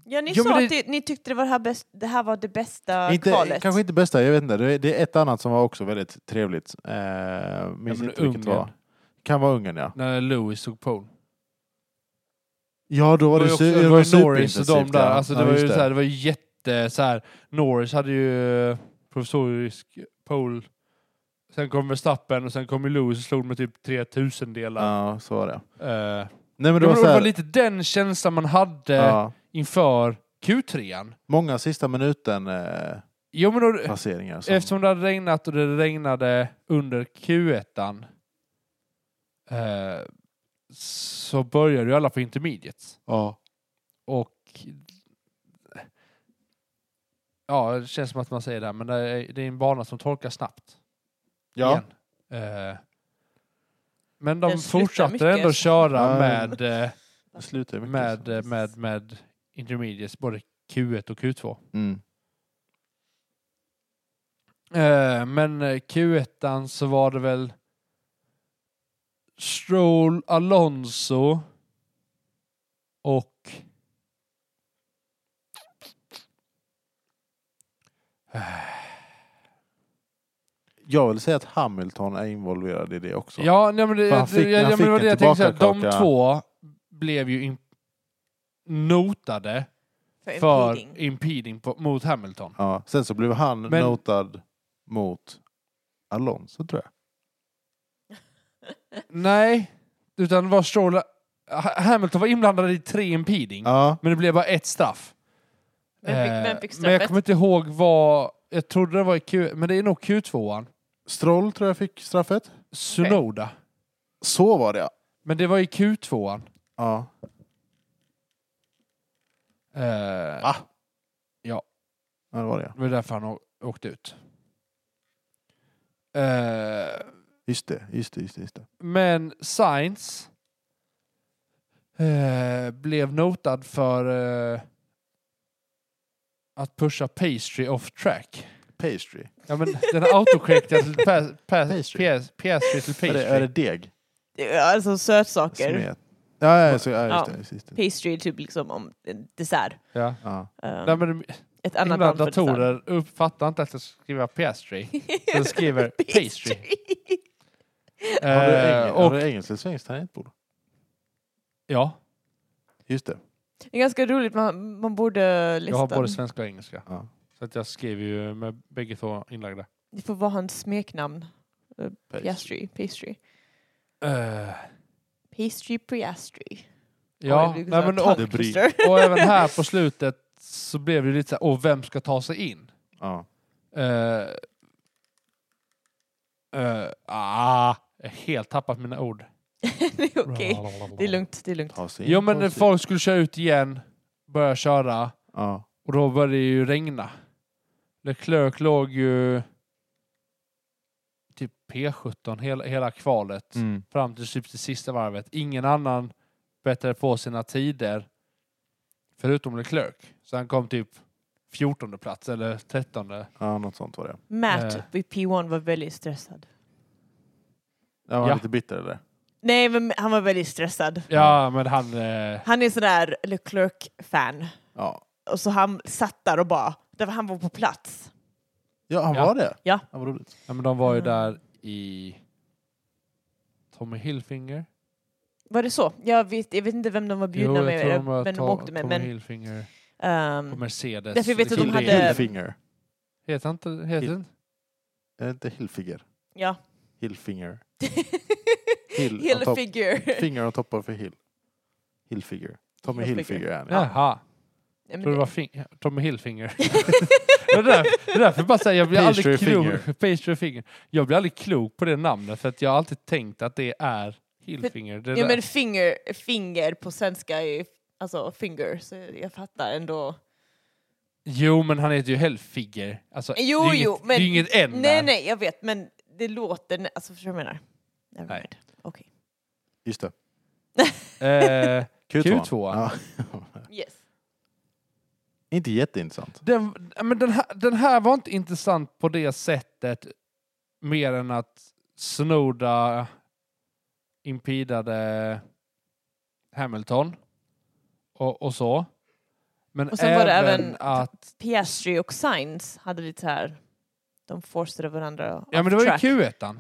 [SPEAKER 2] Ja, ni
[SPEAKER 3] Jo, men
[SPEAKER 2] sa
[SPEAKER 3] det-
[SPEAKER 2] att det, ni tyckte det var det, här bäst, det här var det bästa
[SPEAKER 1] inte,
[SPEAKER 2] kvalet.
[SPEAKER 1] Kanske inte bästa, jag vet inte. Det är- Det är ett annat som var också väldigt trevligt. Eh, minns
[SPEAKER 3] men
[SPEAKER 1] inte vilket det
[SPEAKER 3] Ungern.
[SPEAKER 1] var. Kan vara Ungern ja.
[SPEAKER 3] När Lewis tog pole.
[SPEAKER 1] Ja, då var det,
[SPEAKER 3] ju
[SPEAKER 1] su-
[SPEAKER 3] också-
[SPEAKER 1] det var
[SPEAKER 3] Norris och de
[SPEAKER 1] superintensivt,
[SPEAKER 3] där.
[SPEAKER 1] ja.
[SPEAKER 3] Alltså, det,
[SPEAKER 1] Ja,
[SPEAKER 3] var ju
[SPEAKER 1] just
[SPEAKER 3] Så här, det var ju jätte... Så här, Norris hade ju eh, provisorisk pole. Sen kom Verstappen och sen kom ju Lewis och slog med typ 3000 delar.
[SPEAKER 1] Ja, så var det.
[SPEAKER 3] Eh,
[SPEAKER 1] Nej, men
[SPEAKER 3] det,
[SPEAKER 1] det var,
[SPEAKER 3] var
[SPEAKER 1] så här,
[SPEAKER 3] lite den känslan man hade
[SPEAKER 1] ja,
[SPEAKER 3] inför Q3.
[SPEAKER 1] Många sista minuten eh,
[SPEAKER 3] Jo, men då,
[SPEAKER 1] placeringar. Som,
[SPEAKER 3] eftersom det hade regnat och det regnade under Q1 eh, så började ju alla på intermediates.
[SPEAKER 1] ja.
[SPEAKER 3] Och ja, det känns som att man säger det, här, men det är, det är en bana som torkar snabbt.
[SPEAKER 1] Ja.
[SPEAKER 3] igen. Eh, men de
[SPEAKER 2] Den slutar mycket.
[SPEAKER 3] fortsatte ändå köra
[SPEAKER 1] Ja.
[SPEAKER 3] med, eh,
[SPEAKER 1] Det slutar ju mycket.
[SPEAKER 3] med,
[SPEAKER 1] så.
[SPEAKER 3] med, med, intermediates, både Q1 och Q2.
[SPEAKER 1] Mm.
[SPEAKER 3] Eh, men eh, Q1 så var det väl Stroll, Alonso och
[SPEAKER 1] Jag vill säga att Hamilton är involverad i det också.
[SPEAKER 3] Ja, nej, men det,
[SPEAKER 1] För han fick-
[SPEAKER 3] det, ja,
[SPEAKER 1] han
[SPEAKER 3] men
[SPEAKER 1] fick
[SPEAKER 3] det var
[SPEAKER 1] en
[SPEAKER 3] det jag tänkte säga. De
[SPEAKER 1] tillbakakaka.
[SPEAKER 3] två blev ju in, notade
[SPEAKER 2] För
[SPEAKER 3] för
[SPEAKER 2] impeding.
[SPEAKER 3] impeding på, mot Hamilton.
[SPEAKER 1] Ja, Sen så blev han
[SPEAKER 3] Men-
[SPEAKER 1] notad mot Alonso tror jag.
[SPEAKER 3] Nej, utan det var Stroll... Ha- Hamilton var inblandad i tre impeding,
[SPEAKER 1] Ja,
[SPEAKER 3] men det blev bara ett straff.
[SPEAKER 2] Vem fick,
[SPEAKER 3] Eh,
[SPEAKER 2] vem fick
[SPEAKER 3] men jag
[SPEAKER 2] straffet?
[SPEAKER 3] kommer inte ihåg vad... Jag trodde det var i Q... Men det är nog Q2an.
[SPEAKER 1] Stroll tror jag fick straffet.
[SPEAKER 3] Sunoda.
[SPEAKER 1] Så var det
[SPEAKER 3] Men det var i Q2an.
[SPEAKER 1] ja.
[SPEAKER 3] Eh,
[SPEAKER 1] Va?
[SPEAKER 3] Ja.
[SPEAKER 1] Ja, det var det.
[SPEAKER 3] det var därför han å- åkte ut. Eh,
[SPEAKER 1] Just det, just det, just det. Just det.
[SPEAKER 3] men Sainz eh, blev notad för eh, att pusha pastry off track.
[SPEAKER 1] Pastry.
[SPEAKER 3] Ja men den har autocorrectat till pa, pa,
[SPEAKER 1] Pastry.
[SPEAKER 3] pastry. pastry
[SPEAKER 1] Är
[SPEAKER 3] till pastry.
[SPEAKER 1] det, är det deg?
[SPEAKER 2] Det är Alltså sötsaker.
[SPEAKER 1] Smet. Ja, ja, så, ja,
[SPEAKER 2] Ja.
[SPEAKER 1] just det. Just det, just det.
[SPEAKER 2] Pastry är typ liksom om en dessert.
[SPEAKER 3] Ja.
[SPEAKER 1] Ja.
[SPEAKER 2] Eh,
[SPEAKER 3] Nej, men
[SPEAKER 2] ett annat
[SPEAKER 3] Ibland
[SPEAKER 2] namn för dessert.
[SPEAKER 3] datorer uppfattar inte att jag ska skriva pastry. Så jag skriver pastry.
[SPEAKER 1] Har du,
[SPEAKER 3] Eh,
[SPEAKER 1] engel, har
[SPEAKER 3] och,
[SPEAKER 1] du engelskt eller svenskt tangentbord?
[SPEAKER 3] ja,
[SPEAKER 1] Just det.
[SPEAKER 2] Det är ganska roligt, man, man borde
[SPEAKER 3] jag har
[SPEAKER 2] listan.
[SPEAKER 3] både svenska och engelska.
[SPEAKER 1] Ja.
[SPEAKER 3] Så att jag skriver ju med bägge två inlagda.
[SPEAKER 2] Det får vara hans smeknamn.
[SPEAKER 1] Pastry.
[SPEAKER 2] Pastry. Pastry.
[SPEAKER 3] Eh,
[SPEAKER 2] Pastry Priastry.
[SPEAKER 3] ja,
[SPEAKER 2] Oj, det är
[SPEAKER 3] nej,
[SPEAKER 2] så
[SPEAKER 3] men,
[SPEAKER 2] här
[SPEAKER 3] och,
[SPEAKER 1] Det bryr.
[SPEAKER 2] tongue-twister.
[SPEAKER 3] och även här på slutet så blev det lite så här, åh, vem ska ta sig in?
[SPEAKER 1] Ja.
[SPEAKER 3] Eh, eh, ah, jag har helt tappat mina ord.
[SPEAKER 2] det är okej. Det är lugnt, det är lugnt.
[SPEAKER 1] Ta sig in,
[SPEAKER 3] Jo
[SPEAKER 1] ta
[SPEAKER 3] men
[SPEAKER 1] sig in.
[SPEAKER 3] folk skulle köra ut igen, börja köra.
[SPEAKER 1] Ja.
[SPEAKER 3] Och då började det ju regna. Leclerc låg ju typ P17 hela, hela kvalet
[SPEAKER 1] Mm.
[SPEAKER 3] fram till typ det sista varvet. Ingen annan bättrade på sina tider förutom Leclerc. Så han kom typ 14 plats eller 13.
[SPEAKER 1] ja, något sånt var det.
[SPEAKER 2] Matt
[SPEAKER 3] Eh.
[SPEAKER 2] vid P1 var väldigt stressad.
[SPEAKER 1] Jag var
[SPEAKER 3] Ja.
[SPEAKER 1] lite bitter eller?
[SPEAKER 2] Nej, men han var väldigt stressad.
[SPEAKER 3] Ja,
[SPEAKER 1] Mm.
[SPEAKER 3] men han... Eh,
[SPEAKER 2] Han är sån där LeClerc-fan.
[SPEAKER 1] Ja.
[SPEAKER 2] Och så han satt där och bara, där var han var på plats.
[SPEAKER 1] Ja, han
[SPEAKER 3] Ja.
[SPEAKER 1] var det?
[SPEAKER 2] Ja.
[SPEAKER 1] ja vad roligt.
[SPEAKER 3] ja, men de var ju
[SPEAKER 2] Mm.
[SPEAKER 3] där i Tommy Hilfinger.
[SPEAKER 2] Var det så? Jag vet, jag vet inte vem de var bjudna
[SPEAKER 3] jag
[SPEAKER 2] med,
[SPEAKER 3] tror de var
[SPEAKER 2] men de
[SPEAKER 3] Ta-
[SPEAKER 2] åkte med.
[SPEAKER 3] Tommy
[SPEAKER 2] Men,
[SPEAKER 3] Hilfinger och
[SPEAKER 2] ehm,
[SPEAKER 3] Mercedes.
[SPEAKER 2] Därför jag vet att de
[SPEAKER 3] Hilfinger.
[SPEAKER 2] hade-
[SPEAKER 1] Hillfinger.
[SPEAKER 3] Heter han inte... Heter
[SPEAKER 1] Hil-
[SPEAKER 3] han?
[SPEAKER 1] Är det inte Hillfinger?
[SPEAKER 2] ja.
[SPEAKER 1] Hillfinger. Hill on
[SPEAKER 2] Hela
[SPEAKER 1] top.
[SPEAKER 2] figure.
[SPEAKER 1] Finger och toppar för Hill. Hillfiger. Tommy
[SPEAKER 2] Hillfiger.
[SPEAKER 1] Hillfiger är han. ja.
[SPEAKER 3] Jaha.
[SPEAKER 2] Nej,
[SPEAKER 3] Jag
[SPEAKER 2] men
[SPEAKER 3] tror det var
[SPEAKER 2] det-
[SPEAKER 3] fing- Tommy Hilfinger. det, är där, det är därför jag bara säger, jag blir aldrig
[SPEAKER 1] Pastry
[SPEAKER 3] klok.
[SPEAKER 1] Finger.
[SPEAKER 3] Pastry Finger. Jag blir aldrig klok på det namnet för att jag har alltid tänkt att det är Hilfinger. Det
[SPEAKER 2] Ja
[SPEAKER 3] där.
[SPEAKER 2] men finger, finger på svenska är ju- alltså finger, så jag fattar ändå.
[SPEAKER 3] Jo, men han heter ju Hellfiger. Alltså,
[SPEAKER 2] Jo,
[SPEAKER 3] det är ju
[SPEAKER 2] jo,
[SPEAKER 3] inget,
[SPEAKER 2] men-
[SPEAKER 3] det är ju inget N
[SPEAKER 2] Nej
[SPEAKER 3] där.
[SPEAKER 2] nej jag vet men det låter, nä- alltså förstår du vad jag menar? Never
[SPEAKER 3] Nej.
[SPEAKER 2] mind. Okej.
[SPEAKER 1] Just det.
[SPEAKER 3] Eh,
[SPEAKER 1] Q2.
[SPEAKER 3] Q2.
[SPEAKER 1] Ja.
[SPEAKER 2] Yes.
[SPEAKER 1] inte jätteintressant.
[SPEAKER 3] den, men den, här, den här var inte intressant på det sättet mer än att Snowda impidade Hamilton och, och så. Men
[SPEAKER 2] Och sen
[SPEAKER 3] även,
[SPEAKER 2] var det även-
[SPEAKER 3] att
[SPEAKER 2] Piastri och Sainz hade lite så här, de forcade varandra
[SPEAKER 3] Ja men det var ju
[SPEAKER 2] track.
[SPEAKER 3] Q1.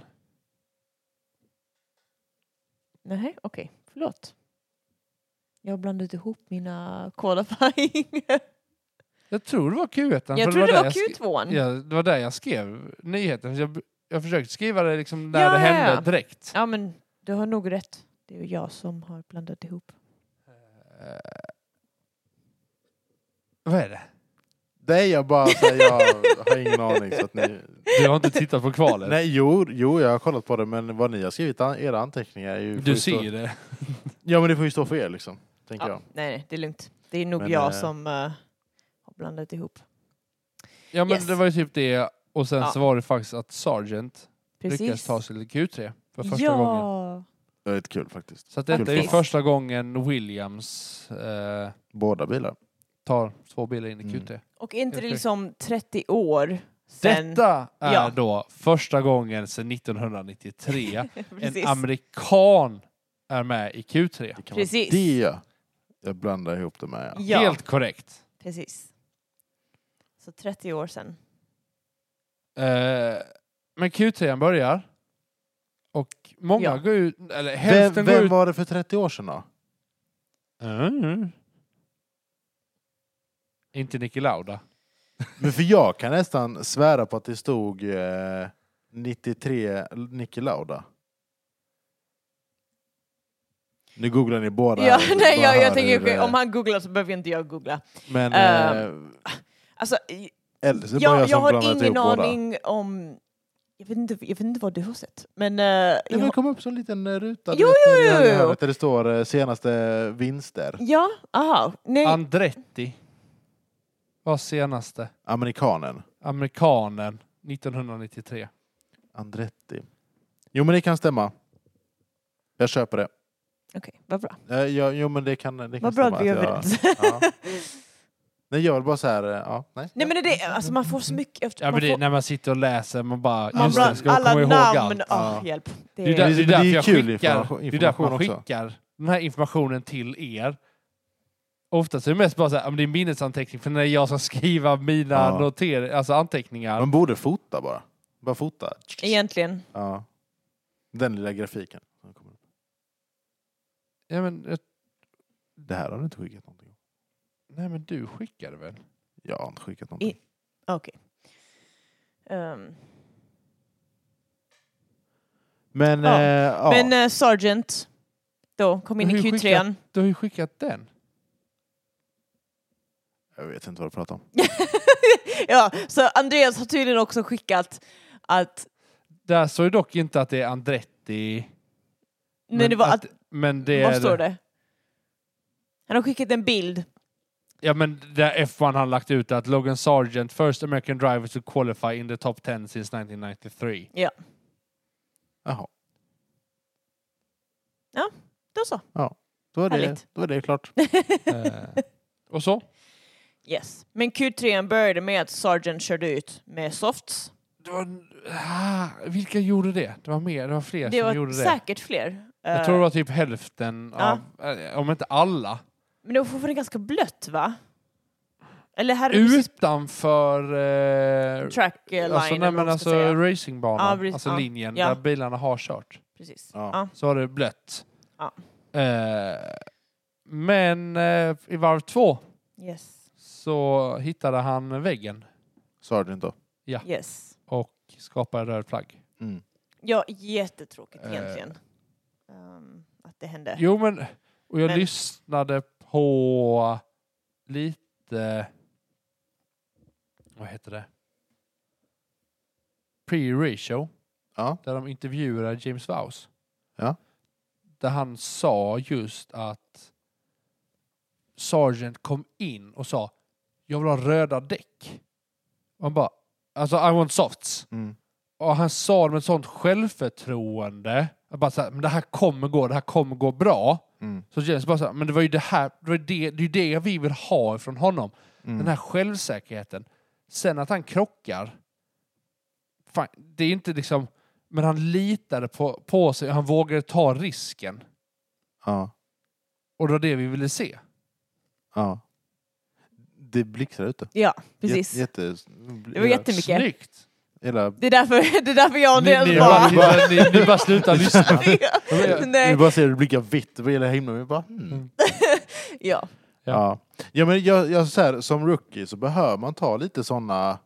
[SPEAKER 2] Nej, okej, förlåt. Jag blandade ihop mina qualifying.
[SPEAKER 3] Jag tror det var Q1.
[SPEAKER 2] jag trodde det var
[SPEAKER 3] Q2.
[SPEAKER 2] Q2.
[SPEAKER 3] Ja, det var där jag skrev nyheten. Jag, jag försökte skriva det liksom när
[SPEAKER 2] Ja,
[SPEAKER 3] det
[SPEAKER 2] ja,
[SPEAKER 3] hände
[SPEAKER 2] ja.
[SPEAKER 3] direkt.
[SPEAKER 2] Ja men du har nog rätt. Det är ju jag som har blandat ihop.
[SPEAKER 3] Eh, vad är det?
[SPEAKER 1] Nej, jag bara säger, jag har ingen aning. Så att ni...
[SPEAKER 3] Du har inte tittat på kvalet?
[SPEAKER 1] Nej, jo, jo, jag har kollat på det, men vad ni har skrivit an- era anteckningar är ju... får ju
[SPEAKER 3] du
[SPEAKER 1] stå-
[SPEAKER 3] ser det.
[SPEAKER 1] Ja, men det får ju stå för er liksom, tänker
[SPEAKER 2] Ja,
[SPEAKER 1] jag.
[SPEAKER 2] Nej, nej, det är lugnt. Det är nog
[SPEAKER 1] Men,
[SPEAKER 2] jag
[SPEAKER 1] eh,
[SPEAKER 2] som eh, har blandat ihop.
[SPEAKER 3] Ja men
[SPEAKER 2] Yes.
[SPEAKER 3] det var ju typ det. Och sen
[SPEAKER 2] Ja.
[SPEAKER 3] så var det faktiskt att Sargent lyckades
[SPEAKER 2] Precis.
[SPEAKER 3] ta sig till Q3 för första
[SPEAKER 2] ja.
[SPEAKER 3] gången.
[SPEAKER 1] Det är lite kul faktiskt.
[SPEAKER 3] Så att detta är ju
[SPEAKER 1] Faktiskt.
[SPEAKER 3] första gången Williams eh,
[SPEAKER 1] Båda bilar.
[SPEAKER 3] tar två bilar in i
[SPEAKER 1] Mm.
[SPEAKER 3] Q3.
[SPEAKER 2] Och är inte det
[SPEAKER 3] Helt
[SPEAKER 2] liksom 30 år sen...
[SPEAKER 3] Detta är
[SPEAKER 2] Ja.
[SPEAKER 3] då första gången sedan 1993
[SPEAKER 2] Precis.
[SPEAKER 3] en amerikan är med i Q3.
[SPEAKER 1] Det kan vara
[SPEAKER 2] Precis.
[SPEAKER 1] Det jag- jag blandar ihop det med. Ja.
[SPEAKER 2] Ja,
[SPEAKER 3] Helt korrekt.
[SPEAKER 2] precis. Så 30 år sen.
[SPEAKER 3] Eh, men Q3 börjar. Och många
[SPEAKER 2] Ja.
[SPEAKER 3] går ut, eller
[SPEAKER 1] Vem,
[SPEAKER 3] hälften går
[SPEAKER 1] vem
[SPEAKER 3] ut...
[SPEAKER 1] var det för 30 år sedan då?
[SPEAKER 3] Mm. Inte Niki Lauda.
[SPEAKER 1] Men för jag kan nästan svära på att det stod eh, 93 Niki Lauda. Nu googlar ni båda.
[SPEAKER 2] Ja,
[SPEAKER 1] här.
[SPEAKER 2] nej,
[SPEAKER 1] Bara
[SPEAKER 2] jag, jag
[SPEAKER 1] hör hur
[SPEAKER 2] tänker,
[SPEAKER 1] det-
[SPEAKER 2] om han googlar så behöver inte jag googla.
[SPEAKER 1] Men
[SPEAKER 2] Ehm,
[SPEAKER 1] eh,
[SPEAKER 2] Alltså,
[SPEAKER 1] eller så är det bara
[SPEAKER 2] jag,
[SPEAKER 1] jag,
[SPEAKER 2] jag
[SPEAKER 1] som
[SPEAKER 2] har
[SPEAKER 1] blandat ihop
[SPEAKER 2] ingen
[SPEAKER 1] båda.
[SPEAKER 2] aning om... Jag vet, inte, jag vet inte vad du har sett. Men eh,
[SPEAKER 1] Nej, men
[SPEAKER 2] jag,
[SPEAKER 1] det kom upp som en liten eh, ruta du
[SPEAKER 2] Jo,
[SPEAKER 1] vet,
[SPEAKER 2] jo,
[SPEAKER 1] nere i
[SPEAKER 2] jo,
[SPEAKER 1] det här
[SPEAKER 2] jo.
[SPEAKER 1] hörnet där det står eh, senaste vinster.
[SPEAKER 2] ja, aha. Nej,
[SPEAKER 3] Andretti var senaste.
[SPEAKER 1] Amerikanen
[SPEAKER 3] Amerikanen 1993.
[SPEAKER 1] Andretti. Jo men det kan stämma. Jag köper det.
[SPEAKER 2] okej, vad bra.
[SPEAKER 1] Eh, ja, jo men det kan, det kan
[SPEAKER 2] Vad bra
[SPEAKER 1] stämma.
[SPEAKER 2] att vi är
[SPEAKER 1] jag-
[SPEAKER 2] överens.
[SPEAKER 1] ja. Nej jag vill bara så här, eh, ja, nej.
[SPEAKER 2] Nej men det är det, alltså man får så mycket... Efter,
[SPEAKER 3] Ja, men
[SPEAKER 2] man
[SPEAKER 3] det,
[SPEAKER 2] får,
[SPEAKER 3] när man sitter och läser, man bara...
[SPEAKER 2] man
[SPEAKER 3] Just
[SPEAKER 2] bra-
[SPEAKER 3] det, ska jag komma
[SPEAKER 2] alla
[SPEAKER 3] ihåg
[SPEAKER 2] namn,
[SPEAKER 3] allt.
[SPEAKER 2] ah,
[SPEAKER 1] Ja.
[SPEAKER 2] hjälp. Det
[SPEAKER 3] Det är,
[SPEAKER 2] är,
[SPEAKER 3] där,
[SPEAKER 1] Men
[SPEAKER 3] det
[SPEAKER 1] det är
[SPEAKER 3] är därför
[SPEAKER 1] ju
[SPEAKER 3] jag
[SPEAKER 1] kul
[SPEAKER 3] skickar,
[SPEAKER 1] information-
[SPEAKER 3] det är därför jag
[SPEAKER 1] information också.
[SPEAKER 3] skickar den här informationen till er. Oftast är det mest bara så här, ja, men det är minnesanteckning för när jag ska skriva mina
[SPEAKER 1] Ja.
[SPEAKER 3] noter, alltså anteckningar.
[SPEAKER 1] Man borde fota bara. Bara fota.
[SPEAKER 2] egentligen.
[SPEAKER 1] Ja. Den lilla grafiken.
[SPEAKER 3] Ja, men, jag-
[SPEAKER 1] Det här har du inte skickat någonting om.
[SPEAKER 3] nej men du skickade väl?
[SPEAKER 1] Jag har inte skickat någonting.
[SPEAKER 2] Okej. Ehm,
[SPEAKER 1] Men, ja.
[SPEAKER 2] Ja.
[SPEAKER 1] Eh, ja.
[SPEAKER 2] Men eh, Sargent då kom in i
[SPEAKER 3] Men hur
[SPEAKER 2] Q3.
[SPEAKER 3] Du har ju skickat den.
[SPEAKER 1] Jag vet inte vad du pratar om.
[SPEAKER 2] ja, så Andreas har tydligen också skickat att
[SPEAKER 3] Där står ju dock inte att det är Andretti.
[SPEAKER 2] när
[SPEAKER 3] men
[SPEAKER 2] det var att,
[SPEAKER 3] men det är,
[SPEAKER 2] vad står det? Han har skickat en bild.
[SPEAKER 3] Ja men där F1 har lagt ut att Logan Sargent, first American driver to qualify in the top 10 since 1993.
[SPEAKER 1] Jaha.
[SPEAKER 2] Då så.
[SPEAKER 1] Då är, det,
[SPEAKER 2] Härligt.
[SPEAKER 1] då är det klart.
[SPEAKER 3] Eh, och så?
[SPEAKER 2] Yes. Men Q3 började med att Sargent körde ut med softs.
[SPEAKER 3] Det var, ah, vilka gjorde det? Det var mer, det var fler
[SPEAKER 2] Det
[SPEAKER 3] som
[SPEAKER 2] var
[SPEAKER 3] gjorde det.
[SPEAKER 2] säkert fler.
[SPEAKER 3] Jag
[SPEAKER 2] Eh,
[SPEAKER 3] tror det var typ hälften
[SPEAKER 2] Ja.
[SPEAKER 3] av, eh, om inte alla.
[SPEAKER 2] Men det var fortfarande ganska blött va? Eller här är det precis
[SPEAKER 3] Utanför eh,
[SPEAKER 2] track eh, line.
[SPEAKER 3] alltså, nej,
[SPEAKER 2] eller vad man
[SPEAKER 3] men
[SPEAKER 2] ska
[SPEAKER 3] alltså
[SPEAKER 2] säga. Ja,
[SPEAKER 3] racingbanan,
[SPEAKER 2] precis.
[SPEAKER 3] alltså
[SPEAKER 2] Ja.
[SPEAKER 3] linjen
[SPEAKER 2] Ja.
[SPEAKER 3] där bilarna har kört.
[SPEAKER 2] Precis.
[SPEAKER 1] Ja.
[SPEAKER 2] Ja.
[SPEAKER 3] Så har det blött.
[SPEAKER 2] Ja.
[SPEAKER 3] Eh, men eh, i varv två
[SPEAKER 2] Yes.
[SPEAKER 3] så hittade han väggen
[SPEAKER 1] Sargent då.
[SPEAKER 2] Yes.
[SPEAKER 3] och skapade röd flagg.
[SPEAKER 1] Mm.
[SPEAKER 2] Ja, jättetråkigt
[SPEAKER 3] Eh.
[SPEAKER 2] egentligen. Ehm, att det hände.
[SPEAKER 3] Jo, men och jag
[SPEAKER 2] Men-
[SPEAKER 3] lyssnade på lite... Vad heter det? Pre-re-show,
[SPEAKER 1] Ja.
[SPEAKER 3] där de intervjuade James Vowes.
[SPEAKER 1] Ja.
[SPEAKER 3] Där han sa just att Sargent kom in och sa jag vill ha röda däck. Och han bara, alltså I want softs.
[SPEAKER 1] Mm.
[SPEAKER 3] Och han sa det med ett sånt självförtroende. Jag bara så här, men det här kommer gå, det här kommer gå bra.
[SPEAKER 1] Mm.
[SPEAKER 3] Så James bara så här, men det var ju det här, det var ju det, det, är ju det vi vill ha från honom.
[SPEAKER 1] Mm.
[SPEAKER 3] Den här självsäkerheten. Sen att han krockar, fan, det är inte liksom, men han litade på, på sig, han vågade ta risken.
[SPEAKER 1] Ja.
[SPEAKER 3] Och det var det vi ville se.
[SPEAKER 1] ja. Det blixtrar ute.
[SPEAKER 2] Ja, precis.
[SPEAKER 1] Jät- Jätte,
[SPEAKER 2] det var jättemycket.
[SPEAKER 3] Snyggt!
[SPEAKER 1] Hela,
[SPEAKER 2] Det är därför, det är därför jag och
[SPEAKER 3] Ni,
[SPEAKER 2] Andreas
[SPEAKER 3] ni,
[SPEAKER 2] bara...
[SPEAKER 3] bara, ni, ni bara slutar lyssna.
[SPEAKER 1] vi
[SPEAKER 2] Nej.
[SPEAKER 1] bara ser hur det blinkar vitt över hela himlen. Vi bara, mm.
[SPEAKER 2] Ja.
[SPEAKER 1] Ja. ja, men jag, jag så här, som rookie så behöver man ta lite sådana...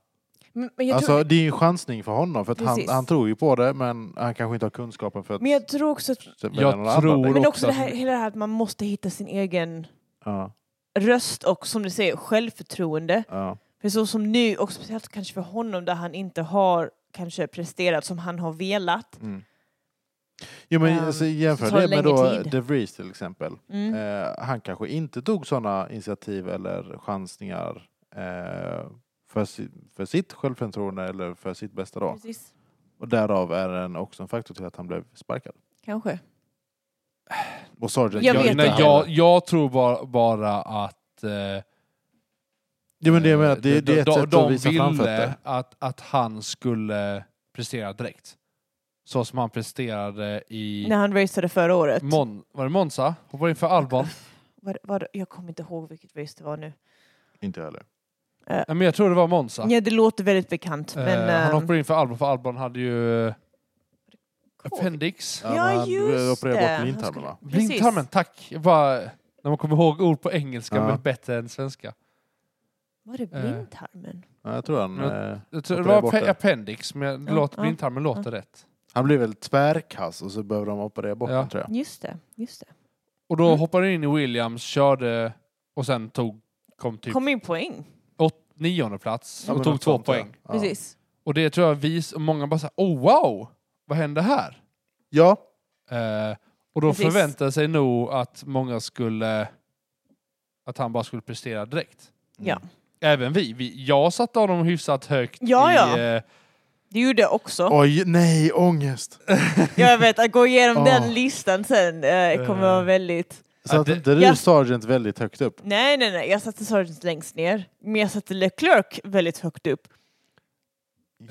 [SPEAKER 2] Men, men, jag tror,
[SPEAKER 1] Alltså, det är ju en chansning för honom för att han,
[SPEAKER 2] Precis.
[SPEAKER 1] han tror ju på det men han kanske inte har kunskapen för att
[SPEAKER 2] men jag tror också... Att,
[SPEAKER 1] välja
[SPEAKER 3] Jag
[SPEAKER 1] någon annan
[SPEAKER 3] tror-
[SPEAKER 1] väg.
[SPEAKER 2] men
[SPEAKER 3] också
[SPEAKER 2] också det här,
[SPEAKER 3] att-
[SPEAKER 2] hela det här att man måste hitta sin egen
[SPEAKER 1] Ja,
[SPEAKER 2] röst och som du säger självförtroende.
[SPEAKER 1] ja,
[SPEAKER 2] För så som nu, och speciellt kanske för honom där han inte har kanske presterat som han har velat.
[SPEAKER 1] mm. Jo men
[SPEAKER 2] Ehm,
[SPEAKER 1] alltså,
[SPEAKER 2] så
[SPEAKER 1] jämför
[SPEAKER 2] tar det
[SPEAKER 1] det med
[SPEAKER 2] längre
[SPEAKER 1] då
[SPEAKER 2] tid.
[SPEAKER 1] De Vries till exempel.
[SPEAKER 2] Mm.
[SPEAKER 1] Eh, han kanske inte tog sådana initiativ eller chansningar eh, för, si- för sitt självförtroende eller för sitt bästa dag.
[SPEAKER 2] Precis.
[SPEAKER 1] Och därav är den också en faktor till att han blev sparkad.
[SPEAKER 2] Kanske.
[SPEAKER 1] Och Sargent
[SPEAKER 2] Jag
[SPEAKER 1] gör
[SPEAKER 2] vet
[SPEAKER 1] inte
[SPEAKER 3] nej,
[SPEAKER 1] det.
[SPEAKER 3] jag, jag tror bara, bara att eh,
[SPEAKER 1] Jo men det jag menar, att det,
[SPEAKER 3] de,
[SPEAKER 1] det är ett
[SPEAKER 3] Eh, de,
[SPEAKER 1] sätt
[SPEAKER 3] de
[SPEAKER 1] att visa framfötter.
[SPEAKER 3] ville att, att han skulle prestera direkt. Så som han presterade i
[SPEAKER 2] När han racade förra året.
[SPEAKER 3] Mon, var det Monza. Hoppade inför Albon.
[SPEAKER 2] Var, var, jag kommer inte ihåg vilket race det var nu.
[SPEAKER 1] Inte jag heller.
[SPEAKER 3] Nej, men jag tror det var Monza.
[SPEAKER 2] Ja, det låter väldigt bekant.
[SPEAKER 3] Eh,
[SPEAKER 2] men,
[SPEAKER 3] han
[SPEAKER 2] ehm,
[SPEAKER 3] hoppade inför Albon, för Albon hade ju eh,
[SPEAKER 2] Kåk.
[SPEAKER 3] appendix.
[SPEAKER 2] Ja,
[SPEAKER 1] men han
[SPEAKER 2] just
[SPEAKER 1] opererade
[SPEAKER 2] det.
[SPEAKER 1] bort blindtarmarna.
[SPEAKER 2] Precis.
[SPEAKER 3] Blindtarmen, tack! Jag bara, när man kommer ihåg ord på engelska
[SPEAKER 1] Ja.
[SPEAKER 3] men bättre än svenska.
[SPEAKER 2] Var det
[SPEAKER 3] Eh.
[SPEAKER 2] blindtarmen?
[SPEAKER 1] Ja, jag tror han, eh,
[SPEAKER 3] Jag tror det
[SPEAKER 1] Operera
[SPEAKER 3] var
[SPEAKER 1] bort
[SPEAKER 3] appe-
[SPEAKER 1] det.
[SPEAKER 3] appendix, men
[SPEAKER 2] Ja,
[SPEAKER 3] låt,
[SPEAKER 2] ja,
[SPEAKER 3] blindtarmen låter rätt.
[SPEAKER 1] han blev väl tvärkass och så behövde de operera bort
[SPEAKER 3] Ja.
[SPEAKER 1] den tror jag.
[SPEAKER 2] Just det, just det.
[SPEAKER 3] Och då
[SPEAKER 2] Mm.
[SPEAKER 3] hoppade han in i Williams, körde och sen tog, kom typ
[SPEAKER 2] Kom in poäng.
[SPEAKER 3] åt, nionde plats
[SPEAKER 1] Ja, men
[SPEAKER 3] och tog
[SPEAKER 1] något
[SPEAKER 3] två
[SPEAKER 1] sånt, ja.
[SPEAKER 3] poäng.
[SPEAKER 1] Ja.
[SPEAKER 2] Precis.
[SPEAKER 3] Och det tror jag vis, och många bara såhär, oh wow, vad hände här?
[SPEAKER 1] Ja,
[SPEAKER 3] Eh, och då
[SPEAKER 2] Precis.
[SPEAKER 3] förväntade sig nog att många skulle, att han bara skulle prestera direkt.
[SPEAKER 1] Mm.
[SPEAKER 2] Ja.
[SPEAKER 3] Även vi. vi jag satte honom hyfsat högt
[SPEAKER 2] Ja,
[SPEAKER 3] i...
[SPEAKER 2] ja.
[SPEAKER 3] eh,
[SPEAKER 2] Det gjorde jag också.
[SPEAKER 1] Oj, nej, ångest.
[SPEAKER 2] Jag vet, att gå igenom
[SPEAKER 1] Åh.
[SPEAKER 2] den listan sen eh, kommer vara
[SPEAKER 3] Eh.
[SPEAKER 2] väldigt...
[SPEAKER 1] Så att
[SPEAKER 3] det-
[SPEAKER 1] inte du
[SPEAKER 2] Ja.
[SPEAKER 1] Sargent väldigt högt upp?
[SPEAKER 2] Nej, nej, nej. Jag satte Sargent längst ner. Men jag satte LeClerc väldigt högt upp.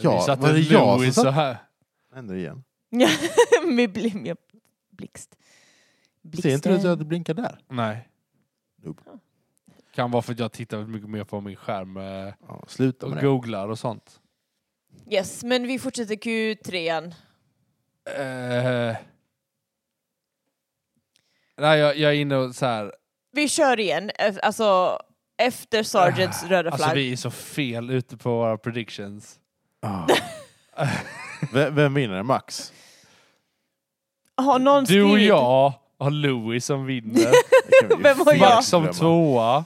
[SPEAKER 1] Ja,
[SPEAKER 3] vi satte
[SPEAKER 1] var det jag som
[SPEAKER 3] Lewis
[SPEAKER 1] satt?
[SPEAKER 3] så här.
[SPEAKER 1] Händer igen.
[SPEAKER 2] Ja, med blim, ja. blixt.
[SPEAKER 1] Ser inte du att
[SPEAKER 2] Blixten.
[SPEAKER 1] det blinkar där?
[SPEAKER 3] Nej.
[SPEAKER 1] Nope.
[SPEAKER 3] Kan vara för att jag tittar väldigt mycket mer på min skärm eh,
[SPEAKER 1] Ja, sluta med
[SPEAKER 3] och
[SPEAKER 1] det.
[SPEAKER 3] googlar och sånt.
[SPEAKER 2] Yes, men vi fortsätter Q3.
[SPEAKER 3] Eh, nej, jag, jag är inne och så här.
[SPEAKER 2] Vi kör igen, eh, alltså efter Sargents röda flagg.
[SPEAKER 3] Alltså vi är så fel ute på våra predictions.
[SPEAKER 1] Ah. V- Vem vinner? Max?
[SPEAKER 2] Har någon
[SPEAKER 3] Du och
[SPEAKER 2] skrivit-
[SPEAKER 3] jag har Louis som vinner.
[SPEAKER 1] Det kan vi ju
[SPEAKER 2] Vem har
[SPEAKER 1] fan
[SPEAKER 2] jag?
[SPEAKER 3] Max som
[SPEAKER 1] glömma.
[SPEAKER 3] tvåa.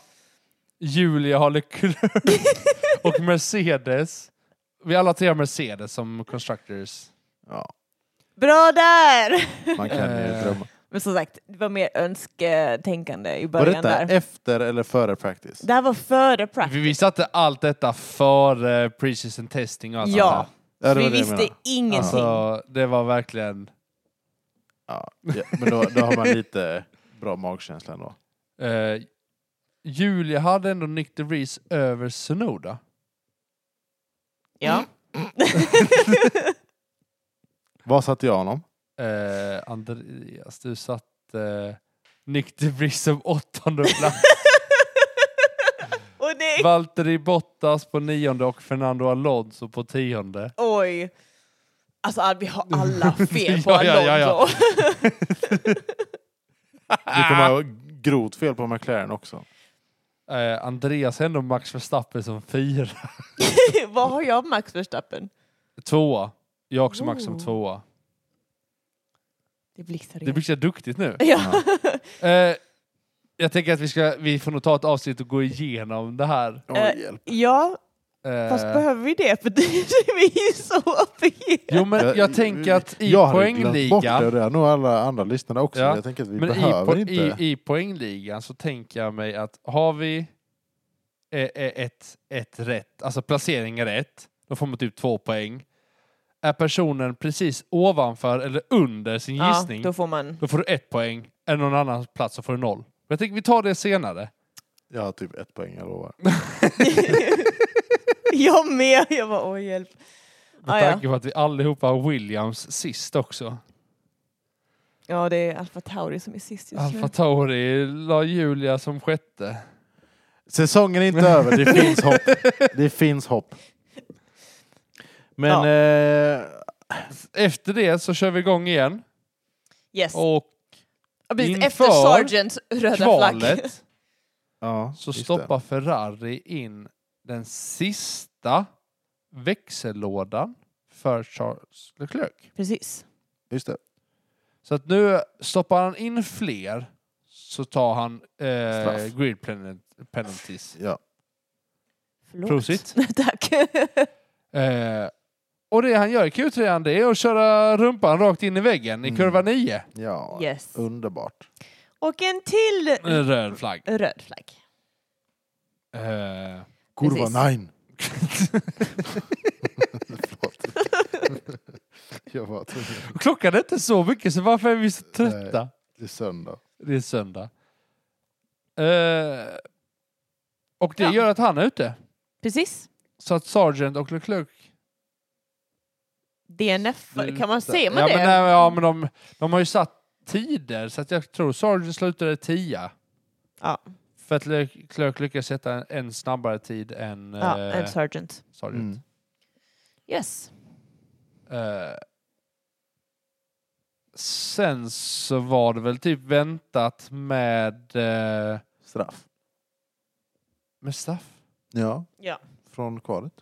[SPEAKER 3] Julia har Leclerc. och Mercedes. Vi alla tre har Mercedes som constructors.
[SPEAKER 1] Ja,
[SPEAKER 2] Bra där!
[SPEAKER 1] man kan ju
[SPEAKER 3] Eh.
[SPEAKER 1] drömma.
[SPEAKER 2] Men som sagt, det var mer önsketänkande i
[SPEAKER 1] Var
[SPEAKER 2] början
[SPEAKER 1] detta
[SPEAKER 2] där.
[SPEAKER 1] efter eller före practice?
[SPEAKER 2] Det här var före
[SPEAKER 3] Vi,
[SPEAKER 2] practice.
[SPEAKER 3] vi satte allt detta före pre-season testing och allt
[SPEAKER 2] Ja.
[SPEAKER 3] sånt
[SPEAKER 1] Ja, det
[SPEAKER 2] vi
[SPEAKER 1] var det jag
[SPEAKER 2] visste
[SPEAKER 1] menade.
[SPEAKER 2] ingenting.
[SPEAKER 3] där. Så det var verkligen...
[SPEAKER 1] Ja, ja, men då, då har man lite bra magkänsla ändå.
[SPEAKER 3] Eh, Julia hade ändå Nick DeVries över Sunoda. Mm.
[SPEAKER 2] Ja.
[SPEAKER 1] Vad satte jag honom?
[SPEAKER 3] Eh, Andreas, du satt eh, Nick DeVries som åttonde plats.
[SPEAKER 2] och det...
[SPEAKER 3] Valtteri Bottas på nionde och Fernando Alonso på tionde.
[SPEAKER 2] Oj. Alltså vi har alla fel på
[SPEAKER 3] Ja, ja, ja, ja.
[SPEAKER 2] Alonso.
[SPEAKER 1] Du kommer
[SPEAKER 3] Ah.
[SPEAKER 1] ha grovt fel på McLaren också.
[SPEAKER 3] Eh, Andreas har ändå Max Verstappen som fyra.
[SPEAKER 2] Vad har jag Max Verstappen?
[SPEAKER 3] Tvåa. Jag har också Max som
[SPEAKER 2] Oh.
[SPEAKER 3] tvåa.
[SPEAKER 2] Det blixtrar
[SPEAKER 3] Det
[SPEAKER 2] igen.
[SPEAKER 3] blir så duktigt nu.
[SPEAKER 2] Ja.
[SPEAKER 3] Eh, jag tänker att vi, ska, vi får nog ta ett avsnitt och gå igenom det här.
[SPEAKER 1] Oj,
[SPEAKER 2] Eh,
[SPEAKER 1] hjälp.
[SPEAKER 2] ja,
[SPEAKER 3] Eh,
[SPEAKER 2] fast behöver vi det? För det är ju så fel.
[SPEAKER 3] Jo, men jag, tänker att i
[SPEAKER 1] jag hade glömt bort
[SPEAKER 3] poängligan...
[SPEAKER 1] det, och det har nog alla andra lyssnare också.
[SPEAKER 3] Ja.
[SPEAKER 1] Jag tänker att vi
[SPEAKER 3] Men i,
[SPEAKER 1] behöver
[SPEAKER 3] po-
[SPEAKER 1] inte...
[SPEAKER 3] i, i poängligan så tänker jag mig att har vi eh, eh, ett, ett rätt, alltså placering är rätt, då får man typ två poäng. Är personen precis ovanför eller under sin
[SPEAKER 2] Ja,
[SPEAKER 3] gissning,
[SPEAKER 2] då
[SPEAKER 3] då...
[SPEAKER 2] får man...
[SPEAKER 3] får du ett poäng. Är det någon annan plats så får du noll. Men jag tänker vi tar det senare.
[SPEAKER 1] Jag har typ ett poäng, jag lovar.
[SPEAKER 2] jag med! Jag var oj hjälp.
[SPEAKER 3] Med
[SPEAKER 2] Ah, ja.
[SPEAKER 3] tanke på att vi allihopa har Williams sist också.
[SPEAKER 2] Ja, det är Alfa Tauri som är sist just nu.
[SPEAKER 3] Alfa Tauri la Julia som sjätte.
[SPEAKER 1] Säsongen är inte över, det finns hopp. Det finns hopp. Men...
[SPEAKER 2] Ja.
[SPEAKER 1] Eh,
[SPEAKER 3] Efter det så kör vi igång igen.
[SPEAKER 2] Yes.
[SPEAKER 3] Och
[SPEAKER 2] Ja, precis,
[SPEAKER 3] inför
[SPEAKER 2] efter Sargents röda flagg.
[SPEAKER 3] kvalet
[SPEAKER 1] ja,
[SPEAKER 3] så
[SPEAKER 1] just
[SPEAKER 3] stoppar Ferrari in den sista växellådan för Charles Leclerc.
[SPEAKER 2] Precis.
[SPEAKER 1] Det. Just det.
[SPEAKER 3] Så att nu stoppar han in fler så tar han
[SPEAKER 1] Straff.
[SPEAKER 3] eh, grid pen- penalties.
[SPEAKER 1] Ja.
[SPEAKER 2] Förlåt.
[SPEAKER 3] Prosit.
[SPEAKER 2] Tack.
[SPEAKER 3] Eh, och det han gör i Q3 det är att köra rumpan rakt in i väggen i
[SPEAKER 1] Mm.
[SPEAKER 3] kurva 9.
[SPEAKER 1] ja.
[SPEAKER 2] Yes.
[SPEAKER 1] Underbart.
[SPEAKER 2] Och en till
[SPEAKER 3] En röd flagg.
[SPEAKER 2] röd flagg.
[SPEAKER 3] Eh,
[SPEAKER 2] Precis.
[SPEAKER 1] Kurva 9. Förlåt. jag var tvungen.
[SPEAKER 3] klockan är inte så mycket så varför är vi så trötta?
[SPEAKER 1] Det är söndag.
[SPEAKER 3] Det är söndag. Eh, och det
[SPEAKER 2] Ja.
[SPEAKER 3] gör att han är ute.
[SPEAKER 2] Precis.
[SPEAKER 3] Så att Sargent och LeClerc...
[SPEAKER 2] DNF, kan man säga man
[SPEAKER 3] Mm.
[SPEAKER 2] det?
[SPEAKER 3] ja, Men, nej, ja, men de, de har ju satt tider, så att jag tror Sargent slutade tia.
[SPEAKER 2] Ja.
[SPEAKER 3] För att LeClerc lyckades sätta en, en snabbare tid än
[SPEAKER 2] ja,
[SPEAKER 3] eh,
[SPEAKER 2] en Sargent.
[SPEAKER 3] Sargent.
[SPEAKER 1] Mm.
[SPEAKER 2] Yes.
[SPEAKER 3] Eh, sen så var det väl typ väntat med, eh,
[SPEAKER 1] Straff.
[SPEAKER 3] med straff.
[SPEAKER 1] Ja,
[SPEAKER 2] Ja.
[SPEAKER 1] från kvalet.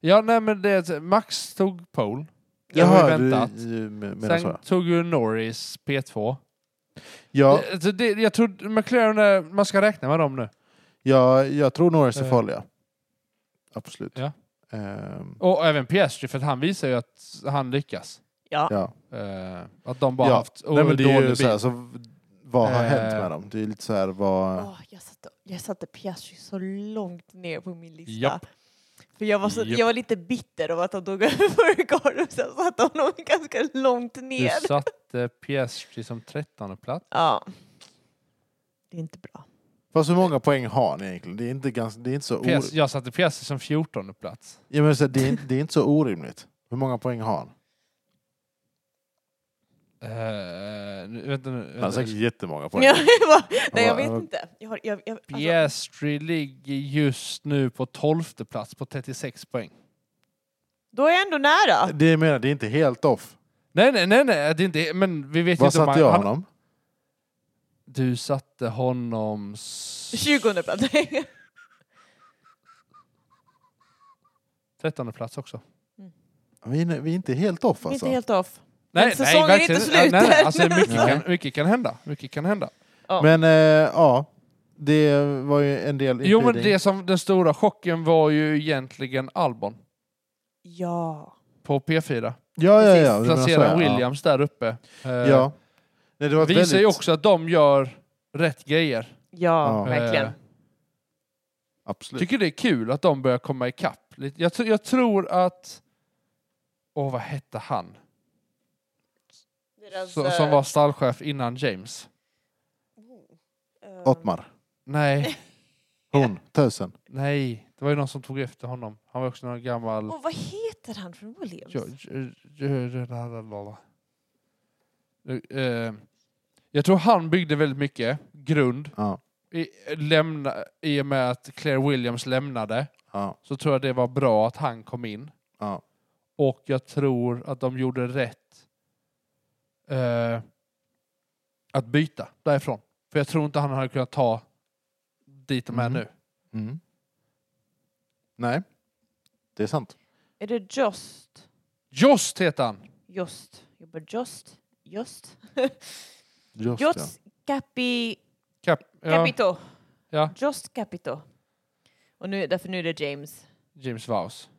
[SPEAKER 3] Ja, nej men det, Max tog pole. Det
[SPEAKER 1] Jaha,
[SPEAKER 3] var ju väntat.
[SPEAKER 1] du- du men- menar
[SPEAKER 3] Sen
[SPEAKER 1] så.
[SPEAKER 3] tog ju Norris P2.
[SPEAKER 1] Ja,
[SPEAKER 3] Det, alltså det, jag tror McLaren, är, man ska räkna med dem nu.
[SPEAKER 1] ja, jag tror Norris är
[SPEAKER 3] Eh.
[SPEAKER 1] farliga. Absolut.
[SPEAKER 3] Ja.
[SPEAKER 1] Ehm,
[SPEAKER 3] Och även Piastri, för att han visar ju att han lyckas.
[SPEAKER 2] Ja.
[SPEAKER 1] ja.
[SPEAKER 3] Eh, att de bara
[SPEAKER 1] Ja.
[SPEAKER 3] haft
[SPEAKER 1] Nej, men det är ju
[SPEAKER 3] dålig
[SPEAKER 1] så här,
[SPEAKER 3] bil.
[SPEAKER 1] så vad har
[SPEAKER 3] Eh.
[SPEAKER 1] hänt med dem? Det är lite så här, vad...
[SPEAKER 2] Åh, jag, satte, jag satte Piastri så långt ner på min lista.
[SPEAKER 3] Japp.
[SPEAKER 2] För jag var, så,
[SPEAKER 3] Japp.
[SPEAKER 2] jag var lite bitter över att de tog över för Ricardo, så jag satte honom ganska långt
[SPEAKER 3] Du
[SPEAKER 2] ner.
[SPEAKER 3] satte Piastri som trettonde plats.
[SPEAKER 2] Ja. Det är inte bra.
[SPEAKER 1] Fast hur många poäng har ni egentligen? Det är inte, ganska, det är inte så, or...
[SPEAKER 3] Piastri, jag satte Piastri som fjortonde plats.
[SPEAKER 1] ja, men så här, det är, inte- det är inte så orimligt. Hur många poäng har han?
[SPEAKER 3] Eh, nu- vänta nu.
[SPEAKER 1] Han har
[SPEAKER 3] Vänta.
[SPEAKER 1] säkert jättemånga poäng.
[SPEAKER 2] Jag bara, nej, jag
[SPEAKER 1] Ja,
[SPEAKER 2] vet
[SPEAKER 1] men-
[SPEAKER 2] inte. Jag har, jag, jag, alltså,
[SPEAKER 3] Piastri ligger just nu på tolfte plats på 36 poäng.
[SPEAKER 2] då är jag ändå
[SPEAKER 3] Eh,
[SPEAKER 2] nära.
[SPEAKER 1] Det jag menar, det är inte helt off.
[SPEAKER 3] Nej, nej, nej, nej det är inte, men vi vet
[SPEAKER 1] Vad
[SPEAKER 3] inte om
[SPEAKER 1] satte
[SPEAKER 3] han-
[SPEAKER 1] jag
[SPEAKER 3] han-
[SPEAKER 1] honom?
[SPEAKER 3] Du satte honom... s-
[SPEAKER 2] 20 plats.
[SPEAKER 3] 13 plats också.
[SPEAKER 1] Vi är, vi är inte helt off
[SPEAKER 2] Inte
[SPEAKER 1] alltså.
[SPEAKER 2] helt off.
[SPEAKER 3] Nej,
[SPEAKER 2] säsongen är
[SPEAKER 3] verkligen-
[SPEAKER 2] inte slut
[SPEAKER 3] nej, nej,
[SPEAKER 2] än.
[SPEAKER 3] alltså, mycket,
[SPEAKER 1] Nej.
[SPEAKER 3] kan, mycket kan hända. Mycket kan hända.
[SPEAKER 2] Ja.
[SPEAKER 1] Men eh, ja, det var ju en del
[SPEAKER 3] Jo, men
[SPEAKER 1] impeding.
[SPEAKER 3] det som, den stora chocken var ju egentligen Albon
[SPEAKER 2] Ja.
[SPEAKER 3] på P4.
[SPEAKER 1] Ja, ja, ja. du menar så,
[SPEAKER 3] Placera
[SPEAKER 1] ja.
[SPEAKER 3] Williams där uppe. Eh,
[SPEAKER 1] Ja. ja. Nej, det var ett
[SPEAKER 3] visar ju
[SPEAKER 1] väldigt-
[SPEAKER 3] också att de gör rätt grejer.
[SPEAKER 2] Ja,
[SPEAKER 1] Ja.
[SPEAKER 2] verkligen.
[SPEAKER 3] Eh,
[SPEAKER 1] Absolut.
[SPEAKER 3] Tycker det är kul att de börjar komma ikapp. lite. Jag, tr- jag tror att... Åh, vad hette han?
[SPEAKER 2] Deras,
[SPEAKER 3] Så,
[SPEAKER 2] eh,
[SPEAKER 3] som var stallchef innan James.
[SPEAKER 2] eh,
[SPEAKER 1] Ottmar.
[SPEAKER 3] Nej,
[SPEAKER 1] Hon. Tusen.
[SPEAKER 3] nej. Det var ju någon som tog efter honom. Han var också någon gammal...
[SPEAKER 2] Åh, vad heter han från Williams?
[SPEAKER 3] Jo- jo- jo- jo- la- la- la- la. Eh, eh, Jag tror han byggde väldigt mycket grund.
[SPEAKER 1] Ja.
[SPEAKER 3] I, lämna, I och med att Claire Williams lämnade
[SPEAKER 1] Ja.
[SPEAKER 3] så tror jag det var bra att han kom in.
[SPEAKER 1] Ja.
[SPEAKER 3] Och jag tror att de gjorde rätt eh, att byta därifrån. För jag tror inte han hade kunnat ta dit de är
[SPEAKER 1] Mhm.
[SPEAKER 3] nu.
[SPEAKER 1] Mm. Nej. Det är sant.
[SPEAKER 2] Är det Just?
[SPEAKER 3] Just heter han!
[SPEAKER 2] Just. Jag bara Just. Just.
[SPEAKER 1] Just, ja.
[SPEAKER 2] Just Capi...
[SPEAKER 3] Kap, ja,
[SPEAKER 2] Capito.
[SPEAKER 3] Ja.
[SPEAKER 2] Just Capito. Och nu, därför nu är det James.
[SPEAKER 3] James Vaus.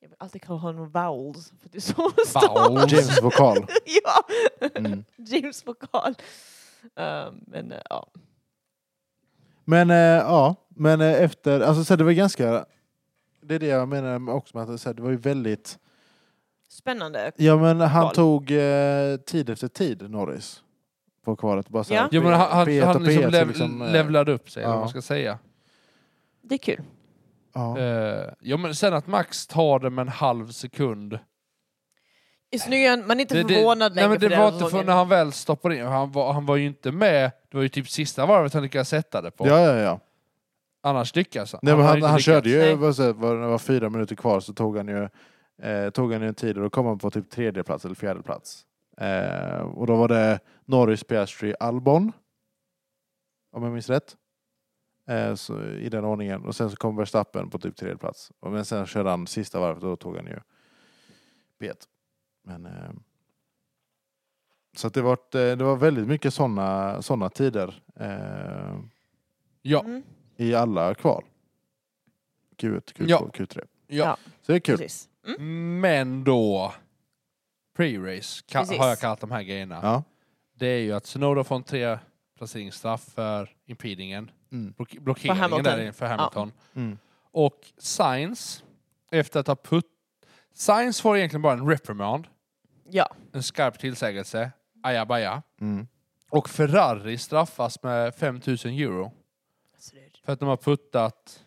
[SPEAKER 2] Jag vill alltid kalla honom Vowels. För att det är så
[SPEAKER 3] Vowels.
[SPEAKER 2] stavas.
[SPEAKER 1] James vokal.
[SPEAKER 2] ja,
[SPEAKER 1] Mm.
[SPEAKER 2] James vokal. Ehm, men eh, ja.
[SPEAKER 1] Men eh, ja, men eh, efter, alltså så här, det var ganska, det är det jag menar med också med att så här, det var ju väldigt,
[SPEAKER 2] Spännande.
[SPEAKER 1] ja men han
[SPEAKER 2] Kval.
[SPEAKER 1] tog eh, tid efter tid Norris på kvalet. Bara så här,
[SPEAKER 2] Ja.
[SPEAKER 3] Jo, men han, han,
[SPEAKER 1] P1 och
[SPEAKER 3] han liksom
[SPEAKER 1] P1,
[SPEAKER 3] lev,
[SPEAKER 1] liksom, eh,
[SPEAKER 3] levlade upp sig, eller
[SPEAKER 1] ja.
[SPEAKER 3] vad man ska säga.
[SPEAKER 2] Det är kul.
[SPEAKER 1] ja.
[SPEAKER 3] Eh, jo, men sen att Max tar det med en halv sekund.
[SPEAKER 2] Just nu är jag- man är inte
[SPEAKER 3] Det- det-
[SPEAKER 2] förvånad
[SPEAKER 3] Nej,
[SPEAKER 2] längre
[SPEAKER 3] men det
[SPEAKER 2] för
[SPEAKER 3] var
[SPEAKER 2] den
[SPEAKER 3] inte för
[SPEAKER 2] säsongen.
[SPEAKER 3] när han väl stoppade in. Han var, han var ju inte med. Det var ju typ sista varvet han lyckades sätta det på.
[SPEAKER 1] ja, ja, ja.
[SPEAKER 3] Annars lyckas alltså. han.
[SPEAKER 1] Nej, men
[SPEAKER 3] har
[SPEAKER 1] han,
[SPEAKER 3] inte
[SPEAKER 1] han
[SPEAKER 3] lyckats.
[SPEAKER 1] körde ju,
[SPEAKER 2] Nej.
[SPEAKER 1] vad säger, var, när det var fyra minuter kvar så tog han ju, eh, tog han ju en tid och då kom han på typ tredje plats eller fjärde plats. Eh, och då var det Norris, Piastri, Albon. Om jag minns rätt. Eh, så, I den ordningen. Och sen så kom Verstappen på typ tredje plats. Och, men sen körde han sista varvet och då tog han ju B1. Men, eh, så att det, var, det var väldigt mycket sådana såna tider. Eh,
[SPEAKER 3] Ja,
[SPEAKER 2] Mm,
[SPEAKER 1] i alla kval. Q1, Q2,
[SPEAKER 3] Ja.
[SPEAKER 1] Q3.
[SPEAKER 3] ja.
[SPEAKER 1] Så det är kul.
[SPEAKER 2] precis. Mm.
[SPEAKER 3] Men då. Pre-race ka-
[SPEAKER 2] Precis.
[SPEAKER 3] har jag kallat de här grejerna.
[SPEAKER 1] Ja.
[SPEAKER 3] Det är ju att Snowda får en tre placeringsstraff för impedingen.
[SPEAKER 1] Mm.
[SPEAKER 3] Block- blockeringen
[SPEAKER 2] Hamilton.
[SPEAKER 3] där för Hamilton.
[SPEAKER 1] Mm.
[SPEAKER 3] Och Science, efter att ha putt... Science får egentligen bara en reprimand,
[SPEAKER 2] Ja,
[SPEAKER 3] en skarp tillsägelse, ajabaja.
[SPEAKER 1] Mm.
[SPEAKER 3] Och Ferrari straffas med 5000 euro
[SPEAKER 2] alltså det är
[SPEAKER 3] för att de har puttat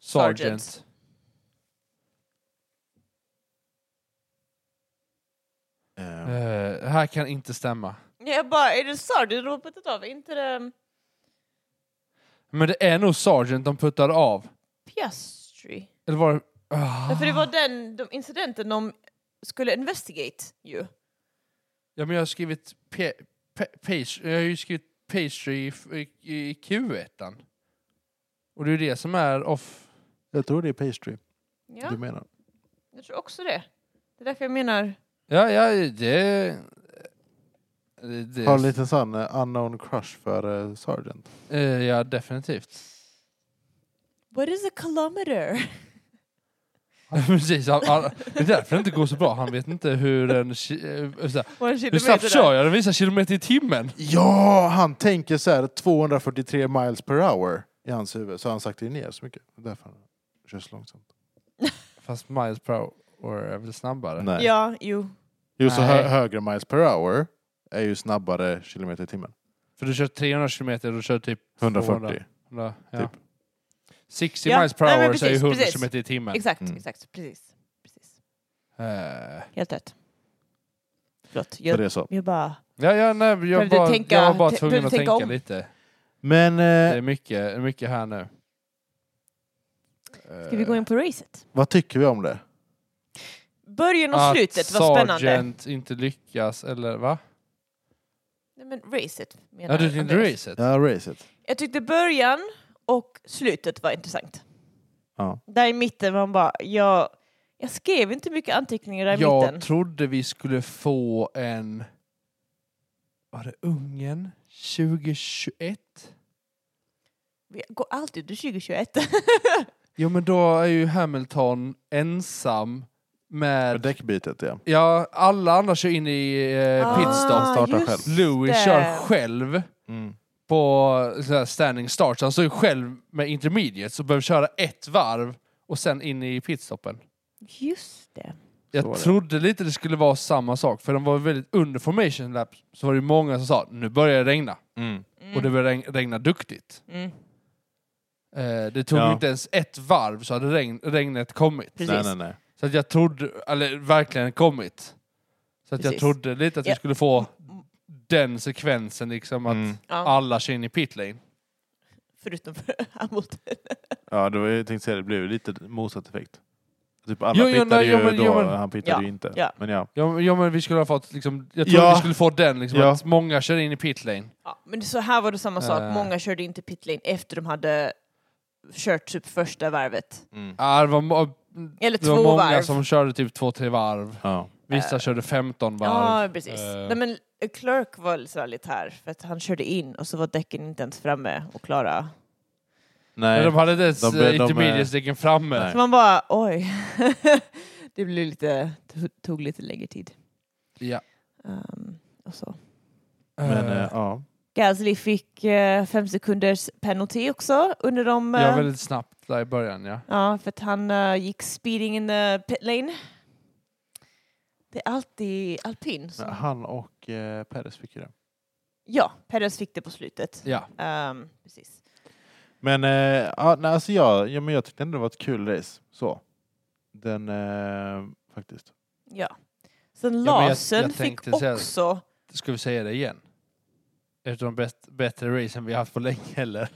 [SPEAKER 3] Sargent.
[SPEAKER 2] Sargent.
[SPEAKER 1] Eh,
[SPEAKER 3] Eh, det här kan inte stämma.
[SPEAKER 2] Nej, Jag bara, är det Sardi du har puttat av? Är inte det um,
[SPEAKER 3] Men det är nog Sargent de puttar av.
[SPEAKER 2] Piastri?
[SPEAKER 3] Eller var det... Ah.
[SPEAKER 2] Ja, för det var den de incidenten de skulle investigate ju.
[SPEAKER 3] Ja, men jag har skrivit... Pe- pe- page- jag har ju skrivit pastry i, f- i, i Q1. Och det är ju det som är off...
[SPEAKER 1] Jag tror det är pastry
[SPEAKER 2] Ja,
[SPEAKER 1] du menar.
[SPEAKER 2] jag tror också det. Det är därför jag menar...
[SPEAKER 3] Ja, ja, det... Det, det,
[SPEAKER 1] Har en liten sån eh, unknown crush för eh, Sargent.
[SPEAKER 3] eh, ja, definitivt.
[SPEAKER 2] What is a kilometer?
[SPEAKER 3] Precis, han, han, det är därför det inte går så bra. Han vet inte hur en... ki- eh, så här,
[SPEAKER 2] Vad
[SPEAKER 3] Hur snabbt kör jag? Den visar kilometer i timmen.
[SPEAKER 1] Ja, han tänker så här 243 miles per hour i hans huvud. Så har han sagt det ner så mycket. Därför han kör så långsamt.
[SPEAKER 3] Fast miles per hour är väl snabbare?
[SPEAKER 1] Nej.
[SPEAKER 2] Ja, jo.
[SPEAKER 1] Jo, så hö
[SPEAKER 3] Nej.
[SPEAKER 1] högre miles per hour är ju snabbare kilometer i timmen.
[SPEAKER 3] För du kör 300 kilometer och du kör typ
[SPEAKER 1] 140.
[SPEAKER 3] 200. Ja.
[SPEAKER 1] Typ.
[SPEAKER 3] 60
[SPEAKER 2] Ja,
[SPEAKER 3] miles per
[SPEAKER 2] nej, men
[SPEAKER 3] hour så är ju
[SPEAKER 2] precis,
[SPEAKER 3] 100
[SPEAKER 2] precis.
[SPEAKER 3] kilometer i timmen.
[SPEAKER 2] Exakt,
[SPEAKER 1] Mm.
[SPEAKER 2] exakt. Precis. precis.
[SPEAKER 3] Eh,
[SPEAKER 2] Helt rätt. Förlåt.
[SPEAKER 1] Så
[SPEAKER 2] Jag,
[SPEAKER 1] det är så.
[SPEAKER 2] jag bara...
[SPEAKER 3] ja, ja, nej, jag,
[SPEAKER 2] Behövde
[SPEAKER 3] bara,
[SPEAKER 2] tänka-
[SPEAKER 3] jag var bara
[SPEAKER 2] te-
[SPEAKER 3] tvungen
[SPEAKER 2] behövde
[SPEAKER 3] att
[SPEAKER 2] tänka
[SPEAKER 3] tänka
[SPEAKER 2] om.
[SPEAKER 1] Eh.
[SPEAKER 3] lite.
[SPEAKER 1] Men
[SPEAKER 3] Det är
[SPEAKER 1] eh,
[SPEAKER 3] mycket, mycket här nu.
[SPEAKER 2] Ska
[SPEAKER 3] Eh.
[SPEAKER 2] vi gå in på racet?
[SPEAKER 1] vad tycker vi om det?
[SPEAKER 2] Början
[SPEAKER 3] Ah,
[SPEAKER 2] och slutet var spännande.
[SPEAKER 3] Eh, Sergeant inte lyckas, eller va?
[SPEAKER 2] Nej, men racet menar
[SPEAKER 3] Ja, du tyckte
[SPEAKER 2] Andreas.
[SPEAKER 3] racet?
[SPEAKER 1] Ja, racet.
[SPEAKER 2] Jag tyckte början och slutet var intressant.
[SPEAKER 1] Ja.
[SPEAKER 2] Där i mitten var man bara, jag, jag skrev inte mycket anteckningar där i mitten.
[SPEAKER 3] Jag trodde vi skulle få en... Var det Ungern? 2021?
[SPEAKER 2] Vi går alltid till 2021.
[SPEAKER 1] Eh,
[SPEAKER 3] Jo men då är ju Hamilton ensam
[SPEAKER 1] Med
[SPEAKER 3] med...
[SPEAKER 1] däckbytet ja.
[SPEAKER 3] Ja, alla andra kör in i eh, pitstop.
[SPEAKER 1] Ah, startar
[SPEAKER 2] just
[SPEAKER 1] själv.
[SPEAKER 3] Louis
[SPEAKER 2] det.
[SPEAKER 3] kör själv
[SPEAKER 1] Mm.
[SPEAKER 3] på så här, standing starts. Han står ju själv med intermediates och behöver köra ett varv och sen in i pitstoppen.
[SPEAKER 2] Just det.
[SPEAKER 1] var
[SPEAKER 3] Jag
[SPEAKER 1] det.
[SPEAKER 3] trodde lite det skulle vara samma sak, för de var väldigt under formation lap så var det ju många som sa nu börjar det regna,
[SPEAKER 2] Mm.
[SPEAKER 3] och det började regn- regna duktigt.
[SPEAKER 2] Mm.
[SPEAKER 3] Eh, det tog ju
[SPEAKER 1] Ja.
[SPEAKER 3] inte ens ett varv så hade regn, regnet kommit.
[SPEAKER 2] Precis.
[SPEAKER 1] Nej, nej, nej.
[SPEAKER 3] Så att jag trodde, eller verkligen kommit. Så att jag
[SPEAKER 2] Precis.
[SPEAKER 3] trodde lite att
[SPEAKER 2] Ja.
[SPEAKER 3] vi skulle få den sekvensen, liksom att
[SPEAKER 1] Mm.
[SPEAKER 2] Ja,
[SPEAKER 3] alla kör in i pitlane.
[SPEAKER 2] förutom för Hamilton.
[SPEAKER 1] Ja, det var, jag tänkte säga det blev ju lite motsatt effekt. Typ alla
[SPEAKER 3] Jo, jo,
[SPEAKER 1] pittade
[SPEAKER 3] nej,
[SPEAKER 1] ju
[SPEAKER 3] jo, men-
[SPEAKER 1] då,
[SPEAKER 3] jo, men-
[SPEAKER 1] han pittade
[SPEAKER 2] Ja,
[SPEAKER 1] ju inte.
[SPEAKER 2] ja.
[SPEAKER 1] Men ja.
[SPEAKER 3] Ja, ja men vi skulle ha fått liksom, jag trodde
[SPEAKER 1] Ja.
[SPEAKER 3] vi skulle få den liksom,
[SPEAKER 1] Ja.
[SPEAKER 3] att många kör in i pitlane.
[SPEAKER 2] Ja, men så här var det samma sak,
[SPEAKER 3] Eh.
[SPEAKER 2] många körde inte pitlane efter de hade kört typ första varvet.
[SPEAKER 1] Mm. Ah.
[SPEAKER 3] Ja, det var, må-
[SPEAKER 2] Eller
[SPEAKER 3] det var
[SPEAKER 2] två
[SPEAKER 3] många
[SPEAKER 2] varv.
[SPEAKER 3] som körde typ två, tre varv.
[SPEAKER 1] Ja.
[SPEAKER 3] Vissa
[SPEAKER 2] Eh.
[SPEAKER 3] körde 15 varv.
[SPEAKER 2] Ja, precis. Nej,
[SPEAKER 3] Eh.
[SPEAKER 2] men Clark var så här lite här, för att han körde in och så var däcken inte ens framme och klara.
[SPEAKER 1] Nej.
[SPEAKER 3] Men de hade inte ens
[SPEAKER 1] De- de-
[SPEAKER 3] eh, intermediatesdäcken framme.
[SPEAKER 1] Nej.
[SPEAKER 2] Så man bara, oj. det blev lite, tog lite längre tid.
[SPEAKER 3] Ja.
[SPEAKER 2] Ehm, och så.
[SPEAKER 1] Men
[SPEAKER 3] Eh,
[SPEAKER 1] eh, ja.
[SPEAKER 2] Gasly fick eh, fem sekunders penalty också under de... eh,
[SPEAKER 3] ja, väldigt snabbt där i början ja.
[SPEAKER 2] ja, för att han eh, gick speeding in the pit lane. Det är alltid alpin. som-
[SPEAKER 1] Han och eh, Perez fick ju det.
[SPEAKER 2] Ja, Perez fick det på slutet.
[SPEAKER 3] ja.
[SPEAKER 2] Ehm, precis.
[SPEAKER 1] Men eh, ja, nej, alltså jag, ja, men jag tyckte ändå det var ett kul race. Så. Den eh, faktiskt.
[SPEAKER 2] Ja. Sen
[SPEAKER 3] Ja, men jag-
[SPEAKER 2] Larsen
[SPEAKER 3] jag
[SPEAKER 2] fick
[SPEAKER 3] tänkte säga-
[SPEAKER 2] också...
[SPEAKER 3] Ska vi säga det igen? Ett av de bäst, bättre racen vi haft på länge heller.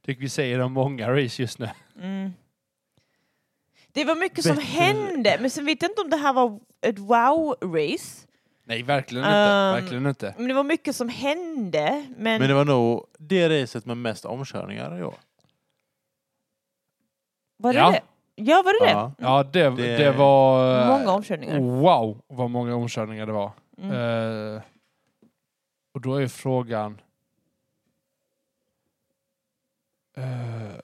[SPEAKER 3] Tycker vi säger om många race just nu.
[SPEAKER 2] Mm. Det var mycket som
[SPEAKER 1] Bättre-
[SPEAKER 2] hände, men sen vet jag inte om det här var ett wow-race.
[SPEAKER 3] Nej, verkligen
[SPEAKER 2] Um, mm.
[SPEAKER 3] inte. verkligen inte.
[SPEAKER 2] Men det var mycket som hände, men...
[SPEAKER 1] Men det var nog det racet med mest omkörningar i år.
[SPEAKER 2] Var det
[SPEAKER 3] Ja.
[SPEAKER 2] det? Ja, var det det?
[SPEAKER 1] Ja.
[SPEAKER 3] Ja, det,
[SPEAKER 1] Det-
[SPEAKER 3] det, var... eh,
[SPEAKER 2] Många omkörningar.
[SPEAKER 3] Wow, vad många omkörningar det var.
[SPEAKER 2] Mm.
[SPEAKER 3] Eh, och då är frågan... Eh,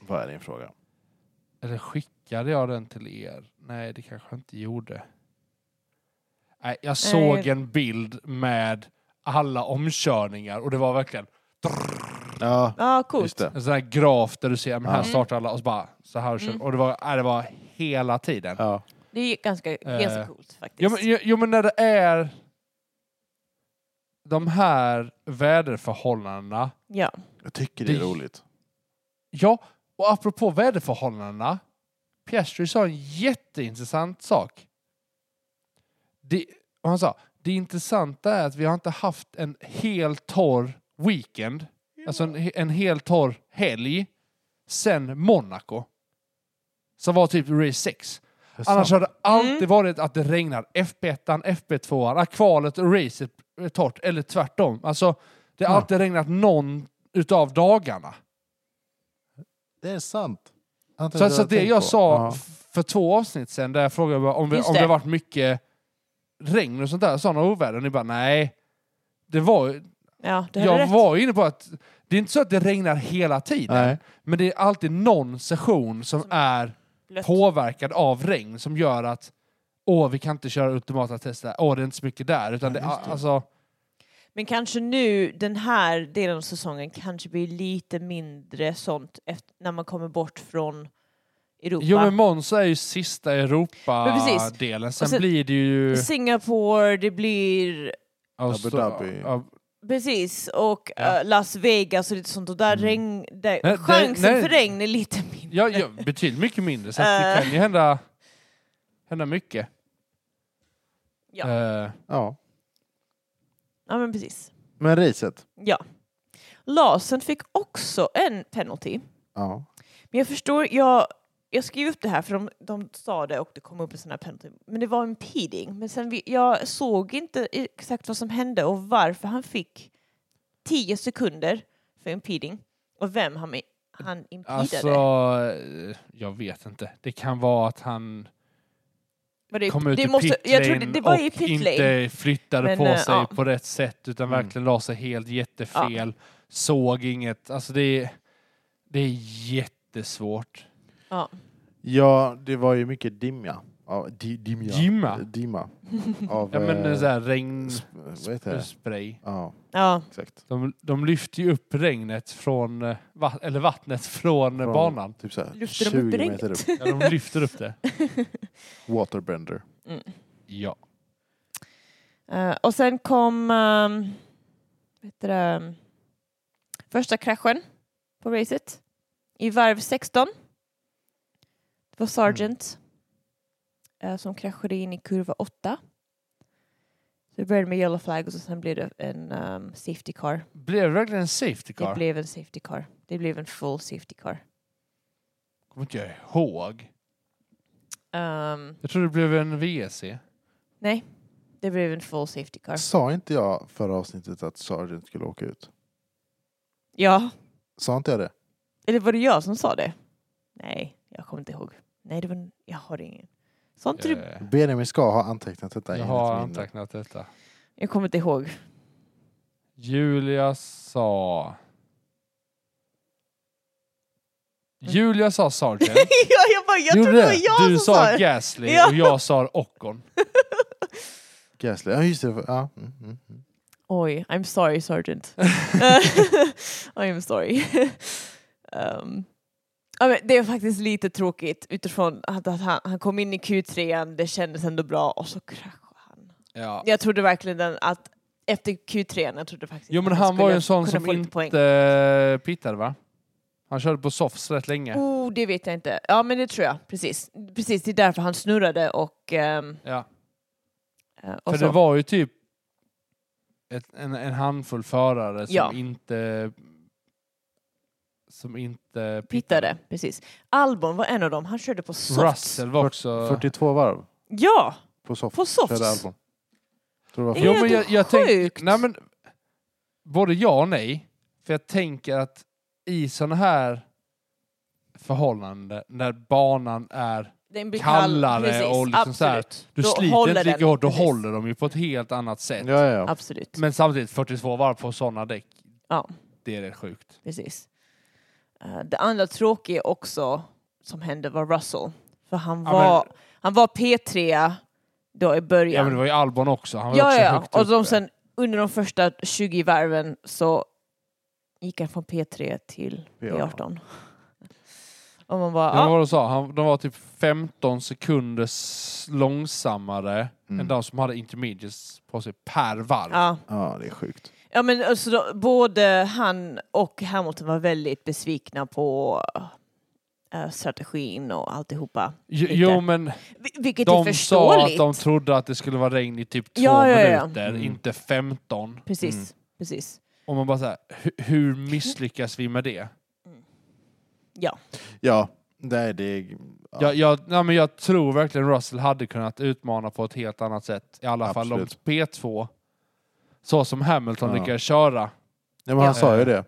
[SPEAKER 1] Vad är din fråga?
[SPEAKER 3] eller skickade jag den till er? Nej, det kanske jag inte gjorde. Nej, jag såg en bild med alla omkörningar och det var verkligen
[SPEAKER 1] Ja,
[SPEAKER 2] Ja,
[SPEAKER 1] just
[SPEAKER 2] coolt.
[SPEAKER 1] det.
[SPEAKER 3] en sån här graf där du ser men här
[SPEAKER 1] Ja.
[SPEAKER 3] startar alla och så bara så här kör
[SPEAKER 2] Mm.
[SPEAKER 3] och det var, nej, det var hela tiden.
[SPEAKER 1] Ja.
[SPEAKER 2] Det är ganska, ganska coolt faktiskt.
[SPEAKER 3] Jo Eh, men, jo, jo men när det är de här väderförhållandena.
[SPEAKER 2] ja.
[SPEAKER 1] Jag tycker det är
[SPEAKER 3] Det-
[SPEAKER 1] roligt.
[SPEAKER 3] Ja, och apropå väderförhållandena. Piastri sa en jätteintressant sak. Det, och han sa, det intressanta är att vi har inte haft en helt torr weekend, alltså en, he- en helt torr helg, sen Monaco. Som var typ race 6.
[SPEAKER 1] Det är
[SPEAKER 3] Annars
[SPEAKER 1] sant.
[SPEAKER 3] har det alltid
[SPEAKER 2] Mm.
[SPEAKER 3] varit att det regnar FB1, FB2, att kvalet och racet är torrt, eller tvärtom. Alltså, det har
[SPEAKER 1] Ja.
[SPEAKER 3] alltid regnat någon utav dagarna.
[SPEAKER 1] Det är sant. Jag har inte
[SPEAKER 3] Så,
[SPEAKER 1] ens
[SPEAKER 3] så att det
[SPEAKER 1] tänkt
[SPEAKER 3] jag
[SPEAKER 1] på.
[SPEAKER 3] sa
[SPEAKER 1] Ja.
[SPEAKER 3] f- för två avsnitt sedan, där jag frågade om, vi,
[SPEAKER 2] Just
[SPEAKER 3] om det
[SPEAKER 2] det.
[SPEAKER 3] varit mycket regn och sånt där, sådana oväder. Och ni bara nej. Det var,
[SPEAKER 2] Ja, du hade
[SPEAKER 3] jag
[SPEAKER 2] rätt.
[SPEAKER 3] var ju inne på att det är inte så att det regnar hela tiden.
[SPEAKER 1] Nej.
[SPEAKER 3] Men det är alltid någon session som
[SPEAKER 2] Som-
[SPEAKER 3] är
[SPEAKER 2] Blött.
[SPEAKER 3] påverkad av regn som gör att åh, vi kan inte köra ultimata test där. Åh, det är inte så mycket där. Utan
[SPEAKER 1] Ja,
[SPEAKER 3] det,
[SPEAKER 1] just det.
[SPEAKER 3] alltså,
[SPEAKER 2] Men kanske nu, den här delen av säsongen, kanske blir lite mindre sånt efter, när man kommer bort från Europa.
[SPEAKER 3] jo, men Monza är ju sista
[SPEAKER 2] Men precis.
[SPEAKER 3] Europa-delen. Sen,
[SPEAKER 2] Och sen-
[SPEAKER 3] blir det ju...
[SPEAKER 2] Singapore, det blir...
[SPEAKER 1] Abu Dhabi.
[SPEAKER 3] Ja,
[SPEAKER 2] Precis, och
[SPEAKER 3] Ja.
[SPEAKER 2] eh, Las Vegas och lite sånt. Och där
[SPEAKER 1] Mm.
[SPEAKER 2] regn, där,
[SPEAKER 3] Nej, det-
[SPEAKER 2] chansen
[SPEAKER 3] nej.
[SPEAKER 2] för regn är lite mindre.
[SPEAKER 3] ja, ja, betydligt mycket mindre. Så att det
[SPEAKER 2] Eh.
[SPEAKER 3] kan ju hända, hända mycket.
[SPEAKER 2] Ja.
[SPEAKER 3] Eh,
[SPEAKER 1] Ja.
[SPEAKER 2] ja men precis.
[SPEAKER 1] Men racet.
[SPEAKER 2] Ja. Larsen fick också en penalty.
[SPEAKER 1] Ja.
[SPEAKER 2] Men jag förstår, jag, jag skrev upp det här för de, de sa det och det kom upp en sån här penalty. Men det var en peeding. Men sen vi, jag såg inte exakt vad som hände och varför han fick 10 sekunder för en peeding och vem han, han impedade.
[SPEAKER 3] alltså, eh, jag vet inte. Det kan vara att han
[SPEAKER 2] Var det,
[SPEAKER 3] kom ut
[SPEAKER 2] det
[SPEAKER 3] i
[SPEAKER 2] måste,
[SPEAKER 3] pit
[SPEAKER 2] jag trodde
[SPEAKER 3] lane
[SPEAKER 2] det var
[SPEAKER 3] och
[SPEAKER 2] i pit lane.
[SPEAKER 3] inte flyttade
[SPEAKER 2] Men,
[SPEAKER 3] på
[SPEAKER 2] eh,
[SPEAKER 3] sig
[SPEAKER 2] ja.
[SPEAKER 3] på rätt sätt utan
[SPEAKER 1] Mm.
[SPEAKER 3] verkligen la sig helt jättefel. Såg inget. Alltså det är, det är jättesvårt.
[SPEAKER 2] Ja.
[SPEAKER 1] ja, det var ju mycket dimja. Ja, di, dimja.
[SPEAKER 3] Gymma.
[SPEAKER 1] Dimma. Av,
[SPEAKER 3] Ja men
[SPEAKER 1] eh,
[SPEAKER 3] eh, så här regn...
[SPEAKER 1] sp- vad heter det?
[SPEAKER 3] Spray.
[SPEAKER 1] Ja,
[SPEAKER 2] Ja.
[SPEAKER 1] exakt.
[SPEAKER 3] De, de lyfter ju upp regnet från, eh, va, eller vattnet från, eh,
[SPEAKER 1] Från-
[SPEAKER 3] banan.
[SPEAKER 1] Typ så här,
[SPEAKER 2] Lyfter de
[SPEAKER 1] 20
[SPEAKER 2] upp
[SPEAKER 1] meter upp.
[SPEAKER 2] regnet?
[SPEAKER 3] Ja, de lyfter upp det.
[SPEAKER 1] Waterbender.
[SPEAKER 2] Mm.
[SPEAKER 3] Ja.
[SPEAKER 2] Eh, och sen kom um, vad heter det, första kraschen på racet i varv 16. Det var Sargent eh, som kraschade in i kurva 8. Så det började med yellow flag och så sen blev det en ehm, safety car.
[SPEAKER 3] Blev det verkligen en safety
[SPEAKER 2] Det
[SPEAKER 3] car?
[SPEAKER 2] blev en safety car. Det blev en full safety car.
[SPEAKER 3] Kommer inte jag ihåg.
[SPEAKER 2] Ehm,
[SPEAKER 3] Jag tror det blev en WC.
[SPEAKER 2] nej, det blev en full safety car.
[SPEAKER 1] Sa inte jag förra avsnittet att Sargent skulle åka ut?
[SPEAKER 2] Ja,
[SPEAKER 1] Sa inte jag det?
[SPEAKER 2] Eller var det jag som sa det? Nej, jag kommer inte ihåg. Nej, det var... jag har ingen. Sånt du...
[SPEAKER 3] Eh,
[SPEAKER 1] Benjamin ska ha antecknat detta.
[SPEAKER 3] Jag
[SPEAKER 1] enligt
[SPEAKER 3] har
[SPEAKER 1] min-
[SPEAKER 3] antecknat detta.
[SPEAKER 2] Jag kommer inte ihåg.
[SPEAKER 3] Julia sa... Julia sa Sargent.
[SPEAKER 2] ja, jag bara, jag
[SPEAKER 1] Gjorde
[SPEAKER 2] trodde det var
[SPEAKER 1] det?
[SPEAKER 2] jag
[SPEAKER 3] Du
[SPEAKER 2] som sa
[SPEAKER 3] sa
[SPEAKER 2] det.
[SPEAKER 3] Gasly
[SPEAKER 2] Ja.
[SPEAKER 3] och jag sa Ockon.
[SPEAKER 1] Gasly. Ja, just det. Ja. Mm, mm, mm.
[SPEAKER 2] Oj, I'm sorry sergeant. I'm sorry. um, ja, men det är faktiskt lite tråkigt utifrån att, att han, han kom in i Q3, det kändes ändå bra och så kraschade han.
[SPEAKER 3] Ja.
[SPEAKER 2] Jag trodde verkligen den att efter Q3, jag trodde faktiskt
[SPEAKER 3] Jo men
[SPEAKER 2] att
[SPEAKER 3] han var ju
[SPEAKER 2] skulle
[SPEAKER 3] en sån
[SPEAKER 2] kunna
[SPEAKER 3] som
[SPEAKER 2] få lite poäng.
[SPEAKER 3] inte pittade va? Han körde på softs rätt länge.
[SPEAKER 2] Oh, det vet jag inte. Ja, men det tror jag. Precis. Precis, det är därför han snurrade och... ehm,
[SPEAKER 3] Ja.
[SPEAKER 2] eh, och
[SPEAKER 3] För
[SPEAKER 2] så.
[SPEAKER 3] det var ju typ ett, en, en handfull förare som
[SPEAKER 2] Ja.
[SPEAKER 3] inte som inte
[SPEAKER 2] Pittade, precis. Albon var en av dem. Han körde på softs.
[SPEAKER 3] Russell var också...
[SPEAKER 1] 42 varv
[SPEAKER 2] Ja,
[SPEAKER 1] på soft.
[SPEAKER 2] på softs.
[SPEAKER 1] Körde Albon. Tror det var
[SPEAKER 2] Det är
[SPEAKER 3] Jo,
[SPEAKER 1] fyra.
[SPEAKER 3] men jag, jag tänk,
[SPEAKER 2] sjukt.
[SPEAKER 3] nej, men, både ja och nej. För jag tänker att i sådana här förhållanden, när banan är...
[SPEAKER 2] Den blir
[SPEAKER 3] Kallare
[SPEAKER 2] precis,
[SPEAKER 3] och liksom så här,
[SPEAKER 2] absolut.
[SPEAKER 3] Du
[SPEAKER 2] Då
[SPEAKER 3] sliter
[SPEAKER 2] håller
[SPEAKER 3] inte lika
[SPEAKER 2] den,
[SPEAKER 3] hårt, då
[SPEAKER 2] precis.
[SPEAKER 3] håller de ju på ett helt annat sätt.
[SPEAKER 1] Ja, ja, ja.
[SPEAKER 2] Absolut.
[SPEAKER 3] Men samtidigt 42 varv på sådana däck.
[SPEAKER 2] Ja.
[SPEAKER 3] Det är rätt sjukt.
[SPEAKER 2] Precis. Eh, det andra tråkiga också som hände var Russell. För han
[SPEAKER 3] Ja,
[SPEAKER 2] var, han var P3 då i början.
[SPEAKER 3] Ja, men det var ju Albon också. Han var
[SPEAKER 2] Ja,
[SPEAKER 3] också
[SPEAKER 2] ja.
[SPEAKER 3] högt
[SPEAKER 2] Och de
[SPEAKER 3] uppe.
[SPEAKER 2] sen, under de första 20 varven så gick han från P3 till
[SPEAKER 1] P18.
[SPEAKER 2] P18. Och man bara,
[SPEAKER 3] Ja.
[SPEAKER 2] ja,
[SPEAKER 3] Vad du sa, han, de var typ 15 sekunder s- långsammare
[SPEAKER 1] Mm.
[SPEAKER 3] än de som hade intermediates på sig per varv.
[SPEAKER 2] ja.
[SPEAKER 1] ja, det är sjukt.
[SPEAKER 2] ja men alltså, då, både han och Hamilton var väldigt besvikna på eh, strategin och alltihopa.
[SPEAKER 3] Jo,
[SPEAKER 2] Lite.
[SPEAKER 3] jo men
[SPEAKER 2] Vi- Vilket är
[SPEAKER 3] de sa att
[SPEAKER 2] förståeligt.
[SPEAKER 3] de trodde att det skulle vara regn i typ två
[SPEAKER 2] Ja, ja, ja.
[SPEAKER 3] minuter,
[SPEAKER 1] Mm.
[SPEAKER 3] inte 15.
[SPEAKER 2] Precis,
[SPEAKER 1] Mm.
[SPEAKER 2] precis.
[SPEAKER 3] Och man bara såhär, hur misslyckas vi med det?
[SPEAKER 1] Ja, nej, det är... Ja.
[SPEAKER 3] Jag, jag, nej, men jag tror verkligen Russell hade kunnat utmana på ett helt annat sätt. I alla fall om
[SPEAKER 1] Absolut.
[SPEAKER 3] P2, så som Hamilton
[SPEAKER 1] Ja.
[SPEAKER 3] lyckades köra.
[SPEAKER 1] Nej, men han
[SPEAKER 3] Ja.
[SPEAKER 1] sa ju det.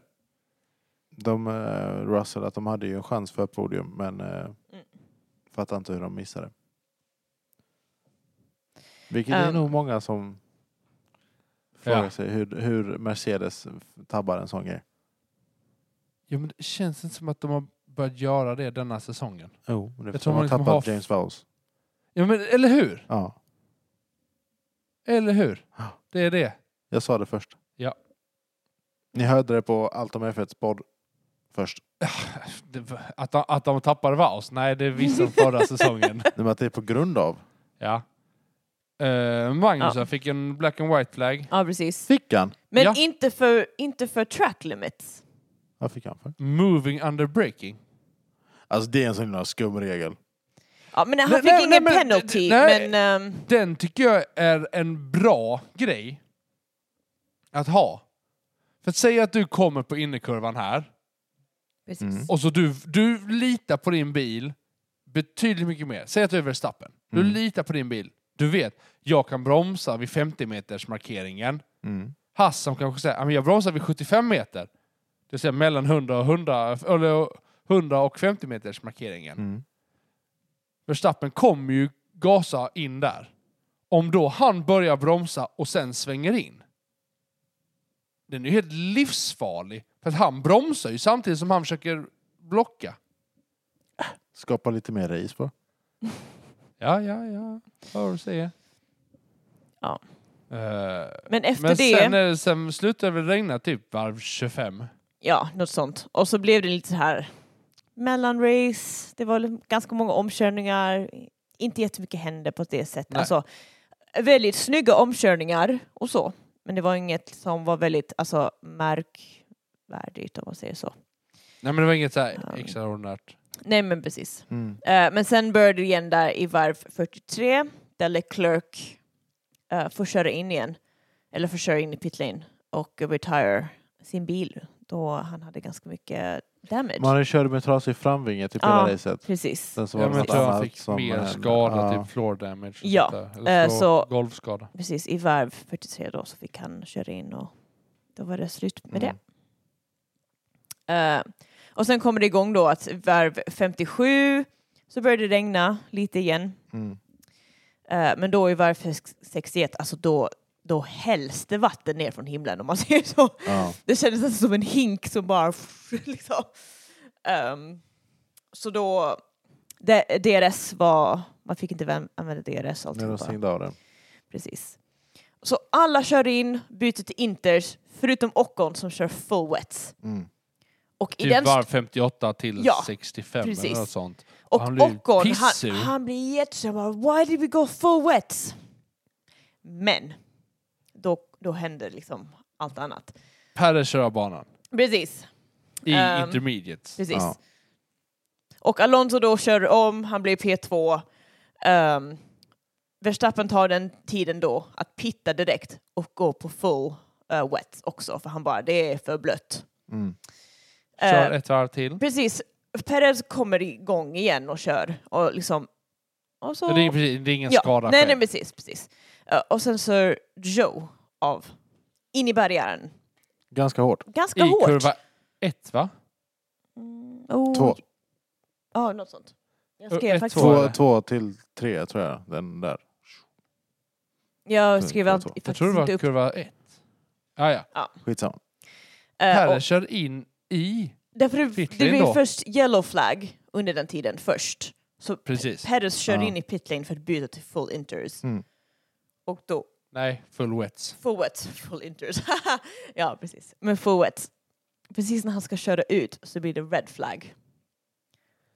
[SPEAKER 1] De, eh, Russell, att de hade ju en chans för podium, men eh, fattar inte hur de missade. Vilket det är
[SPEAKER 2] Ehm.
[SPEAKER 1] nog många som frågar
[SPEAKER 3] Ja.
[SPEAKER 1] sig hur, hur Mercedes tabbar en sån grej.
[SPEAKER 3] Ja, men det känns inte som att de har börjat göra det denna säsongen.
[SPEAKER 1] Jo, det är för
[SPEAKER 3] tror
[SPEAKER 1] att de
[SPEAKER 3] man
[SPEAKER 1] har
[SPEAKER 3] liksom
[SPEAKER 1] tappat
[SPEAKER 3] har-
[SPEAKER 1] James Vowles.
[SPEAKER 3] Ja, men, eller hur?
[SPEAKER 1] Ja,
[SPEAKER 3] Eller hur?
[SPEAKER 1] Ja.
[SPEAKER 3] Det är det.
[SPEAKER 1] jag sa det först.
[SPEAKER 3] Ja.
[SPEAKER 1] Ni hörde det på Allt om F1s podd först.
[SPEAKER 3] det var- att, de, att de tappade Vaus? Nej, det visste de förra säsongen.
[SPEAKER 1] Nej, men att det är på grund av.
[SPEAKER 3] Ja. Eh, Magnus
[SPEAKER 2] Ja.
[SPEAKER 3] fick en black and white flag.
[SPEAKER 2] Ja, precis.
[SPEAKER 1] Fickan!
[SPEAKER 2] Men
[SPEAKER 3] Ja.
[SPEAKER 2] inte, för, inte för track limits.
[SPEAKER 1] Vad fick han för?
[SPEAKER 3] Moving under breaking.
[SPEAKER 1] Alltså det är en sån himla skum regel.
[SPEAKER 2] Ja, men han
[SPEAKER 3] Nej,
[SPEAKER 2] fick
[SPEAKER 3] nej,
[SPEAKER 2] ingen
[SPEAKER 3] nej, men-
[SPEAKER 2] penalty,
[SPEAKER 3] nej.
[SPEAKER 2] men... ehm,
[SPEAKER 3] Den tycker jag är en bra grej att ha. För att säga att du kommer på innerkurvan här
[SPEAKER 2] precis.
[SPEAKER 1] Mm.
[SPEAKER 3] och så du, du litar på din bil betydligt mycket mer. Säg att du är Verstappen. Du
[SPEAKER 1] Mm.
[SPEAKER 3] litar på din bil. Du vet, jag kan bromsa vid 50 meters markeringen.
[SPEAKER 1] Mm.
[SPEAKER 3] Hassan kanske säger "Ja, men jag bromsar vid 75 meter. Det vill säga mellan 100 och 100, eller 100 och 50 meters markeringen.
[SPEAKER 1] Mm.
[SPEAKER 3] Verstappen kommer ju gasa in där. Om då han börjar bromsa och sen svänger in. Den är ju helt livsfarlig. För att han bromsar ju samtidigt som han försöker blocka.
[SPEAKER 1] Skapa lite mer race på.
[SPEAKER 3] Ja, ja, ja. Vad har du att säga?
[SPEAKER 2] Ja.
[SPEAKER 3] Eh,
[SPEAKER 2] Men efter
[SPEAKER 3] men
[SPEAKER 2] det...
[SPEAKER 3] sen, är det, sen slutar det väl regna typ varv 25.
[SPEAKER 2] Ja, något sånt. Och så blev det lite så här mellanrace. Det var ganska många omkörningar. Inte jättemycket hände på det sättet.
[SPEAKER 3] Nej.
[SPEAKER 2] Alltså, väldigt snygga omkörningar och så. Men det var inget som var väldigt alltså, märkvärdigt om man säger så.
[SPEAKER 3] Nej men det var inget så här
[SPEAKER 2] Ja.
[SPEAKER 3] extraordinärt.
[SPEAKER 2] Nej, men precis.
[SPEAKER 1] Mm.
[SPEAKER 2] Eh, men sen började det igen där i varv 43 där Leclerc uh, får köra in igen. Eller får köra in i pitlane och retire sin bil då han hade ganska mycket damage.
[SPEAKER 1] Man körde med trasig framvinge typ
[SPEAKER 2] Ja.
[SPEAKER 1] hela racet.
[SPEAKER 2] Precis.
[SPEAKER 1] Sen så
[SPEAKER 3] Ja,
[SPEAKER 1] var
[SPEAKER 3] men
[SPEAKER 1] det
[SPEAKER 3] jag
[SPEAKER 1] något
[SPEAKER 3] tror han
[SPEAKER 1] annat
[SPEAKER 3] fick
[SPEAKER 1] som
[SPEAKER 3] mer
[SPEAKER 1] hände.
[SPEAKER 3] skada,
[SPEAKER 1] Ja.
[SPEAKER 3] typ floor damage. och
[SPEAKER 2] Ja,
[SPEAKER 3] sånt där. Eller
[SPEAKER 2] eh,
[SPEAKER 3] slå-
[SPEAKER 2] så-
[SPEAKER 3] Golfskada.
[SPEAKER 2] Precis, i varv 43 då så fick han köra in och då var det slut med
[SPEAKER 1] Mm.
[SPEAKER 2] det. Eh, och sen kommer det igång då att varv 57 så började det regna lite igen.
[SPEAKER 1] Mm.
[SPEAKER 2] Eh, men då i varv 61, alltså då, då hälls det vatten ner från himlen om man säger så.
[SPEAKER 1] Ja.
[SPEAKER 2] Det kändes alltså som en hink som bara... Liksom. Ehm, så då... D- DRS var... Man fick inte vän- använda DRS. och
[SPEAKER 1] När de
[SPEAKER 2] alltihopa.
[SPEAKER 1] stängde av den.
[SPEAKER 2] Precis. Så alla kör in, byter till Inters, förutom Ockon som kör full wets.
[SPEAKER 1] Mm.
[SPEAKER 2] Och, i
[SPEAKER 3] Typ
[SPEAKER 2] den
[SPEAKER 3] varv 58 till
[SPEAKER 2] Ja,
[SPEAKER 3] 65
[SPEAKER 2] precis.
[SPEAKER 3] eller något sånt.
[SPEAKER 2] och
[SPEAKER 3] han
[SPEAKER 2] han
[SPEAKER 3] blir
[SPEAKER 2] Ockon,
[SPEAKER 3] pissur.
[SPEAKER 2] han, han blir jättesur. bara, Why did we go full wets? Men, då, då händer liksom allt annat.
[SPEAKER 3] Perez kör av banan.
[SPEAKER 2] Precis,
[SPEAKER 3] I
[SPEAKER 2] Ehm,
[SPEAKER 3] intermediates.
[SPEAKER 2] precis.
[SPEAKER 1] Ja.
[SPEAKER 2] Och Alonso då kör om, han blir P2. Ehm, Verstappen tar den tiden då att pitta direkt och gå på full uh, wets också, för han bara, det är för blött.
[SPEAKER 1] Mm.
[SPEAKER 3] Kör
[SPEAKER 2] Ehm,
[SPEAKER 3] ett varv till.
[SPEAKER 2] Precis. Perez kommer igång igen och kör. Och liksom... Och så...
[SPEAKER 3] Det är, precis, det är ingen skada
[SPEAKER 2] nej,
[SPEAKER 3] själv.
[SPEAKER 2] nej, precis. precis. Eh, och sen så Joe av. In i barriären.
[SPEAKER 1] Ganska hårt.
[SPEAKER 2] Ganska
[SPEAKER 3] I
[SPEAKER 2] hårt.
[SPEAKER 3] kurva ett va?
[SPEAKER 2] Mm, oh.
[SPEAKER 1] Två,
[SPEAKER 2] Ja, något sånt. Jag
[SPEAKER 3] Ö,
[SPEAKER 2] skrev
[SPEAKER 3] Eh, ett,
[SPEAKER 2] faktiskt...
[SPEAKER 3] två.
[SPEAKER 1] två,
[SPEAKER 3] eller?
[SPEAKER 1] två till tre tror jag. Den där.
[SPEAKER 2] Jag skrev
[SPEAKER 1] Mm, Två,
[SPEAKER 2] allt,
[SPEAKER 1] två.
[SPEAKER 2] faktiskt
[SPEAKER 3] Jag tror det
[SPEAKER 2] inte
[SPEAKER 3] var
[SPEAKER 2] upp.
[SPEAKER 3] kurva ett. Ah, ja.
[SPEAKER 1] Skitsamma.
[SPEAKER 2] Eh,
[SPEAKER 3] Perez
[SPEAKER 2] och,
[SPEAKER 3] kör in i...
[SPEAKER 2] därför det, det
[SPEAKER 3] Pitlane
[SPEAKER 2] blir
[SPEAKER 3] då.
[SPEAKER 2] först yellow flag under den tiden först. Så
[SPEAKER 3] Precis.
[SPEAKER 2] Perez kör
[SPEAKER 1] Ja.
[SPEAKER 2] in i pitlane för att byta till full inters.
[SPEAKER 1] Mm.
[SPEAKER 2] Och då
[SPEAKER 3] Nej, full wets.
[SPEAKER 2] Full wet, full inters. ja, precis. Men full wet. Precis när han ska köra ut så blir det red flag.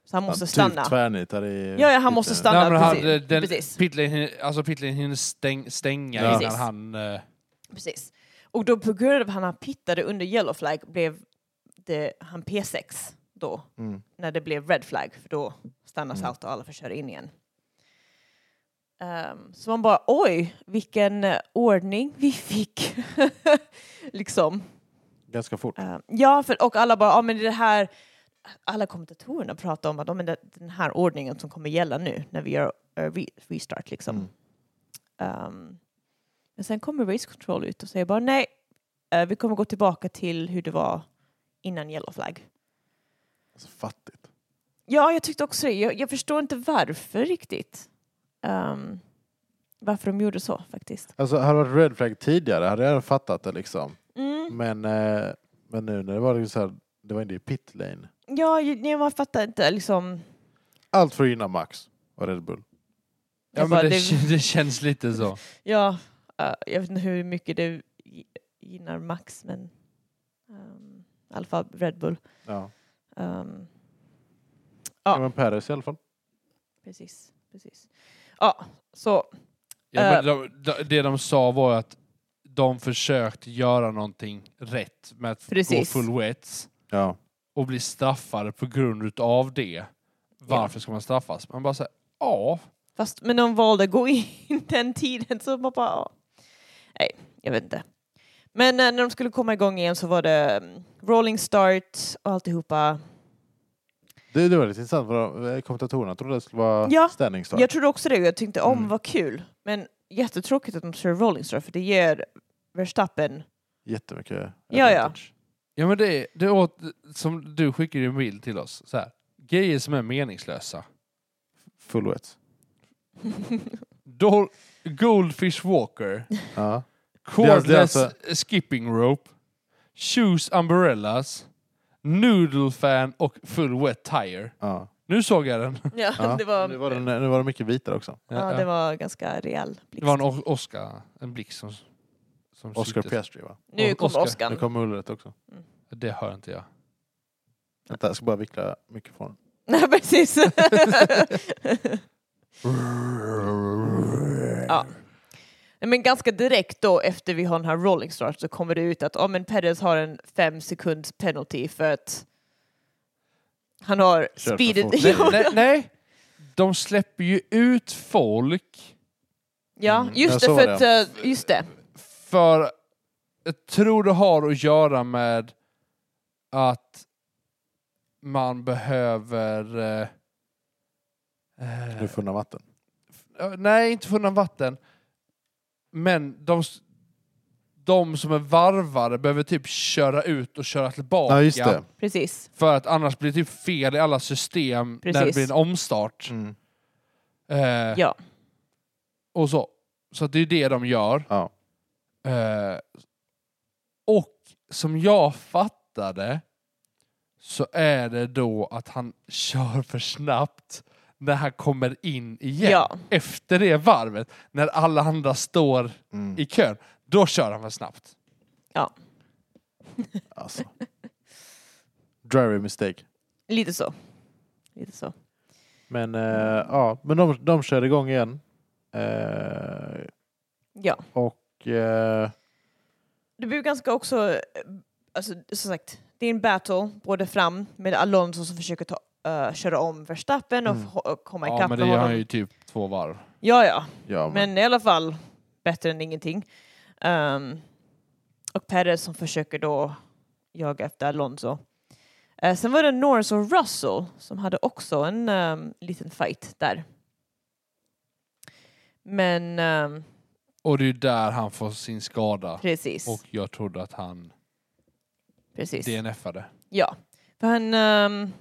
[SPEAKER 2] Så han måste
[SPEAKER 1] typ
[SPEAKER 2] stanna.
[SPEAKER 1] tvärnitar i...
[SPEAKER 2] Ja, ja, han måste stanna.
[SPEAKER 3] Nej, men han, eh,
[SPEAKER 2] precis.
[SPEAKER 3] den,
[SPEAKER 2] Precis.
[SPEAKER 3] Pitlane, hinner- alltså Pitlane hinner stäng, stänga
[SPEAKER 1] Ja.
[SPEAKER 3] innan
[SPEAKER 2] Precis.
[SPEAKER 3] han... eh,
[SPEAKER 2] Precis. Och då på grund av att han pittade under yellow flag blev det, han P6 då.
[SPEAKER 1] Mm.
[SPEAKER 2] När det blev red flag. För då stannas
[SPEAKER 1] Mm.
[SPEAKER 2] allt och alla får köra in igen. Ehm, så man bara oj, vilken eh, ordning vi fick. liksom.
[SPEAKER 1] Ganska fort.
[SPEAKER 2] Eh, ja, för, och alla bara, ja men det här, alla kommentatorerna pratar om att ja, men det, den här ordningen som kommer gälla nu när vi gör eh, re, restart liksom.
[SPEAKER 1] Mm.
[SPEAKER 2] Ehm, men sen kommer race control ut och säger bara nej, eh, vi kommer gå tillbaka till hur det var innan yellow flag.
[SPEAKER 1] Alltså, fattigt.
[SPEAKER 2] Ja, jag tyckte också det. Jag, jag förstår inte varför riktigt. Ehm, varför de gjorde så faktiskt.
[SPEAKER 1] Alltså hade det varit red flag tidigare hade jag redan fattat det liksom.
[SPEAKER 2] Mm.
[SPEAKER 1] Men, eh, men nu när det var liksom så här, det var inte i pit lane.
[SPEAKER 2] Ja, ju- nej, man fattar inte liksom.
[SPEAKER 1] Allt för att gynna Max och Red Bull.
[SPEAKER 3] Ja,
[SPEAKER 2] Jag
[SPEAKER 3] men
[SPEAKER 2] bara,
[SPEAKER 3] det,
[SPEAKER 2] det-
[SPEAKER 3] kän- det känns lite så.
[SPEAKER 2] Ja, eh, jag vet inte hur mycket det gi- gynnar Max, men um, i alla fall Red Bull.
[SPEAKER 1] Ja.
[SPEAKER 2] Ehm,
[SPEAKER 1] Ja.
[SPEAKER 2] Ja.
[SPEAKER 1] men Perez i alla fall.
[SPEAKER 2] precis, precis. Ja, så
[SPEAKER 3] Ja,
[SPEAKER 2] Eh.
[SPEAKER 3] men de, de, det de sa var att de försökte göra någonting rätt med att
[SPEAKER 2] Precis.
[SPEAKER 3] gå full wets
[SPEAKER 1] Ja.
[SPEAKER 3] och bli straffade på grund utav det. Varför ska man straffas? Man bara säger ja.
[SPEAKER 2] Fast, men de valde att gå in den tiden så man bara... ja. Nej, jag vet inte. Men eh, när de skulle komma igång igen så var det mm, rolling start och alltihopa.
[SPEAKER 1] Det, det var lite intressant för de- eh, kommentatorerna trodde det skulle vara
[SPEAKER 2] Ja.
[SPEAKER 1] standing start.
[SPEAKER 2] Jag trodde också det och jag tänkte om
[SPEAKER 1] Mm.
[SPEAKER 2] vad kul. Men jättetråkigt att de kör rolling start för det ger Verstappen...
[SPEAKER 1] Jättemycket
[SPEAKER 2] Ja, ja.
[SPEAKER 1] advantage.
[SPEAKER 3] Ja men det, det åt, som du skickade en bild till oss. Så här. Grejer som är meningslösa.
[SPEAKER 1] Full wet.
[SPEAKER 3] Dol- Goldfish Walker.
[SPEAKER 1] Ja.
[SPEAKER 3] Cordless
[SPEAKER 1] Det är alltså-
[SPEAKER 3] skipping rope. Shoes umbrellas. Noodle fan och full wet tire.
[SPEAKER 1] Ja.
[SPEAKER 3] Nu såg jag den.
[SPEAKER 2] Ja,
[SPEAKER 1] Ja.
[SPEAKER 2] det var...
[SPEAKER 1] Nu, var det, nu var det mycket vitare också.
[SPEAKER 2] Ja, det var ganska rejäl blixt.
[SPEAKER 3] Det var en o- Oscar, en blixt som... som
[SPEAKER 1] Oscar
[SPEAKER 3] syntes.
[SPEAKER 1] Piastri va?
[SPEAKER 2] Nu kommer
[SPEAKER 3] Oscar.
[SPEAKER 1] Nu
[SPEAKER 2] Oskar.
[SPEAKER 1] kom mullret också.
[SPEAKER 3] Det hör inte jag.
[SPEAKER 1] Vänta, jag ska bara vickla mikrofonen.
[SPEAKER 2] Nej, precis. ja. Nej, Men ganska direkt då efter vi har den här rolling start så kommer det ut att oh, men Perez har en fem sekunds penalty för att han har
[SPEAKER 1] för
[SPEAKER 2] speedet.
[SPEAKER 1] fort.
[SPEAKER 3] nej,
[SPEAKER 1] Jo.
[SPEAKER 3] nej, nej! De släpper ju ut folk
[SPEAKER 2] ja,
[SPEAKER 1] Mm, jag
[SPEAKER 2] just det,
[SPEAKER 1] såg
[SPEAKER 2] för
[SPEAKER 1] det.
[SPEAKER 2] att, eh, just det.
[SPEAKER 3] för... Jag tror det har att göra med att man behöver... eh, eh,
[SPEAKER 1] Nu funna vatten.
[SPEAKER 3] Eh, Nej, inte funnan vatten. Men de, s- de som är varvare behöver typ köra ut och köra tillbaka.
[SPEAKER 1] Ja, just det.
[SPEAKER 2] Precis.
[SPEAKER 3] För att annars blir det typ fel i alla system när det
[SPEAKER 2] Precis. Mm.
[SPEAKER 3] blir en omstart.
[SPEAKER 1] Mm.
[SPEAKER 3] Eh,
[SPEAKER 2] Ja.
[SPEAKER 3] Och så. Så att det är det de gör.
[SPEAKER 1] Ja.
[SPEAKER 3] Eh, och som jag fattade så är det då att han kör för snabbt när han kommer in igen.
[SPEAKER 2] Ja.
[SPEAKER 3] Efter det varvet, när alla andra står
[SPEAKER 1] Mm.
[SPEAKER 3] i kön, då kör han för snabbt.
[SPEAKER 1] Alltså. Driving mistake.
[SPEAKER 2] Lite så. Lite så.
[SPEAKER 1] Men eh, ja, men de, de körde igång igen. Eh,
[SPEAKER 2] Ja.
[SPEAKER 1] och eh,
[SPEAKER 2] Det blir ganska också, eh, alltså, som sagt, det är en battle både fram med Alonso som försöker ta, eh, köra om Verstappen och,
[SPEAKER 1] Mm.
[SPEAKER 2] ho- och komma
[SPEAKER 3] Ja,
[SPEAKER 2] ikapp
[SPEAKER 3] men
[SPEAKER 2] med
[SPEAKER 3] det gör han
[SPEAKER 2] honom.
[SPEAKER 3] ju typ två varv.
[SPEAKER 2] Ja, ja,
[SPEAKER 1] ja, men,
[SPEAKER 2] men i alla fall bättre än ingenting. Ehm, och Perez som försöker då jaga efter Alonso. Eh, sen var det Norris och Russell som hade också en ehm, liten fight där. Men ehm,
[SPEAKER 3] Och det är ju där han får sin skada.
[SPEAKER 2] precis,
[SPEAKER 3] Och jag trodde att han
[SPEAKER 2] precis.
[SPEAKER 3] DNFade.
[SPEAKER 2] Ja, för han, ehm,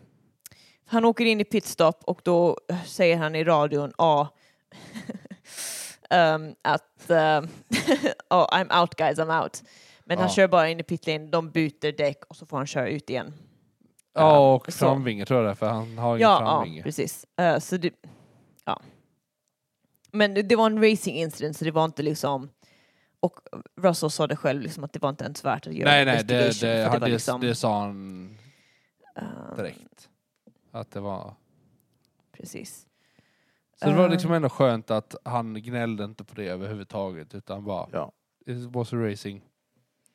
[SPEAKER 2] han åker in i pitstop och då säger han i radion ja, ehm, att ehm, ja, I'm out guys, I'm out. Men han
[SPEAKER 3] Ja.
[SPEAKER 2] kör bara in i pitlane, de byter däck och så får han köra ut igen.
[SPEAKER 3] Ja, och
[SPEAKER 2] så.
[SPEAKER 3] framvinge tror jag det är, för han har ingen
[SPEAKER 2] Ja, ja
[SPEAKER 3] framvinge.
[SPEAKER 2] precis. Eh, så det, ja. Men det, det var en racing incident så det var inte liksom och Russell sa det själv, liksom att det var inte ens värt att göra
[SPEAKER 3] Nej, nej,
[SPEAKER 2] investigation,
[SPEAKER 3] det,
[SPEAKER 2] för
[SPEAKER 3] det, han,
[SPEAKER 2] var
[SPEAKER 3] det,
[SPEAKER 2] liksom,
[SPEAKER 3] det sa han
[SPEAKER 2] ehm,
[SPEAKER 3] direkt. Att det var...
[SPEAKER 2] Precis.
[SPEAKER 3] Så det var
[SPEAKER 2] Eh.
[SPEAKER 3] liksom ändå skönt att han gnällde inte på det överhuvudtaget, utan bara...
[SPEAKER 1] Ja.
[SPEAKER 3] It was a racing.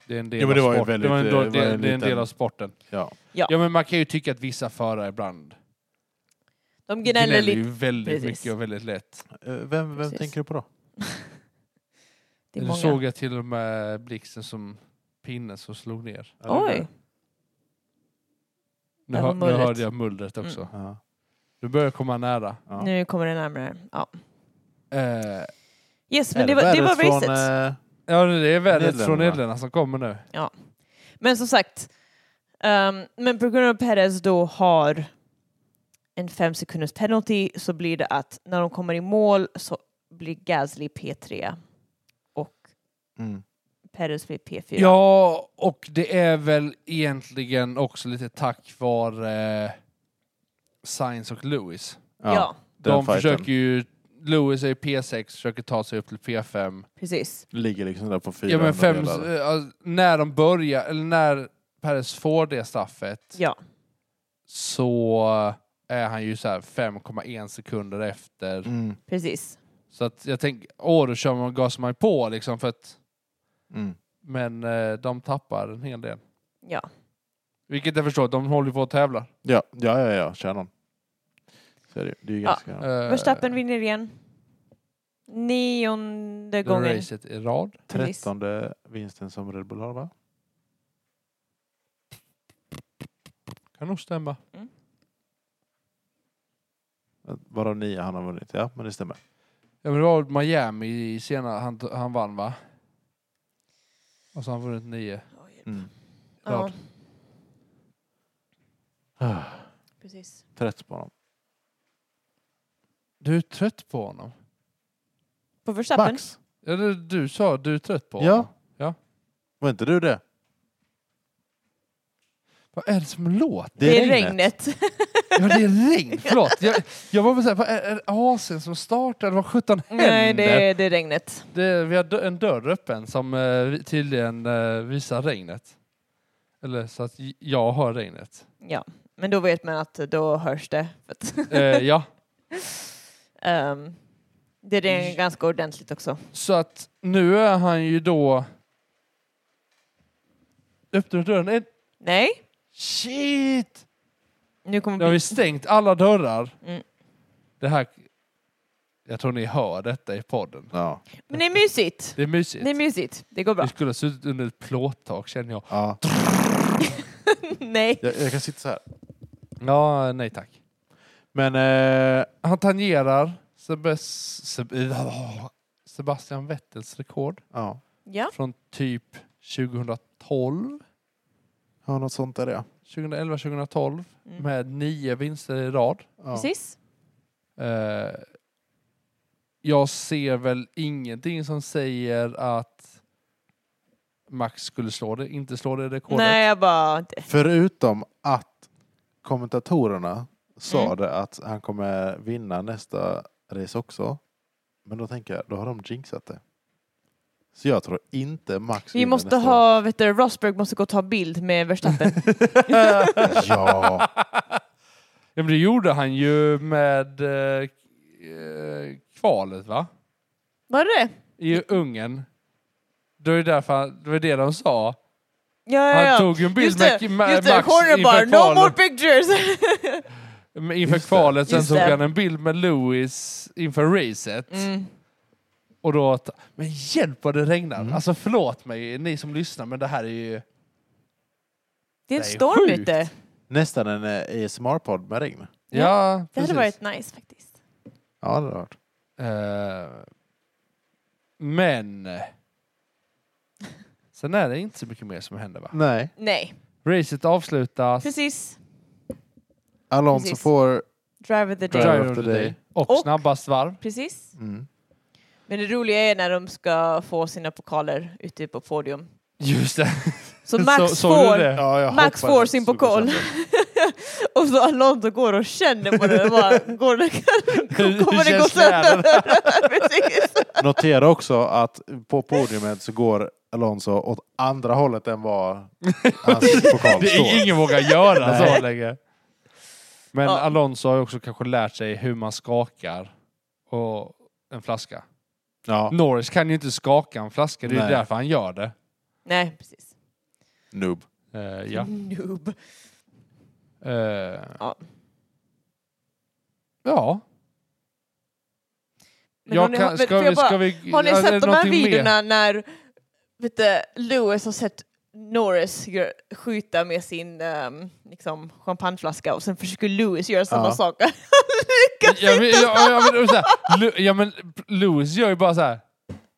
[SPEAKER 3] Det är en del,
[SPEAKER 1] Ja, men det
[SPEAKER 3] av,
[SPEAKER 1] var ju
[SPEAKER 3] sport.
[SPEAKER 1] väldigt,
[SPEAKER 3] det var en,
[SPEAKER 1] eh,
[SPEAKER 3] då-
[SPEAKER 1] det var
[SPEAKER 3] det,
[SPEAKER 1] en
[SPEAKER 3] det är en del
[SPEAKER 1] liten-
[SPEAKER 3] av sporten.
[SPEAKER 1] ja.
[SPEAKER 2] Ja.
[SPEAKER 3] Ja, men man kan ju tycka att vissa förare ibland
[SPEAKER 2] De
[SPEAKER 3] gnäller
[SPEAKER 2] gnäller lite
[SPEAKER 3] ju väldigt
[SPEAKER 2] precis.
[SPEAKER 3] mycket och väldigt lätt.
[SPEAKER 1] Eh, Vem, vem
[SPEAKER 2] Precis.
[SPEAKER 1] tänker du på då?
[SPEAKER 2] Det är
[SPEAKER 3] Nu
[SPEAKER 2] många.
[SPEAKER 3] såg jag till och med blixten som pinnen som slog ner.
[SPEAKER 1] Eller
[SPEAKER 2] Oj,
[SPEAKER 3] Nu,
[SPEAKER 2] Det
[SPEAKER 3] hör,
[SPEAKER 2] var
[SPEAKER 3] nu
[SPEAKER 2] mullret. Mm.
[SPEAKER 3] hörde jag mullret också.
[SPEAKER 1] där? Ja,
[SPEAKER 3] Du börjar komma nära.
[SPEAKER 1] ja.
[SPEAKER 2] nu kommer det närmare. Ja.
[SPEAKER 3] Eh,
[SPEAKER 2] Yes,
[SPEAKER 1] Är
[SPEAKER 2] men det var, det var
[SPEAKER 1] vädret
[SPEAKER 2] racet.
[SPEAKER 1] Från, eh,
[SPEAKER 3] Ja, det är vädret från
[SPEAKER 1] Nederländerna.
[SPEAKER 3] Nederländerna som kommer nu.
[SPEAKER 2] Men som sagt, ehm, men på grund av att Perez då har en fem sekunders penalty så blir det att när de kommer i mål så blir Gasly P3 och
[SPEAKER 1] Mm.
[SPEAKER 2] Perez blir P4.
[SPEAKER 3] Ja, och det är väl egentligen också lite tack vare eh, Sainz och Lewis.
[SPEAKER 2] Ja,
[SPEAKER 1] den
[SPEAKER 3] De
[SPEAKER 1] fighten
[SPEAKER 3] försöker ju, Lewis är ju P6, försöker ta sig upp till P5.
[SPEAKER 2] precis.
[SPEAKER 1] ligger liksom där på fyra.
[SPEAKER 3] Ja, men fem,
[SPEAKER 1] hundradelar.
[SPEAKER 3] eh, alltså, när de börjar, eller när Perez får det straffet
[SPEAKER 2] Ja,
[SPEAKER 3] så är han ju så här 5,1 sekunder efter.
[SPEAKER 1] Mm.
[SPEAKER 2] precis.
[SPEAKER 3] Så att jag tänker, åh då kör man gasar man på liksom för att,
[SPEAKER 1] Mm.
[SPEAKER 3] men eh, de tappar en hel del.
[SPEAKER 2] Ja.
[SPEAKER 3] Vilket jag förstår, de håller ju på att tävla.
[SPEAKER 1] Ja, ja, ja, ja, kör någon. Så är det, ju. det är ju
[SPEAKER 2] Ja.
[SPEAKER 1] ganska...
[SPEAKER 3] Eh,
[SPEAKER 2] Verstappen vinner igen. Nionde
[SPEAKER 3] det
[SPEAKER 2] gången.
[SPEAKER 3] racet i rad.
[SPEAKER 2] Precis.
[SPEAKER 1] Trettonde vinsten som Red Bull har va?
[SPEAKER 3] Kan nog stämma.
[SPEAKER 1] Varav nio han har vunnit, ja men det stämmer.
[SPEAKER 3] Ja, men det var Miami i senare, han, han vann va? Och så har han vunnit nio.
[SPEAKER 1] Mm.
[SPEAKER 2] Ja,
[SPEAKER 3] Rad.
[SPEAKER 2] precis.
[SPEAKER 1] Trött på honom.
[SPEAKER 3] Du är trött på honom.
[SPEAKER 2] På Verstappen?
[SPEAKER 1] Max!
[SPEAKER 3] Eller du sa du är trött på
[SPEAKER 1] Ja.
[SPEAKER 3] honom.
[SPEAKER 1] Var inte du det?
[SPEAKER 3] Vad är det som låter?
[SPEAKER 2] Det är regnet.
[SPEAKER 3] Ja, det är regn. Förlåt. Jag, jag var väl såhär, vad är, är det AC'n som startar? Vad sjutton händer?
[SPEAKER 2] Nej, det är, det är regnet.
[SPEAKER 3] Det, vi har dö- en dörr öppen som eh, vi- tydligen eh, visar regnet. Eller så att j- jag hör regnet.
[SPEAKER 2] Ja, men då vet man att då hörs det. För att,
[SPEAKER 3] Eh, ja,
[SPEAKER 2] ehm, det är
[SPEAKER 3] J-
[SPEAKER 2] ganska ordentligt också.
[SPEAKER 3] så att nu är han ju då... Öppnar dörren? Nej,
[SPEAKER 2] Nej,
[SPEAKER 3] Shit!
[SPEAKER 2] nu kommer
[SPEAKER 3] Nu har vi
[SPEAKER 2] bli...
[SPEAKER 3] stängt alla dörrar.
[SPEAKER 2] Mm.
[SPEAKER 3] Det här... Jag tror ni hör detta i podden.
[SPEAKER 1] Ja.
[SPEAKER 2] Men det är mysigt.
[SPEAKER 3] Det är mysigt.
[SPEAKER 2] Det är mysigt. Det går bra.
[SPEAKER 3] Vi skulle ha suttit under ett plåttak känner jag.
[SPEAKER 1] ja.
[SPEAKER 2] Nej.
[SPEAKER 1] Jag, jag kan sitta så här.
[SPEAKER 3] Ja, nej tack.
[SPEAKER 1] Men eh,
[SPEAKER 3] Han tangerar Sebes- Seb- Sebastian Vettels rekord
[SPEAKER 1] ja.
[SPEAKER 2] Ja,
[SPEAKER 3] från typ 2012,
[SPEAKER 1] ja, något sånt är det.
[SPEAKER 3] 2011, 2012
[SPEAKER 2] Mm.
[SPEAKER 3] med nio vinster i rad.
[SPEAKER 1] Ja.
[SPEAKER 2] precis.
[SPEAKER 3] Eh, jag ser väl ingenting som säger att Max skulle slå det, inte slå det rekordet.
[SPEAKER 2] Nej, jag bara... det-
[SPEAKER 1] Förutom att kommentatorerna sa
[SPEAKER 2] Mm.
[SPEAKER 1] det att han kommer vinna nästa race också. Men då tänker jag, då har de jinxat det. Så jag tror inte Max
[SPEAKER 2] Vi
[SPEAKER 1] vinner
[SPEAKER 2] måste
[SPEAKER 1] nästa år.
[SPEAKER 2] ha... Vet du, Rosberg måste gå och ta bild med Verstappen.
[SPEAKER 1] Ja,
[SPEAKER 3] Ja, men det gjorde han ju med eh, eh, kvalet va?
[SPEAKER 2] Var det det?
[SPEAKER 3] I Ungern. Det var ju därför, han- det var det de sa.
[SPEAKER 2] Ja, ja,
[SPEAKER 3] Han
[SPEAKER 2] ja.
[SPEAKER 3] tog ju en bild
[SPEAKER 2] Just det,
[SPEAKER 3] med, med
[SPEAKER 2] just det.
[SPEAKER 3] Max
[SPEAKER 2] Horner bara,
[SPEAKER 3] inför
[SPEAKER 2] no more
[SPEAKER 3] kvalet.
[SPEAKER 2] pictures!
[SPEAKER 3] Men inför
[SPEAKER 1] Just det.
[SPEAKER 3] kvalet. Sen
[SPEAKER 2] Just
[SPEAKER 3] tog
[SPEAKER 2] det.
[SPEAKER 3] han en bild med Lewis inför racet.
[SPEAKER 2] Mm.
[SPEAKER 3] Och då, ta- men hjälp vad det regnar.
[SPEAKER 1] Mm.
[SPEAKER 3] Alltså förlåt mig ni som lyssnar men det här är ju...
[SPEAKER 2] Det är en
[SPEAKER 3] Det är
[SPEAKER 2] storm
[SPEAKER 3] sjukt.
[SPEAKER 2] ute.
[SPEAKER 1] nästan en eh, ASMR-podd med regn.
[SPEAKER 2] Ja,
[SPEAKER 3] Ja,
[SPEAKER 2] Det hade
[SPEAKER 3] precis.
[SPEAKER 2] varit nice faktiskt.
[SPEAKER 1] Ja, det har jag hört.
[SPEAKER 3] Eh, men... Sen är det inte så mycket mer som händer va?
[SPEAKER 1] Nej.
[SPEAKER 2] Nej,
[SPEAKER 3] Racet avslutas.
[SPEAKER 2] precis.
[SPEAKER 1] Alonso
[SPEAKER 2] Precis.
[SPEAKER 1] får...
[SPEAKER 2] Driver the day.
[SPEAKER 1] Driver.
[SPEAKER 3] Driver
[SPEAKER 1] of
[SPEAKER 3] of
[SPEAKER 1] the
[SPEAKER 3] the
[SPEAKER 1] day.
[SPEAKER 3] day. Och,
[SPEAKER 2] Och-
[SPEAKER 3] snabbast varv.
[SPEAKER 2] Precis.
[SPEAKER 1] Mm.
[SPEAKER 2] Men det roliga är när de ska få sina pokaler ute på podium.
[SPEAKER 3] Just det.
[SPEAKER 2] Så Max
[SPEAKER 3] Så- såg du
[SPEAKER 2] får,
[SPEAKER 3] det?
[SPEAKER 1] Ja, jag hoppades
[SPEAKER 2] Max får sin
[SPEAKER 1] det skulle
[SPEAKER 2] pokal.
[SPEAKER 1] gå sönder.
[SPEAKER 2] och så Alonso går och känner på den. Och bara, går det, kommer det gå
[SPEAKER 3] känns lädret?
[SPEAKER 2] sönder? Precis.
[SPEAKER 1] Notera också att på podiumet så går Alonso åt andra hållet än vad hans pokal
[SPEAKER 3] Det är
[SPEAKER 1] står.
[SPEAKER 3] ingen vågar göra
[SPEAKER 1] Nej.
[SPEAKER 3] så länge. Men
[SPEAKER 2] Ja.
[SPEAKER 3] Alonso har ju också kanske lärt sig hur man skakar och en flaska.
[SPEAKER 1] Ja,
[SPEAKER 3] Norris kan ju inte skaka en flaska, det är ju
[SPEAKER 1] Nej.
[SPEAKER 3] därför han gör det.
[SPEAKER 2] Nej, precis.
[SPEAKER 1] noob.
[SPEAKER 3] Eh, ja.
[SPEAKER 2] Noob.
[SPEAKER 3] Eh,
[SPEAKER 2] Mm. Ja.
[SPEAKER 3] ja.
[SPEAKER 2] Men har
[SPEAKER 3] Jag
[SPEAKER 2] ni-
[SPEAKER 3] kan,
[SPEAKER 2] men
[SPEAKER 3] ska,
[SPEAKER 2] får
[SPEAKER 3] vi,
[SPEAKER 2] jag bara-
[SPEAKER 3] ska vi...
[SPEAKER 2] Har ni
[SPEAKER 3] är det
[SPEAKER 2] sett de här
[SPEAKER 3] någonting mer?
[SPEAKER 2] videorna när vet du, Lewis har sett Norris gör, skjuta med sin ehm, liksom, champagneflaska och sen försöker Lewis göra samma
[SPEAKER 1] Ja.
[SPEAKER 2] sak. Han lyckas
[SPEAKER 3] Ja men,
[SPEAKER 2] inte!
[SPEAKER 3] ja, ja, men, så här, Lu- ja, men Lewis gör ju bara så här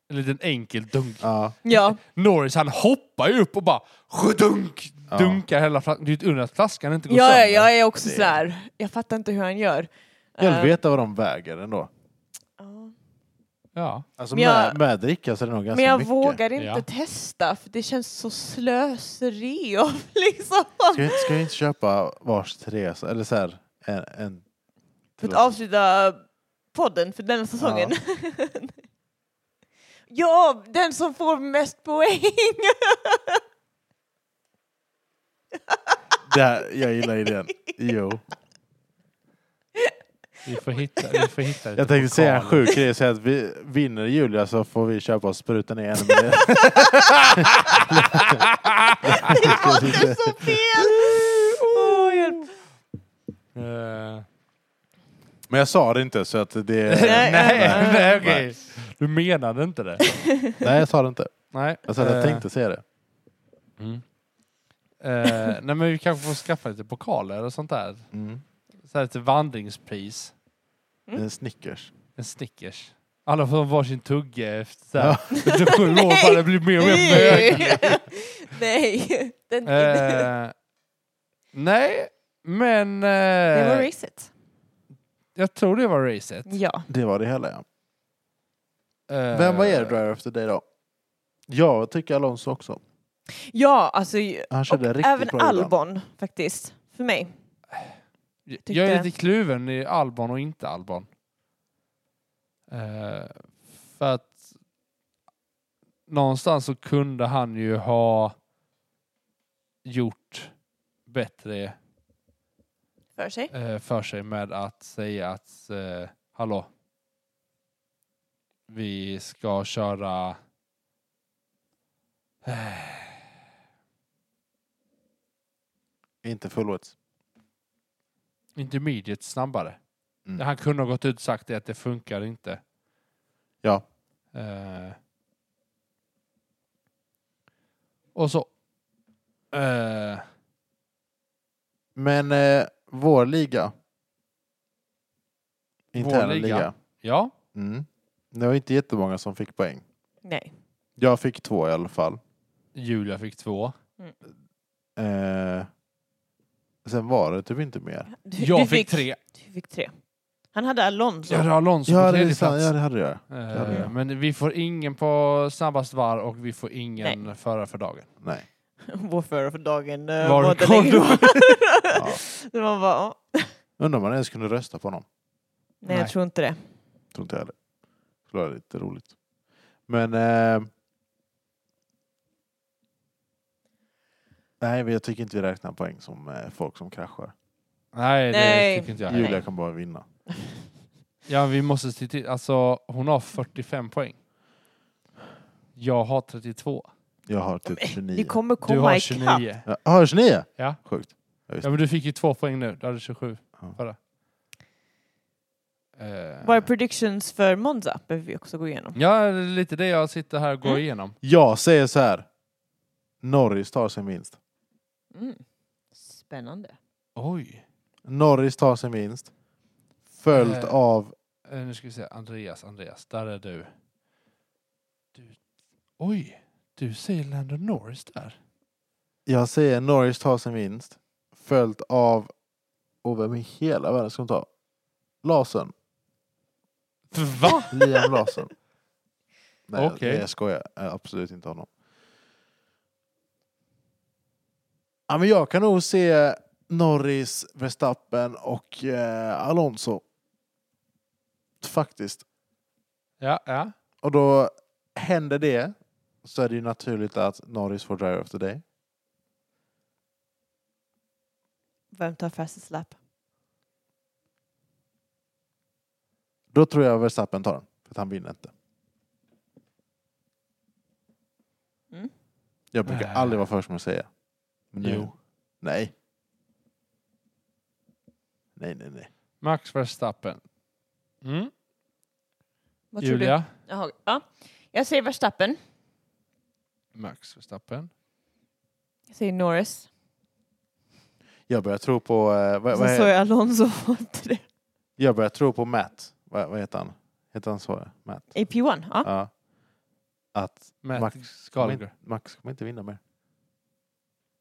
[SPEAKER 3] en liten enkel dunk.
[SPEAKER 1] Ja.
[SPEAKER 2] Ja,
[SPEAKER 3] Norris han hoppar ju upp och bara dunk,
[SPEAKER 1] Ja.
[SPEAKER 3] dunkar hela flaskan. Det är ju ett under att flaskan inte går
[SPEAKER 2] ja, ja,
[SPEAKER 3] sönder.
[SPEAKER 2] jag är också
[SPEAKER 1] Det-
[SPEAKER 2] sådär. Jag fattar inte hur han gör.
[SPEAKER 1] Jag
[SPEAKER 2] Ehm,
[SPEAKER 1] vill veta vad de väger ändå.
[SPEAKER 2] ja.
[SPEAKER 3] Ja.
[SPEAKER 1] Alltså
[SPEAKER 2] Men jag-
[SPEAKER 1] med, med dricka så är det nog ganska
[SPEAKER 2] Men jag
[SPEAKER 1] mycket.
[SPEAKER 2] vågar inte
[SPEAKER 3] Ja.
[SPEAKER 2] testa för det känns så slöseri av liksom.
[SPEAKER 1] Ska vi, ska vi inte köpa vars Therese? Eller så här, en, en
[SPEAKER 2] För att
[SPEAKER 1] till oss?
[SPEAKER 2] avsluta podden för den säsongen. Ja, den som får mest poäng.
[SPEAKER 1] Det här, jag gillar idén. Jo.
[SPEAKER 3] Vi får hitta, vi får hitta lite
[SPEAKER 1] Jag tänkte säga en
[SPEAKER 3] pokaler.
[SPEAKER 1] sjuk grej, säga att vi vinner Julia så får vi köpa och spruta ner en med
[SPEAKER 2] det låter så fel! Åh, hjälp.
[SPEAKER 3] Eh,
[SPEAKER 1] Men jag sa det inte så att det...
[SPEAKER 2] Nej,
[SPEAKER 3] nej, nej,
[SPEAKER 2] nej,
[SPEAKER 3] nej, okej. Du menade inte det.
[SPEAKER 1] Nej jag sa det inte.
[SPEAKER 3] Nej.
[SPEAKER 1] Alltså, Jag sa att jag
[SPEAKER 3] eh,
[SPEAKER 1] tänkte säga det.
[SPEAKER 3] Mm. Eh, nej men vi kanske får skaffa lite pokaler och sånt där.
[SPEAKER 1] Mm.
[SPEAKER 3] Så här lite vandringspris.
[SPEAKER 1] En Snickers.
[SPEAKER 3] En Snickers. Alla får varsin tugga efter så här.
[SPEAKER 1] Ja.
[SPEAKER 3] Efter sju år bara det blir mer och mer bög.
[SPEAKER 2] Nej. Nej. Den,
[SPEAKER 3] Eh, nej, men eh,
[SPEAKER 2] det var racet.
[SPEAKER 3] jag tror det var racet.
[SPEAKER 2] Ja.
[SPEAKER 1] Det var det hela ja.
[SPEAKER 3] Eh,
[SPEAKER 1] Vem var er driver efter dig då? Jag tycker Alonso också.
[SPEAKER 2] Ja, alltså ju-
[SPEAKER 1] Han körde riktigt
[SPEAKER 2] även
[SPEAKER 1] bra ibland.
[SPEAKER 2] Albon faktiskt. För mig.
[SPEAKER 3] Jag är
[SPEAKER 2] tyckte-
[SPEAKER 3] lite kluven i Albon och inte Albon. Eh, för att någonstans så kunde han ju ha gjort bättre
[SPEAKER 2] För sig.
[SPEAKER 3] eh, för sig med att säga att eh, hallå, vi ska köra
[SPEAKER 1] Inte fullwets.
[SPEAKER 3] intermediate snabbare.
[SPEAKER 1] Mm.
[SPEAKER 3] Han kunde ha gått ut och sagt det att det funkar inte.
[SPEAKER 1] Ja.
[SPEAKER 3] Eh. Och så... Eh.
[SPEAKER 1] Men eh, vår liga. Interna
[SPEAKER 3] liga.
[SPEAKER 1] liga.
[SPEAKER 3] Ja.
[SPEAKER 1] Mm. Det var inte jättemånga som fick poäng.
[SPEAKER 2] Nej.
[SPEAKER 1] Jag fick två i alla fall.
[SPEAKER 3] Julia fick två.
[SPEAKER 1] Eh, sen var det typ inte mer.
[SPEAKER 2] Du,
[SPEAKER 3] Jag
[SPEAKER 2] du
[SPEAKER 3] fick, tre.
[SPEAKER 2] Du fick tre. Han hade Alonso.
[SPEAKER 3] Jag hade Alonso
[SPEAKER 1] Ja
[SPEAKER 3] på
[SPEAKER 1] det, är
[SPEAKER 3] tredje
[SPEAKER 1] sant,
[SPEAKER 3] plats.
[SPEAKER 1] ja, det hade jag.
[SPEAKER 3] Eh,
[SPEAKER 1] hade jag.
[SPEAKER 3] Men vi får ingen på snabbast var och vi får ingen förare för dagen.
[SPEAKER 1] Nej.
[SPEAKER 2] Vår förare för dagen eh,
[SPEAKER 3] Var
[SPEAKER 2] var inte
[SPEAKER 3] kom
[SPEAKER 2] längre
[SPEAKER 3] du?
[SPEAKER 2] kvar.
[SPEAKER 1] Ja.
[SPEAKER 2] Det var bara, ja.
[SPEAKER 1] Undrar om man ens kunde rösta på honom.
[SPEAKER 2] nej,
[SPEAKER 3] Nej.
[SPEAKER 2] jag tror inte det.
[SPEAKER 1] Tror inte jag heller. Skulle vara lite roligt. Men... Eh, nej, men jag tycker inte vi räknar poäng som eh, folk som kraschar.
[SPEAKER 3] Nej, det
[SPEAKER 2] Nej.
[SPEAKER 3] tycker inte jag. heller.
[SPEAKER 1] Julia
[SPEAKER 2] Nej.
[SPEAKER 1] kan bara vinna.
[SPEAKER 3] Ja, vi måste se till. Alltså, hon har 45 poäng. Jag har 32.
[SPEAKER 1] Jag har typ 29.
[SPEAKER 2] Vi kommer
[SPEAKER 3] du har
[SPEAKER 2] komma ikapp.
[SPEAKER 3] 29.
[SPEAKER 1] Ja, har jag 29?
[SPEAKER 3] Ja.
[SPEAKER 1] Sjukt.
[SPEAKER 3] Ja, men du fick ju två poäng nu. Du hade 27
[SPEAKER 1] Ja.
[SPEAKER 3] förra. Eh,
[SPEAKER 2] Våra predictions för Monza behöver vi också gå igenom.
[SPEAKER 3] ja, det är lite det jag sitter här och går
[SPEAKER 2] Mm.
[SPEAKER 3] igenom.
[SPEAKER 1] Jag säger så här. Norris tar sin vinst.
[SPEAKER 2] Mm. Spännande.
[SPEAKER 3] Oj.
[SPEAKER 1] Norris tar sin vinst. Följt
[SPEAKER 3] Eh.
[SPEAKER 1] av...
[SPEAKER 3] Eh, nu ska vi se. Andreas, Andreas. Där är du. du. Oj. Du säger Lando Norris där.
[SPEAKER 1] Jag säger Norris tar sin vinst. Följt av... Och vem i hela världen ska hon ta? Larsen.
[SPEAKER 3] Va?
[SPEAKER 1] Liam Larsson. Nej,
[SPEAKER 3] Okej.
[SPEAKER 1] jag- jag skojar. Eh, Absolut inte honom. Ja, men jag kan nog se Norris, Verstappen och eh, Alonso. Faktiskt.
[SPEAKER 3] Ja, ja.
[SPEAKER 1] Och då händer det så är det ju naturligt att Norris får drive efter dig.
[SPEAKER 2] Vem tar fastest lap?
[SPEAKER 1] Då tror jag Verstappen tar den. För att han vinner inte.
[SPEAKER 2] Mm.
[SPEAKER 1] Jag brukar
[SPEAKER 3] Äh.
[SPEAKER 1] aldrig vara först med att säga. Men nu-
[SPEAKER 3] Jo.
[SPEAKER 1] Nej. Nej, nej, nej.
[SPEAKER 3] Max Verstappen. Mm.
[SPEAKER 2] Vad tror
[SPEAKER 3] Julia.
[SPEAKER 2] du? Jaha, ja. Jag säger Verstappen.
[SPEAKER 3] Max Verstappen.
[SPEAKER 2] Jag säger Norris.
[SPEAKER 1] Jag börjar tro på... Eh, vad, vad
[SPEAKER 2] Sen Alltså, så
[SPEAKER 1] jag...
[SPEAKER 2] är Alonso inte det.
[SPEAKER 1] jag börjar tro på Matt. Vad, vad heter han? Heter han så? Matt?
[SPEAKER 2] AP1, ja.
[SPEAKER 1] Ja. Att
[SPEAKER 3] Matt
[SPEAKER 1] Max kommer,
[SPEAKER 3] Gallagher.
[SPEAKER 1] inte, Max kommer inte vinna mer.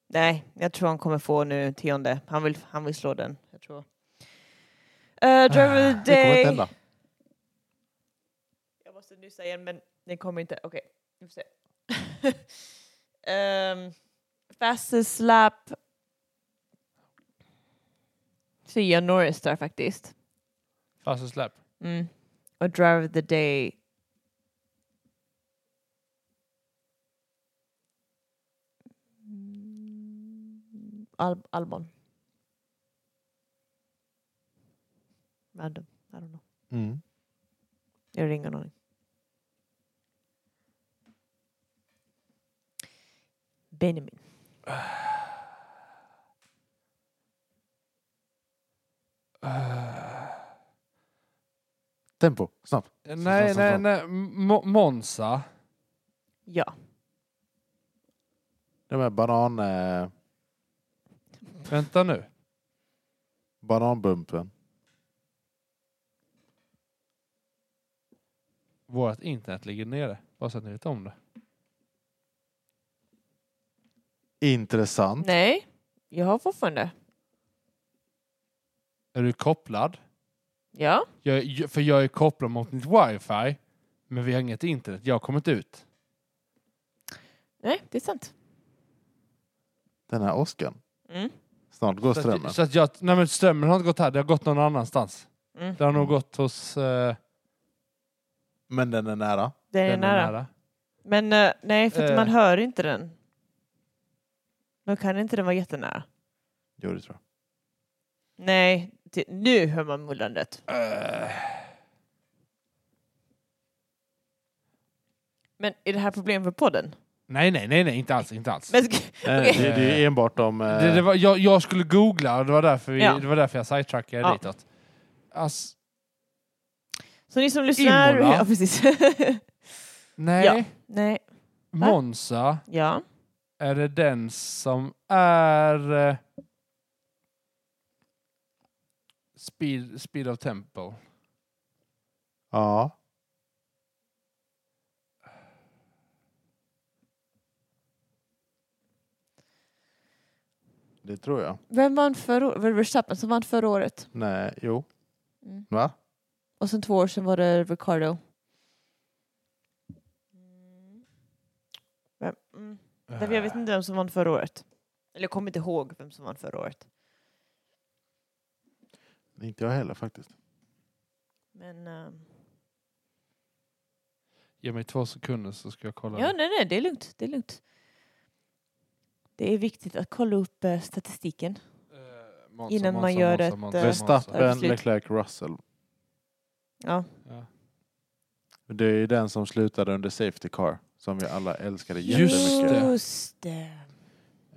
[SPEAKER 2] Nej, jag tror han kommer få nu tionde. Han vill, han vill slå den. Jag tror. Uh, Eh, driver of the
[SPEAKER 1] Det kommer inte
[SPEAKER 2] day.
[SPEAKER 1] hända.
[SPEAKER 2] Jag bara måste nyssa igen, men den kommer inte. Okej, vi får se. um, fastest lap. Så Ian Norris där faktiskt.
[SPEAKER 3] Fastest släpp.
[SPEAKER 2] Mm. Och driver of the day. Mm, Al Albon. Random. I don't know.
[SPEAKER 1] Mm.
[SPEAKER 2] Jag har ingen aning. Benjamin.
[SPEAKER 3] Eh,
[SPEAKER 1] Tempo, snabbt.
[SPEAKER 3] Nej,
[SPEAKER 1] så,
[SPEAKER 3] nej,
[SPEAKER 1] så.
[SPEAKER 3] nej. Mo- Monza.
[SPEAKER 2] Ja.
[SPEAKER 1] De här banan, eh,
[SPEAKER 3] Vänta nu.
[SPEAKER 1] bananbumpen.
[SPEAKER 3] Vårt internet ligger nere. Bara så att ni vet om det.
[SPEAKER 1] Intressant.
[SPEAKER 2] Nej, jag har fortfarande.
[SPEAKER 3] Är du kopplad?
[SPEAKER 2] Ja.
[SPEAKER 3] Jag, jag- för jag är kopplad mot mitt wifi. Men vi har inget internet. Jag har kommit ut.
[SPEAKER 2] Nej, det är sant.
[SPEAKER 1] Den här åskan.
[SPEAKER 2] Mm.
[SPEAKER 1] Snart går
[SPEAKER 3] Så
[SPEAKER 1] strömmen.
[SPEAKER 3] att, så att jag, nej men strömmen har inte gått här. Det har gått någon annanstans.
[SPEAKER 2] Mm.
[SPEAKER 3] Det har nog gått hos... Eh,
[SPEAKER 1] Men den är nära.
[SPEAKER 2] Den är
[SPEAKER 3] den
[SPEAKER 2] nära.
[SPEAKER 3] nära.
[SPEAKER 2] Men eh, nej, för att
[SPEAKER 3] Eh.
[SPEAKER 2] man hör inte den. Då kan inte den vara jättenära.
[SPEAKER 1] Jo, det tror jag.
[SPEAKER 2] Nej, ti- nu hör man mullrandet.
[SPEAKER 3] Eh,
[SPEAKER 2] Men är det här problem för podden?
[SPEAKER 3] Nej, nej, nej, nej. Inte alls. Inte alls.
[SPEAKER 2] Men sk-
[SPEAKER 1] Nej, Eh, det, det är ju enbart om... Eh,
[SPEAKER 3] Det, det var, jag, jag skulle googla och det var därför, vi,
[SPEAKER 2] Ja.
[SPEAKER 3] det var därför jag sidetrackade
[SPEAKER 2] Ja.
[SPEAKER 3] ditåt. Ass,
[SPEAKER 2] Så ni som lyssnar...
[SPEAKER 3] Imola.
[SPEAKER 2] Ja, precis.
[SPEAKER 3] nej,
[SPEAKER 2] Ja. nej,
[SPEAKER 3] Monza
[SPEAKER 2] ja.
[SPEAKER 3] är det den som är... eh, Speed, speed of Temple.
[SPEAKER 1] Ja. Det tror jag.
[SPEAKER 2] Vem vann förra året? Var det Verstappen som vann förra året?
[SPEAKER 1] Nej, jo.
[SPEAKER 2] Mm.
[SPEAKER 1] Va?
[SPEAKER 2] Och sen två år sedan var det Ricardo. Vem? Mm. Därför jag vet
[SPEAKER 3] Eh.
[SPEAKER 2] inte vem som vann förra året. Eller jag kommer inte ihåg vem som vann förra året.
[SPEAKER 1] Inte jag heller faktiskt.
[SPEAKER 2] Men... ehm,
[SPEAKER 3] Ge mig två sekunder så ska jag kolla.
[SPEAKER 2] Ja, nej, nej, det är lugnt. Det är lugnt. Det är viktigt att kolla upp eh, statistiken.
[SPEAKER 3] Eh, Monza,
[SPEAKER 2] Innan man gör ett, eh,
[SPEAKER 1] Verstappen,
[SPEAKER 2] Absolut.
[SPEAKER 1] Leclerc, Russell.
[SPEAKER 2] Ja,
[SPEAKER 3] Ja.
[SPEAKER 1] Det är ju den som slutade under Safety Car. Som vi alla älskade
[SPEAKER 3] Just
[SPEAKER 1] jättemycket.
[SPEAKER 3] det.
[SPEAKER 2] Just det.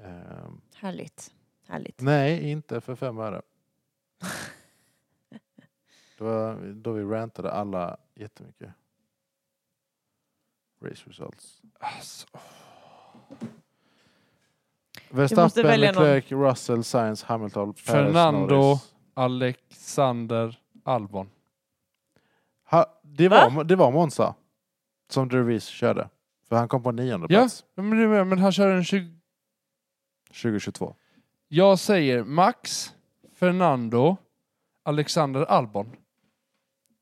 [SPEAKER 1] Ehm,
[SPEAKER 2] Härligt. Härligt.
[SPEAKER 1] nej, inte för fem öre. Det var då vi rantade alla jättemycket. Race results.
[SPEAKER 3] Alltså,
[SPEAKER 1] Verstappen,
[SPEAKER 2] välja någon.
[SPEAKER 1] Leclerc, Russell, Sainz, Hamilton, Perez,
[SPEAKER 3] Fernando.
[SPEAKER 1] Norris.
[SPEAKER 3] Alexander Albon.
[SPEAKER 1] Ha, det,
[SPEAKER 2] Va?
[SPEAKER 1] var, det var Monza som Drevis körde. För han kom på nionde
[SPEAKER 3] Ja.
[SPEAKER 1] plats
[SPEAKER 3] Ja, Men, det är med, men han kör en 20...
[SPEAKER 1] 2022.
[SPEAKER 3] Jag säger Max, Fernando, Alexander Albon.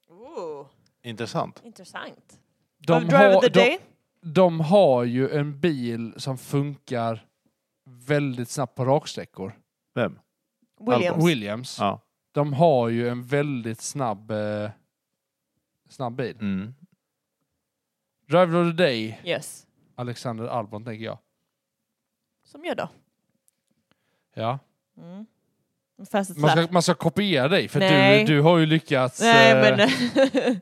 [SPEAKER 2] Ooh,
[SPEAKER 1] Intressant.
[SPEAKER 2] intressant.
[SPEAKER 3] De
[SPEAKER 2] driver
[SPEAKER 3] har,
[SPEAKER 2] the
[SPEAKER 3] de,
[SPEAKER 2] day?
[SPEAKER 3] de har ju en bil som funkar väldigt snabbt på raksträckor.
[SPEAKER 1] Vem?
[SPEAKER 2] Williams.
[SPEAKER 3] Williams.
[SPEAKER 1] Ja.
[SPEAKER 3] De har ju en väldigt snabb, eh, snabb bil.
[SPEAKER 1] Mm.
[SPEAKER 3] Driver of the Day,
[SPEAKER 2] Yes.
[SPEAKER 3] Alexander Albon tänker jag.
[SPEAKER 2] Som jag då.
[SPEAKER 3] Ja.
[SPEAKER 2] Mm. Fastest
[SPEAKER 3] Man, ska,
[SPEAKER 2] lap.
[SPEAKER 3] man ska kopiera dig för du,
[SPEAKER 2] Nej.
[SPEAKER 3] du har ju lyckats...
[SPEAKER 2] Nej,
[SPEAKER 3] eh,
[SPEAKER 2] men...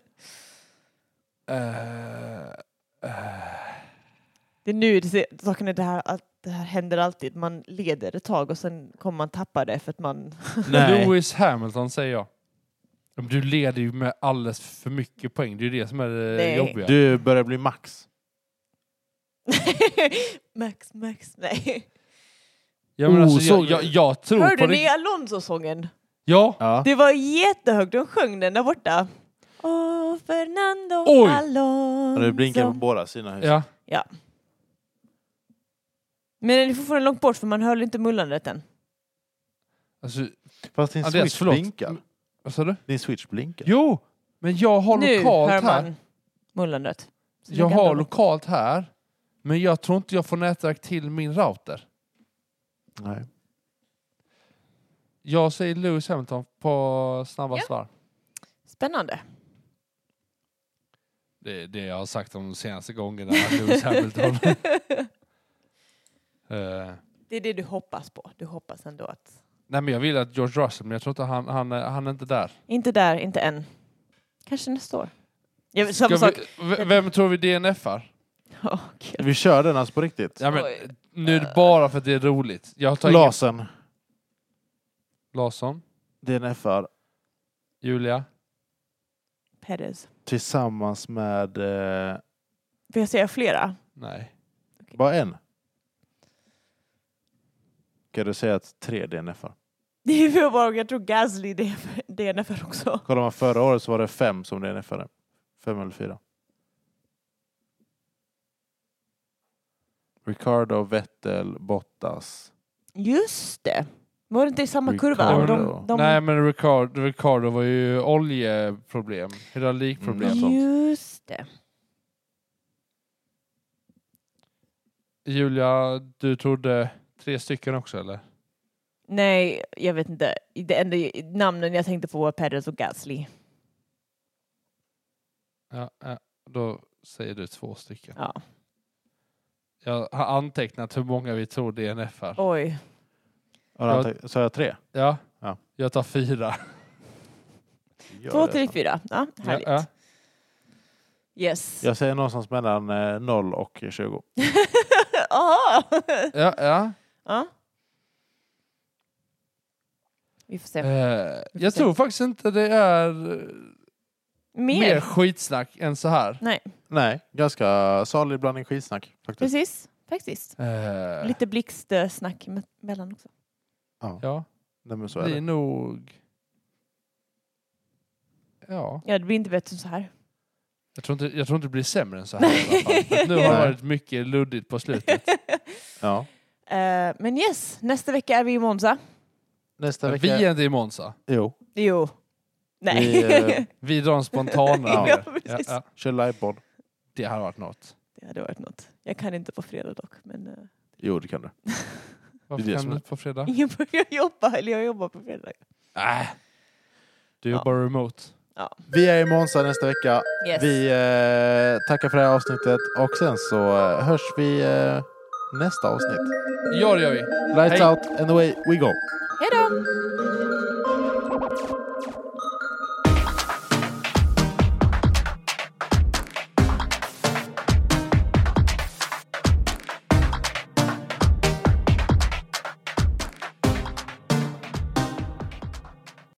[SPEAKER 3] eh, eh,
[SPEAKER 2] det är nu det, ser- saken är det här att det här händer alltid. Man leder ett tag och sen kommer man tappa det för att man...
[SPEAKER 3] Lewis Hamilton säger jag. Men Du leder ju med alldeles för mycket poäng. Det är ju det som är det
[SPEAKER 2] Nej.
[SPEAKER 3] jobbiga.
[SPEAKER 1] Du börjar bli max.
[SPEAKER 2] max, max, nej.
[SPEAKER 3] Ja, men
[SPEAKER 1] Oh,
[SPEAKER 3] alltså,
[SPEAKER 1] så-
[SPEAKER 3] jag, jag, jag tror
[SPEAKER 2] Hörde
[SPEAKER 3] på
[SPEAKER 2] ni
[SPEAKER 3] det.
[SPEAKER 2] Alonso-sången?
[SPEAKER 3] Ja,
[SPEAKER 1] Ja.
[SPEAKER 2] Det var jättehögt, de sjöng den där borta. Åh, Fernando
[SPEAKER 3] Oj!
[SPEAKER 1] Och Du blinkar på
[SPEAKER 2] Alonso.
[SPEAKER 1] båda sina hus.
[SPEAKER 3] ja.
[SPEAKER 2] Men den är fortfarande långt bort för man hör inte mullandet än.
[SPEAKER 3] Alltså,
[SPEAKER 1] Fast din
[SPEAKER 3] Andreas,
[SPEAKER 1] switch
[SPEAKER 3] förlåt.
[SPEAKER 1] blinkar.
[SPEAKER 3] vad sa du?
[SPEAKER 1] Din switch blinkar.
[SPEAKER 3] Jo, men jag har
[SPEAKER 2] Nu
[SPEAKER 3] lokalt
[SPEAKER 2] hör
[SPEAKER 3] här.
[SPEAKER 2] man. mullandet. Så det
[SPEAKER 3] Jag
[SPEAKER 2] kan
[SPEAKER 3] har
[SPEAKER 2] de-
[SPEAKER 3] lokalt här, men jag tror inte jag får nätverk till min router.
[SPEAKER 1] Nej.
[SPEAKER 3] Jag säger Lewis Hamilton på snabba
[SPEAKER 2] Ja.
[SPEAKER 3] svar.
[SPEAKER 2] Spännande.
[SPEAKER 3] Det är det jag har sagt de senaste gångerna, Lewis Hamilton. Eh,
[SPEAKER 2] Det är det du hoppas på. Du hoppas ändå att...
[SPEAKER 3] nej men jag vill att George Russell, men jag tror inte han, han, är- han är inte där.
[SPEAKER 2] Inte där, inte än. Kanske nästa år. Ja,
[SPEAKER 3] Ska
[SPEAKER 2] samma sak.
[SPEAKER 3] vi, v- vem tror vi DNFar?
[SPEAKER 2] Ja, gud.
[SPEAKER 1] Vi kör den alltså på riktigt.
[SPEAKER 3] Ja, men,
[SPEAKER 2] Oj.
[SPEAKER 3] nu är det bara för att det är roligt. Jag tar ingen...
[SPEAKER 1] Lasen.
[SPEAKER 3] Larsson,
[SPEAKER 1] DNFR
[SPEAKER 3] Julia.
[SPEAKER 2] Perez.
[SPEAKER 1] tillsammans med... Eh,
[SPEAKER 2] Får jag säga flera?
[SPEAKER 3] Nej.
[SPEAKER 1] bara en? Kan du säga att tre DNFR?
[SPEAKER 2] Det är ju bara, jag tror Gasly det är för- det är därför också.
[SPEAKER 1] Kollar man förra året så var det fem som DNFR. Fem eller fyra. Ricardo, Vettel, Bottas.
[SPEAKER 2] Just det. Var det inte i samma kurva?
[SPEAKER 1] Ricardo.
[SPEAKER 2] De, de,
[SPEAKER 3] Nej men Ricardo, Ricardo var ju oljeproblem, hydraulikproblem.
[SPEAKER 1] Mm. sånt.
[SPEAKER 2] Just det.
[SPEAKER 3] Julia, du trodde tre stycken också eller?
[SPEAKER 2] Nej, jag vet inte. Det enda namnen jag tänkte på var Perez och Gasly.
[SPEAKER 3] Ja, ja, då säger du två stycken.
[SPEAKER 2] Ja.
[SPEAKER 3] Jag har antecknat hur många vi tror DNF här.
[SPEAKER 2] Oj.
[SPEAKER 1] Har han tagit- Sa jag tre?
[SPEAKER 3] Ja.
[SPEAKER 1] Ja.
[SPEAKER 3] jag tar fyra.
[SPEAKER 2] Två, tre, fyra. Ja,
[SPEAKER 3] Ja,
[SPEAKER 2] härligt.
[SPEAKER 3] ja.
[SPEAKER 2] Yes.
[SPEAKER 1] Jag säger någonstans mellan eh, 0 och 20.
[SPEAKER 2] Aha.
[SPEAKER 3] Ja, ja.
[SPEAKER 2] ja. Vi får se.
[SPEAKER 3] Eh, jag
[SPEAKER 2] se.
[SPEAKER 3] tror faktiskt inte det är eh,
[SPEAKER 2] Mer.
[SPEAKER 3] mer skitsnack än så här.
[SPEAKER 2] Nej,
[SPEAKER 1] Nej, ganska salig blandning skitsnack faktiskt.
[SPEAKER 2] precis. Faktiskt.
[SPEAKER 3] Eh,
[SPEAKER 2] Lite blixtsnack me- mellan också.
[SPEAKER 1] Ja,
[SPEAKER 3] ja,
[SPEAKER 1] nej, men så är
[SPEAKER 3] det är
[SPEAKER 1] det.
[SPEAKER 3] nog... Ja,
[SPEAKER 2] Ja, det blir inte bättre än så här.
[SPEAKER 3] jag tror, inte, jag tror inte det blir sämre än så här i alla fall. För att Nu har det
[SPEAKER 1] Nej.
[SPEAKER 3] varit mycket luddigt på slutet.
[SPEAKER 1] Ja.
[SPEAKER 2] Eh, men yes, nästa vecka är vi i Monza.
[SPEAKER 1] Nästa vecka...
[SPEAKER 3] Vi är inte i Monza.
[SPEAKER 1] Jo,
[SPEAKER 2] Jo. Nej.
[SPEAKER 1] Vi, eh,
[SPEAKER 3] Vi drar en spontan.
[SPEAKER 1] Ja,
[SPEAKER 3] ja,
[SPEAKER 2] precis.
[SPEAKER 3] ja.
[SPEAKER 1] kör livepodd.
[SPEAKER 3] Det hade varit något.
[SPEAKER 2] Det hade varit något. Jag kan inte på fredag dock, men eh,
[SPEAKER 1] Jo, det kan du.
[SPEAKER 3] Varför
[SPEAKER 1] det
[SPEAKER 3] kan
[SPEAKER 1] som
[SPEAKER 3] du
[SPEAKER 1] är-
[SPEAKER 3] inte på fredag?
[SPEAKER 2] ingen börjar jobba, eller jag jobbar på fredag.
[SPEAKER 3] Äh, du
[SPEAKER 2] Ja.
[SPEAKER 3] jobbar remote.
[SPEAKER 1] Vi är i Monza nästa vecka.
[SPEAKER 2] Yes.
[SPEAKER 1] Vi eh, tackar för det här avsnittet och sen så eh, hörs vi eh, nästa avsnitt.
[SPEAKER 3] Ja, det gör vi.
[SPEAKER 1] Lights
[SPEAKER 3] Hej.
[SPEAKER 1] out and away we go.
[SPEAKER 2] Hej då!